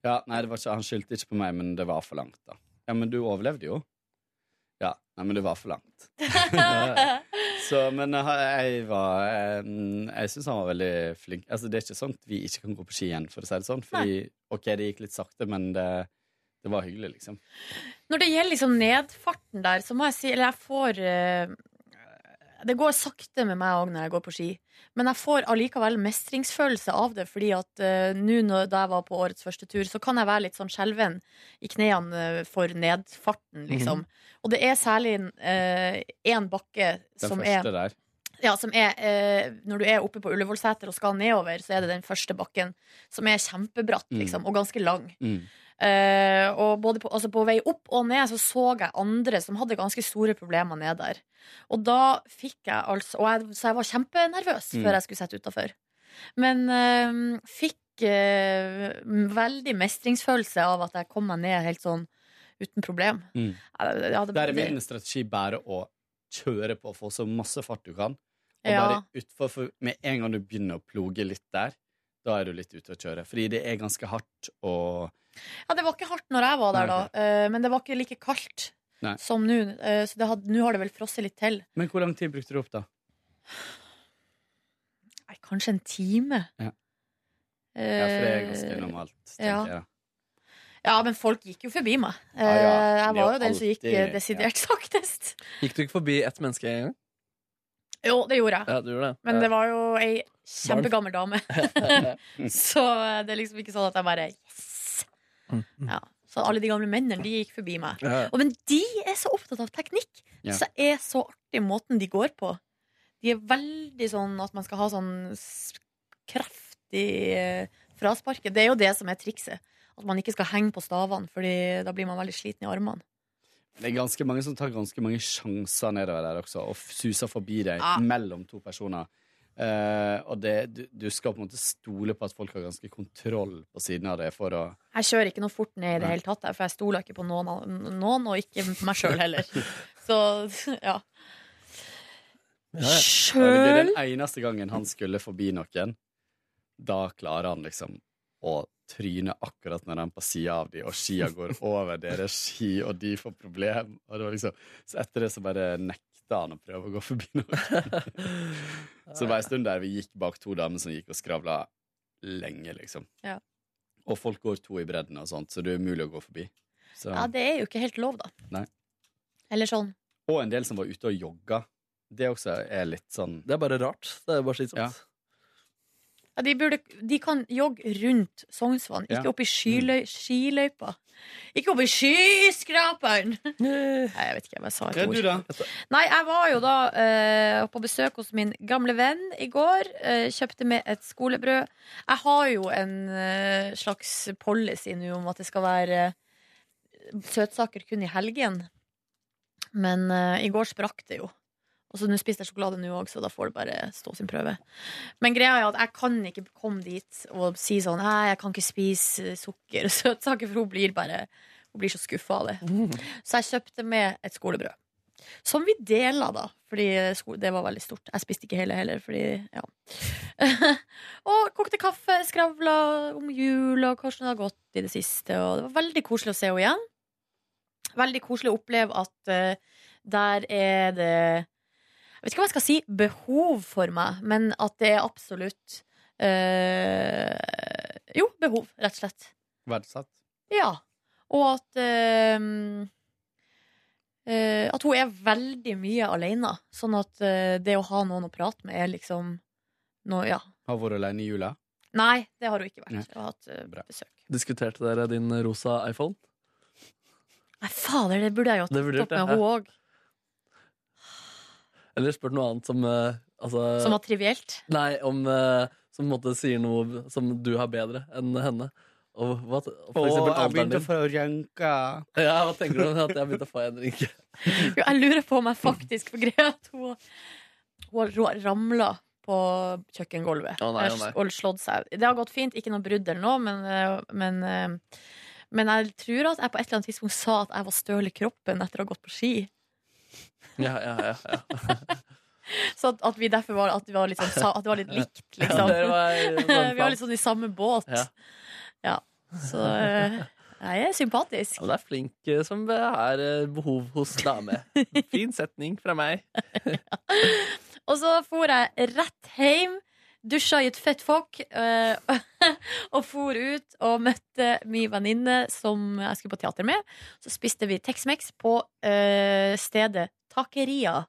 Speaker 2: Ja, nei, det var ikke, han skyldte ikke på meg, men det var for langt da. Ja, men du overlevde jo. Ja, nei, men det var for langt. Så, men jeg, jeg var eh, Jeg syns han var veldig flink. Altså, det er ikke sånn at vi ikke kan gå på ski igjen, for å si det sånn. Fordi, OK, det gikk litt sakte, men det, det var hyggelig, liksom.
Speaker 1: Når det gjelder liksom nedfarten der, så må jeg si Eller jeg får eh, Det går sakte med meg òg når jeg går på ski. Men jeg får allikevel mestringsfølelse av det, fordi at eh, nå når da jeg var på årets første tur, så kan jeg være litt sånn skjelven i knærne eh, for nedfarten, liksom.
Speaker 15: Mhm.
Speaker 1: Og det er særlig én bakke
Speaker 2: Den
Speaker 1: som er
Speaker 2: første der.
Speaker 1: ja, som er, eh, når du er oppe på Ullevålseter og skal nedover, så er det den første bakken som er kjempebratt
Speaker 15: Mm.
Speaker 1: liksom, og ganske lang.
Speaker 2: Mm.
Speaker 1: Eh, og både på, altså på vei opp og ned så så jeg andre som hadde ganske store problemer ned der. Og da fikk jeg altså og jeg, Så jeg var kjempenervøs
Speaker 15: Mm.
Speaker 1: før jeg skulle sette utafor. Men eh, fikk eh, veldig mestringsfølelse av at jeg kom meg ned helt sånn uten problem.
Speaker 2: Mm.
Speaker 1: Ja, det-
Speaker 2: Der er min strategi bare å kjøre på og få så masse fart du kan. Og
Speaker 1: Ja.
Speaker 2: bare utfor, for med en gang du begynner å ploge litt der, da er du litt ute å kjøre. Fordi det er ganske hardt og
Speaker 1: Ja, det var ikke hardt når jeg var der, da. eh, Men det var ikke like kaldt
Speaker 2: Nei.
Speaker 1: som nå. eh, Så det had- nå har det vel frosset litt til.
Speaker 2: Men hvor lang tid brukte du opp, da?
Speaker 1: Nei, kanskje en time.
Speaker 2: Ja. Ja, for det er ganske
Speaker 1: Eh,
Speaker 2: normalt, tenker
Speaker 1: ja.
Speaker 2: jeg. da.
Speaker 1: Ja, men folk gikk jo forbi meg. Eh,
Speaker 7: Ja, ja,
Speaker 1: Jeg
Speaker 7: det er
Speaker 1: var
Speaker 7: jo
Speaker 1: jo den som gikk
Speaker 7: alltid-
Speaker 1: eh, desidert saktest.
Speaker 7: Gikk du ikke forbi ett menneske en gang?
Speaker 1: Jo, det gjorde jeg.
Speaker 7: Ja, du gjorde det.
Speaker 1: Men
Speaker 7: Ja.
Speaker 1: det var jo ei kjempegammel dame.
Speaker 15: Mm.
Speaker 1: så eh, det er liksom ikke sånn at jeg bare Yes! Ja. Så alle de gamle mennene, de gikk forbi meg.
Speaker 15: Mm, Ja.
Speaker 1: Og, men de er så opptatt av teknikk!
Speaker 15: Ja.
Speaker 1: Så er så artig måten de går på. De er veldig sånn at man skal ha sånn s- kraftig eh, frasparke. Det er jo det som er trikset. At man ikke skal henge på stavene, Fordi da blir man veldig sliten i armene.
Speaker 2: Det er ganske mange som tar ganske mange sjanser nedover der også, og f- suser forbi deg
Speaker 1: Ja.
Speaker 2: mellom to personer. Eh, og det, du, du skal på en måte stole på at folk har ganske kontroll på siden av det for å
Speaker 1: Jeg kjører ikke noe fort ned i det
Speaker 2: Nei.
Speaker 1: hele tatt, jeg, for jeg stoler ikke på noen, av- noen og ikke på meg sjøl heller. Så ja. Sjøl?
Speaker 2: Ja, det blir Den eneste gangen han skulle forbi noen, da klarer han liksom å tryne akkurat når han er på sida av de, og skia går over deres ski, og de får problem. Og det var liksom, så etter det så bare nekta han å prøve å gå forbi noen. så det var en stund der vi gikk bak to damer som gikk og skravla lenge, liksom.
Speaker 1: Ja.
Speaker 7: Og folk går to i bredden, og sånt, så det er umulig å gå forbi. Så,
Speaker 1: Ja, det er jo ikke helt lov, da.
Speaker 7: nei.
Speaker 1: Eller sånn.
Speaker 7: Og en del som var ute og jogga. Det også er litt sånn
Speaker 2: Det er bare rart. Det er bare slitsomt.
Speaker 1: Ja, de, burde, de kan jogge rundt Sognsvann, ikke
Speaker 7: Ja. Mm.
Speaker 1: opp i skiløy, skiløypa. Ikke opp i skyskraperen! Nei, jeg vet ikke, jeg bare sa et
Speaker 7: Hva er
Speaker 1: ord.
Speaker 7: du, da?
Speaker 1: Nei, jeg var jo da eh, på besøk hos min gamle venn i går. eh, kjøpte med et skolebrød. Jeg har jo en eh, slags policy nå om at det skal være eh, søtsaker kun i helgen. Men eh, i går sprakk det jo. Og så nå spiste jeg sjokolade nå òg, så da får det bare stå sin prøve. Men greia er at jeg kan ikke komme dit og si sånn Nei, jeg kan ikke spise sukker og søtsaker, for hun blir bare Hun blir så skuffa av det. Så jeg kjøpte med et skolebrød. Som vi dela, da. Fordi sko- det var veldig stort. Jeg spiste ikke hele heller, fordi ja. og kokte kaffe, skravla om jul og hvordan det har gått i det siste. Og det var veldig koselig å se henne igjen. Veldig koselig å oppleve at eh, der er det Jeg vet ikke hva jeg skal si behov for meg, men at det er absolutt eh, Jo, behov, rett og slett.
Speaker 7: verdsatt.
Speaker 1: Ja. Og at ehm, eh, At hun er veldig mye alene. Sånn at eh, det å ha noen å prate med er liksom noe, ja.
Speaker 7: Har vært alene i jula.
Speaker 1: Nei, det har hun ikke vært. Hun har hatt eh, besøk.
Speaker 2: Diskuterte dere din rosa iPhone?
Speaker 1: Nei, fader, det burde jeg jo
Speaker 2: Det burde
Speaker 1: ha tatt
Speaker 2: jeg,
Speaker 1: opp med
Speaker 2: ja.
Speaker 1: hun òg.
Speaker 2: Eller spurt noe annet som eh, altså,
Speaker 1: Som var trivielt.
Speaker 2: Nei, om eh, Som på en måte sier noe som du har bedre enn henne. Og hva, for eksempel
Speaker 7: jeg
Speaker 2: alderen
Speaker 7: begynte
Speaker 2: din.
Speaker 7: å få rønka.
Speaker 2: Ja, hva tenker du om at jeg begynte å få en rynke?
Speaker 1: Jo, jeg lurer på om jeg faktisk For greia er at hun, hun har ramla på kjøkkengulvet
Speaker 2: Å nei, å nei.
Speaker 1: og slått seg. Det har gått fint, ikke noe brudd eller noe, men, eh, men, eh, men jeg tror at jeg på et eller annet tidspunkt sa at jeg var støl i kroppen etter å ha gått på ski.
Speaker 2: Ja, ja, ja, ja.
Speaker 1: Så at, at vi derfor var, at vi var litt sånn, sa- at det var litt likt,
Speaker 2: Ja,
Speaker 1: liksom.
Speaker 2: dere var-
Speaker 1: vi var litt sånn i samme båt.
Speaker 2: Ja.
Speaker 1: Ja. Så eh, jeg er sympatisk.
Speaker 2: Ja, men det er flink eh, som har eh, behov hos dame. Fin setning fra meg.
Speaker 1: Og så for jeg rett hjem, dusja i et fett fokk, eh, og for ut og møtte min venninne som jeg skulle på teater med. Så spiste vi Tex-Mex på eh, stedet Takeria.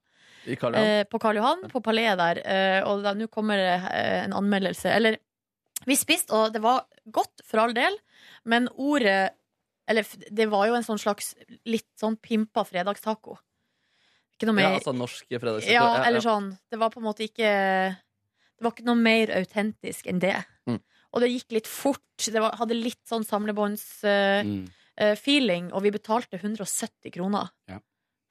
Speaker 2: I Karl Johan.
Speaker 1: Eh, på Karl Johan, på paleet der. Eh, og da- nå kommer det eh, en anmeldelse. Eller, vi spiste, og det var godt for all del, men ordet Eller f- det var jo en sånn slags litt sånn pimpa fredagstaco. Ikke noe mer
Speaker 2: Ja, altså norsk fredagstaco.
Speaker 1: ja, eller sånn. Det var på en måte ikke Det var ikke noe mer autentisk enn det.
Speaker 2: Mm.
Speaker 1: Og det gikk litt fort. Det var, hadde litt sånn
Speaker 7: Mm.
Speaker 1: samlebånds-feeling, og vi betalte 170 kroner
Speaker 7: Ja.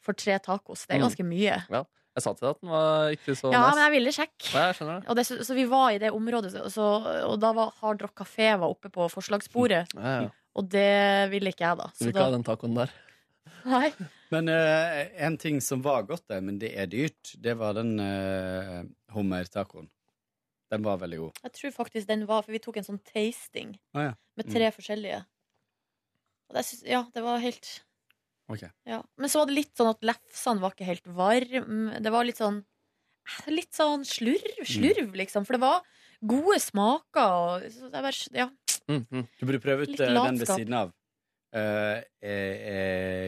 Speaker 1: for tre tacos. Det er
Speaker 2: Mm.
Speaker 1: ganske mye.
Speaker 2: Ja. Jeg sa til deg at den var ikke så
Speaker 1: Ja,
Speaker 2: nice.
Speaker 1: men jeg ville sjekke.
Speaker 2: Ja, jeg skjønner det.
Speaker 1: Og det, så, så vi var i det området, så, og da var Hard Rock Café var oppe på forslagsbordet.
Speaker 10: Mm.
Speaker 2: Ja, ja.
Speaker 1: Og det ville ikke jeg, da.
Speaker 7: Du vil ikke
Speaker 1: da
Speaker 7: ha
Speaker 2: den tacoen der?
Speaker 1: Nei.
Speaker 7: Men eh, en ting som var godt der, men det er dyrt, det var den uh, hummertacoen. Den var veldig god.
Speaker 1: Jeg tror faktisk den var, for vi tok en sånn tasting
Speaker 7: Å, ja. Mm.
Speaker 1: med tre forskjellige. Og det, syns- ja, det var helt
Speaker 7: Ok.
Speaker 1: Ja. Men så var det litt sånn at lefsene var ikke helt varm. Det var litt sånn Litt sånn slurv,
Speaker 7: Mm.
Speaker 1: slurv, liksom. For det var gode smaker. Og, så det er bare, ja.
Speaker 7: Du burde prøve ut
Speaker 1: Litt
Speaker 7: eh, den ved
Speaker 1: latskap.
Speaker 7: siden av. Eh, eh,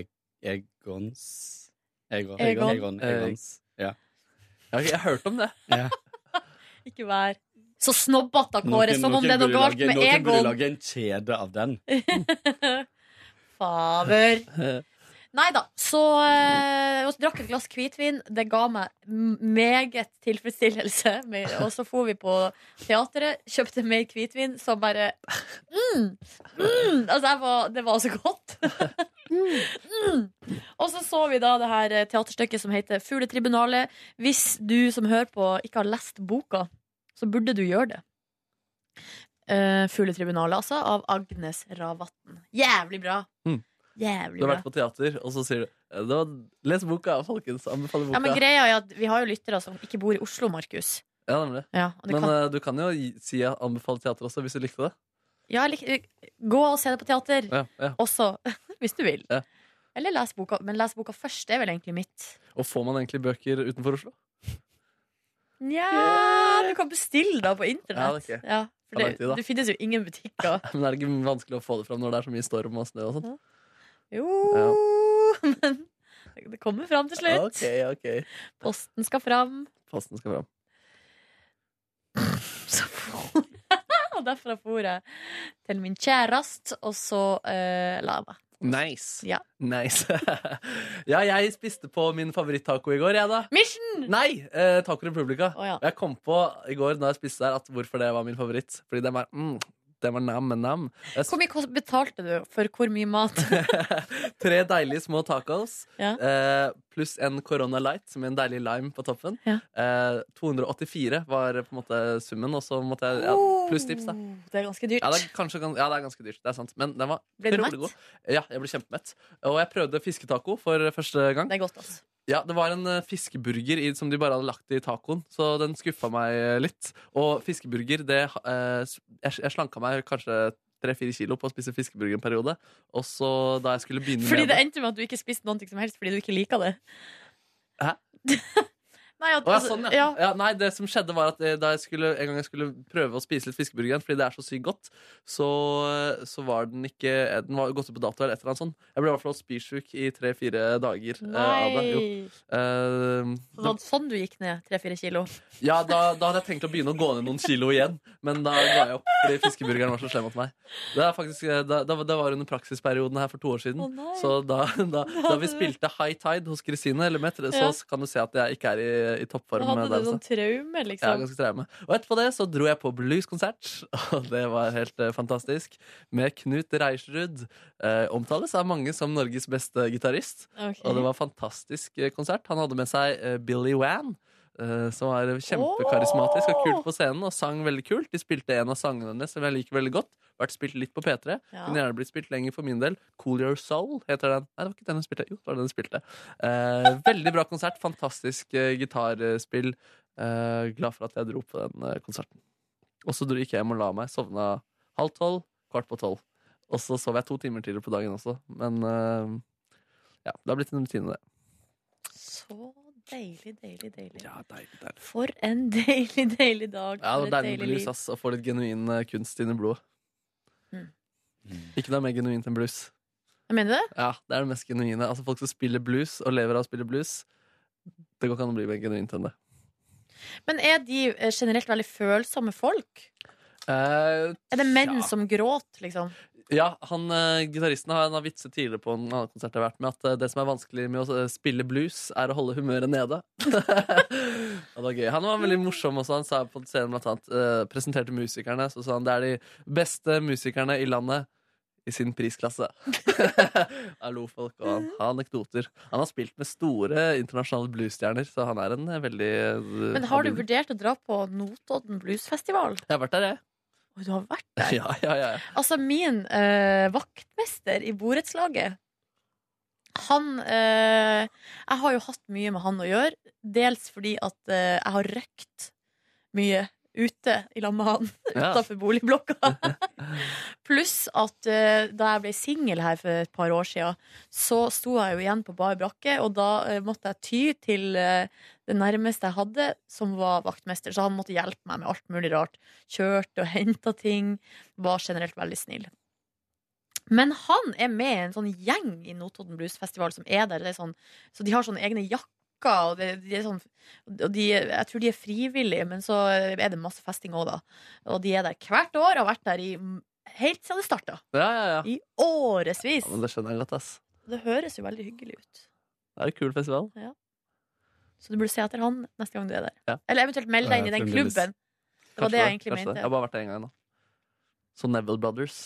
Speaker 7: eh, Egons Egon.
Speaker 1: Egon.
Speaker 7: Egon. Egons. Ja.
Speaker 2: jeg har hørt om det.
Speaker 7: Ja.
Speaker 1: Ikke vær så snobbete, Kåre,
Speaker 7: Noen-
Speaker 1: som om
Speaker 7: noen
Speaker 1: det er noe
Speaker 7: burde
Speaker 1: galt
Speaker 7: lage-
Speaker 1: med
Speaker 7: Noen burde
Speaker 1: Egon.
Speaker 7: lage en kjede av den.
Speaker 1: Faver. Nei da. Så eh, og så drakk et glass hvitvin. Det ga meg m- meget tilfredsstillelse. Men- Og så for vi på teateret, kjøpte mer hvitvin, som bare mm, mm, Altså, jeg var, det var så godt. mm. Og så så vi da det her eh, teaterstykket som heter Fugletribunalet. Hvis du som hører på, ikke har lest boka, så burde du gjøre det. Uh, Fugletribunalet, altså, av Agnes Ravatn. Jævlig bra!
Speaker 2: Mm. Du
Speaker 1: Jævlig
Speaker 2: har
Speaker 1: bra.
Speaker 2: vært på teater, og så sier du eh, det var, Les boka, folkens. Anbefaler boka.
Speaker 1: Ja, men greia er at Vi har jo lyttere som ikke bor i Oslo, Markus.
Speaker 2: Ja, nemlig.
Speaker 1: Ja, og det
Speaker 2: men
Speaker 1: kan-
Speaker 2: eh, du kan jo gi- si jeg anbefaler teater også, hvis du likte det.
Speaker 1: Ja, lik- gå og se det på teater
Speaker 2: Ja, ja.
Speaker 1: også, hvis du vil.
Speaker 2: Ja.
Speaker 1: Eller les boka. Men les boka først. Det er vel egentlig mitt.
Speaker 2: Og får man egentlig bøker utenfor Oslo?
Speaker 1: Nja, du kan bestille da på
Speaker 2: Ja,
Speaker 1: internett.
Speaker 2: det er ok.
Speaker 1: Ja, For det,
Speaker 2: Hva tenkte du da?
Speaker 1: det finnes jo ingen butikker.
Speaker 2: Men er det ikke vanskelig å få det fram når det er så mye storm og snø og sånn?
Speaker 1: Jo,
Speaker 2: Ja.
Speaker 1: men det kommer fram til slutt.
Speaker 2: Ok, ok.
Speaker 1: Posten skal fram.
Speaker 2: Posten skal fram.
Speaker 1: Og derfra for jeg til min kjæreste, og så eh, la jeg meg.
Speaker 2: Nice.
Speaker 1: Ja.
Speaker 2: nice. ja, jeg spiste på min favorittaco i går, jeg, da.
Speaker 1: Mission!
Speaker 2: Nei! Eh, taco republica. Og jeg kom på i går når jeg spiste der, at hvorfor det var min favoritt. Fordi den var, mm, den var nam, nam. Jeg
Speaker 1: Hvor mye kost- betalte du for hvor mye mat?
Speaker 2: Tre deilige små tacos
Speaker 1: Ja.
Speaker 2: eh, pluss en Corona Light med en deilig lime på toppen.
Speaker 1: Ja.
Speaker 2: Eh, 284 var på en måte summen, og så måtte jeg ja,
Speaker 1: Oh.
Speaker 2: Pluss tips, da.
Speaker 1: Det er ganske dyrt.
Speaker 2: Ja, det er, kanskje, gans- ja, det er ganske dyrt. Det er sant. Men den var
Speaker 1: Ble du
Speaker 2: utrolig
Speaker 1: mett?
Speaker 2: god. Ja, jeg ble kjempemett. Og jeg prøvde fisketaco for første gang.
Speaker 1: Det er godt, altså. ass.
Speaker 2: Ja, Det var en eh, fiskeburger i, som de bare hadde lagt i tacoen, så den skuffa meg eh, litt. Og fiskeburger, det eh, s- Jeg, jeg slanka meg kanskje tre-fire kilo på å spise fiskeburger en periode. Og så da jeg skulle begynne
Speaker 1: Fordi
Speaker 2: med
Speaker 1: det endte med at du ikke spiste noe som helst fordi du ikke liker det.
Speaker 2: Hæ?
Speaker 1: Nei, at,
Speaker 2: Å, ja,
Speaker 1: altså,
Speaker 2: sånn, ja. Ja, nei, det som skjedde var at eh, da jeg skulle, en gang jeg skulle prøve å spise litt fiskeburger igjen, fordi det er så sykt godt, så, så var den ikke eh, Den var gått ut på dato eller et eller annet sånt. Jeg ble i hvert fall spysjuk i tre-fire dager eh, av det. Jo.
Speaker 1: Nei.
Speaker 2: Eh,
Speaker 1: Det var sånn du gikk ned tre-fire kilo.
Speaker 2: ja, da, da hadde jeg tenkt å begynne å gå ned noen kilo igjen, men da ga jeg opp fordi fiskeburgeren var så slem mot meg. Det, er faktisk, eh, da, da, det var under praksisperioden her for to år
Speaker 1: Å,
Speaker 2: siden.
Speaker 1: nei.
Speaker 2: så da, da, da vi spilte High Tide hos Kristine Lemet,
Speaker 1: Ja.
Speaker 2: så kan du se at jeg ikke er i, i toppform.
Speaker 1: Hadde
Speaker 2: der,
Speaker 1: du
Speaker 2: altså.
Speaker 1: noen traumer,
Speaker 2: Ja,
Speaker 1: liksom?
Speaker 2: ganske traume. Og etterpå det så dro jeg på blueskonsert, og det var helt eh, fantastisk. Med Knut Reiersrud. Eh, omtales av mange som Norges beste gitarist.
Speaker 1: Ok.
Speaker 2: Og det var fantastisk eh, konsert. Han hadde med seg eh, Billy Wan. eh, som var kjempekarismatisk og kult på scenen og sang veldig kult. De spilte en av sangene hennes som jeg liker veldig godt. Vært spilt litt på P3.
Speaker 1: Ja.
Speaker 2: Kunne gjerne blitt spilt lenger for min del. Cool Your Soul heter den. Nei, det var ikke den hun spilte. Jo, det var den hun spilte. Eh, veldig bra konsert. Fantastisk eh, gitarspill. Eh, glad for at jeg dro på den eh, konserten. Og så dro gikk jeg hjem og la meg. Sovna halv tolv, kvart på tolv. Og så sov jeg to timer tidligere på dagen også. Men eh, ja, det har blitt en rutine, det.
Speaker 1: Så deilig, deilig, deilig.
Speaker 2: deilig.
Speaker 1: For en deilig, deilig dag.
Speaker 2: Ja,
Speaker 1: For
Speaker 2: det
Speaker 1: et
Speaker 2: er deilig med
Speaker 1: deilig
Speaker 2: blues,
Speaker 1: liv.
Speaker 2: ass. Å få litt genuin eh, kunst inn i blodet.
Speaker 1: Mm.
Speaker 2: Ikke noe mer genuint enn blues. altså.
Speaker 1: Jeg mener det?
Speaker 2: Ja, det er det mest genuine. Altså Folk som spiller blues og lever av å spille blues, det går ikke an å bli mer genuint enn det.
Speaker 1: Men er de eh, generelt veldig følsomme folk?
Speaker 2: Eh,
Speaker 1: Er det menn
Speaker 2: tja.
Speaker 1: som gråter, liksom?
Speaker 2: Ja, han, eh, Gitaristen har, han har vitset tidligere på en annen konsert jeg har vært med, at eh, det som er vanskelig med å eh, spille blues, er å holde humøret nede. Og det var gøy. Han var veldig morsom også. Han sa på scenen blant annet, eh, presenterte musikerne, så sa han det er de beste musikerne i landet i sin prisklasse. Jeg lo folk, og han har anekdoter. Han har spilt med store internasjonale bluesstjerner, så han er en eh, veldig eh,
Speaker 1: Men har du
Speaker 2: habil-
Speaker 1: vurdert å dra på Notodden bluesfestival?
Speaker 2: Jeg har vært der, jeg.
Speaker 1: Oi, Du har vært
Speaker 2: Ja, ja, ja.
Speaker 1: Altså, min eh, vaktmester i borettslaget han eh, Jeg har jo hatt mye med han å gjøre. Dels fordi at eh, jeg har røkt mye ute i lag med han
Speaker 13: Ja.
Speaker 1: utafor boligblokka. Pluss at eh, da jeg ble singel her for et par år siden, så sto jeg jo igjen på bar brakke, og da eh, måtte jeg ty til eh, det nærmeste jeg hadde, som var vaktmester. Så han måtte hjelpe meg med alt mulig rart. Kjørte og henta ting. Var generelt veldig snill. Men han er med i en sånn gjeng i Notodden Bluesfestival som er der. Det er sånn, så de har sånne egne jakker. Og, det, de er sånn, og de, jeg tror de er frivillige, men så er det masse festing òg, da. Og de er der hvert år, har vært der i, helt siden det starta.
Speaker 2: Ja, ja, ja.
Speaker 1: I årevis.
Speaker 2: ja men det skjønner jeg godt, ass.
Speaker 1: Det høres jo veldig hyggelig ut.
Speaker 2: Det er en kul festival.
Speaker 1: Ja. Så du burde se etter han neste gang du er der.
Speaker 2: Ja.
Speaker 1: Eller eventuelt melde deg inn i
Speaker 2: Ja,
Speaker 1: den
Speaker 2: fremdeles.
Speaker 1: klubben. Det var
Speaker 2: Kanskje
Speaker 1: det jeg egentlig
Speaker 2: kanskje
Speaker 1: mente.
Speaker 2: Jeg har bare vært der en gang, da. Så Neville Brothers.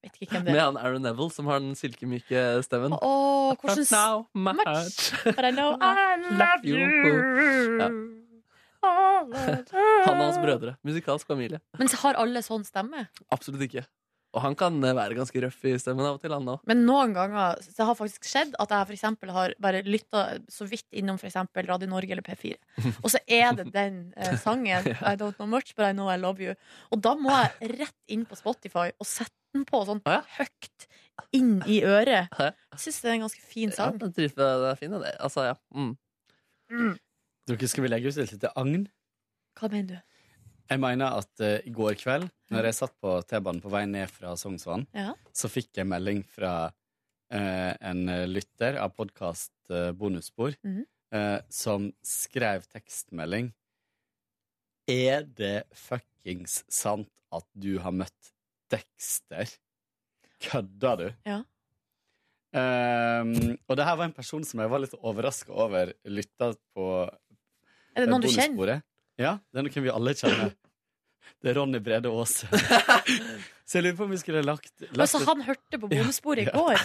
Speaker 1: Vet ikke hvem det
Speaker 2: Med
Speaker 1: er.
Speaker 2: han Aaron Neville, som har den silkemyke stemmen.
Speaker 1: Å, hvordan s-
Speaker 2: Now, my
Speaker 1: much,
Speaker 2: heart.
Speaker 1: but I know I love
Speaker 2: you.
Speaker 1: you.
Speaker 2: Ja.
Speaker 1: All the time.
Speaker 2: Han og hans brødre. Musikalsk familie.
Speaker 1: Men så har alle sånn stemme?
Speaker 2: Absolutt ikke. Og han kan eh, være ganske røff i stemmen av og til, han òg.
Speaker 1: Men noen ganger så det har faktisk skjedd at jeg for eksempel har bare lytta så vidt innom for eksempel Radio Norge eller P4. Og så er det den eh, sangen I don't know much, but I know I love you. Og da må jeg rett inn på Spotify og sette den på sånn høyt inn i øret. Jeg syns det er en ganske fin sang.
Speaker 2: Ja, det er fin, det. Altså, ja. Mm.
Speaker 1: Mm.
Speaker 7: Dere skal vi legge ut et lite agn?
Speaker 1: Hva mener du?
Speaker 10: Jeg mener at eh, i går kveld, når jeg satt på T-banen på vei ned fra Sognsvann,
Speaker 1: Ja.
Speaker 10: så fikk jeg melding fra eh, en lytter av podkast Bonusspor,
Speaker 1: Mhm.
Speaker 10: eh, som skrev tekstmelding Er det fuckings sant at du har møtt Dexter? Kødder du?
Speaker 1: Ja.
Speaker 10: Ehm, og det her var en person som jeg var litt overraska over lytta på
Speaker 1: Er det
Speaker 10: eh,
Speaker 1: noen du kjenner?
Speaker 10: bonusbordet. Ja, det er noen vi alle kjenner. Det er Ronny Brede Aase. så jeg lurer på om vi skulle lagt, lagt
Speaker 1: Altså,
Speaker 10: et-
Speaker 1: han hørte på bonussporet i
Speaker 10: Ja,
Speaker 1: går.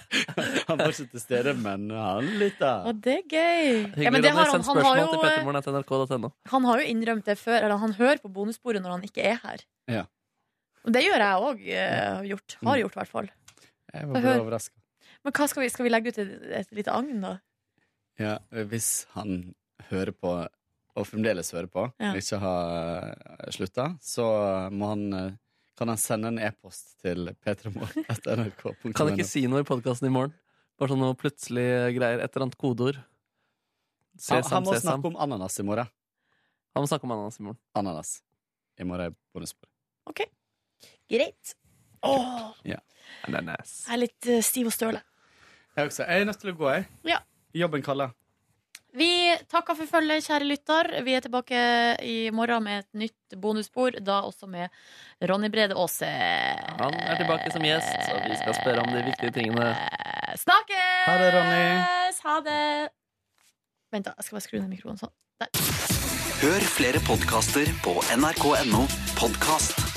Speaker 10: Han var ikke til stede, men han lytta.
Speaker 1: Og det er gøy. Ja, men det har han, han, har jo, eh, han har jo innrømt det før. Eller han hører på bonussporet når han ikke er her.
Speaker 10: Ja. Mm.
Speaker 1: Og det gjør jeg òg. Har gjort, har gjort i hvert fall.
Speaker 10: Jeg
Speaker 1: Få
Speaker 10: var bare
Speaker 1: høre.
Speaker 10: overraska.
Speaker 1: Men hva skal vi, skal vi legge ut et, et lite agn, da?
Speaker 10: Ja, hvis han hører på, og fremdeles hører på,
Speaker 1: Ja.
Speaker 10: og ikke har slutta, så må han eh, kan han sende en e-post til p3morgen.nrk.no.
Speaker 2: Kan jeg ikke si noe i podkasten i morgen? Bare sånn noe plutselig greier. Et eller annet kodeord.
Speaker 10: Han- han må snakke om ananas i morgen.
Speaker 2: Han må snakke om ananas i morgen.
Speaker 10: Ananas. I morgen er bonusbordet.
Speaker 1: Greit. Åh,
Speaker 10: Ja.
Speaker 2: Ananas.
Speaker 1: jeg er litt eh, stiv og støle.
Speaker 10: Jeg, også, jeg er nødt til å gå, jeg.
Speaker 1: Ja.
Speaker 10: Jobben kaller.
Speaker 1: Vi takker for følget, kjære lytter. Vi er tilbake i morgen med et nytt bonusspor, da også med Ronny Brede Aase.
Speaker 2: Han er tilbake som gjest, og vi skal spørre om de viktige tingene.
Speaker 1: Snakkes!
Speaker 2: Ha det, Ronny.
Speaker 1: Ha det! Vent, da. Jeg skal bare skru ned mikrofonen sånn. Der.
Speaker 16: Hør flere podkaster på nrk.no podkast.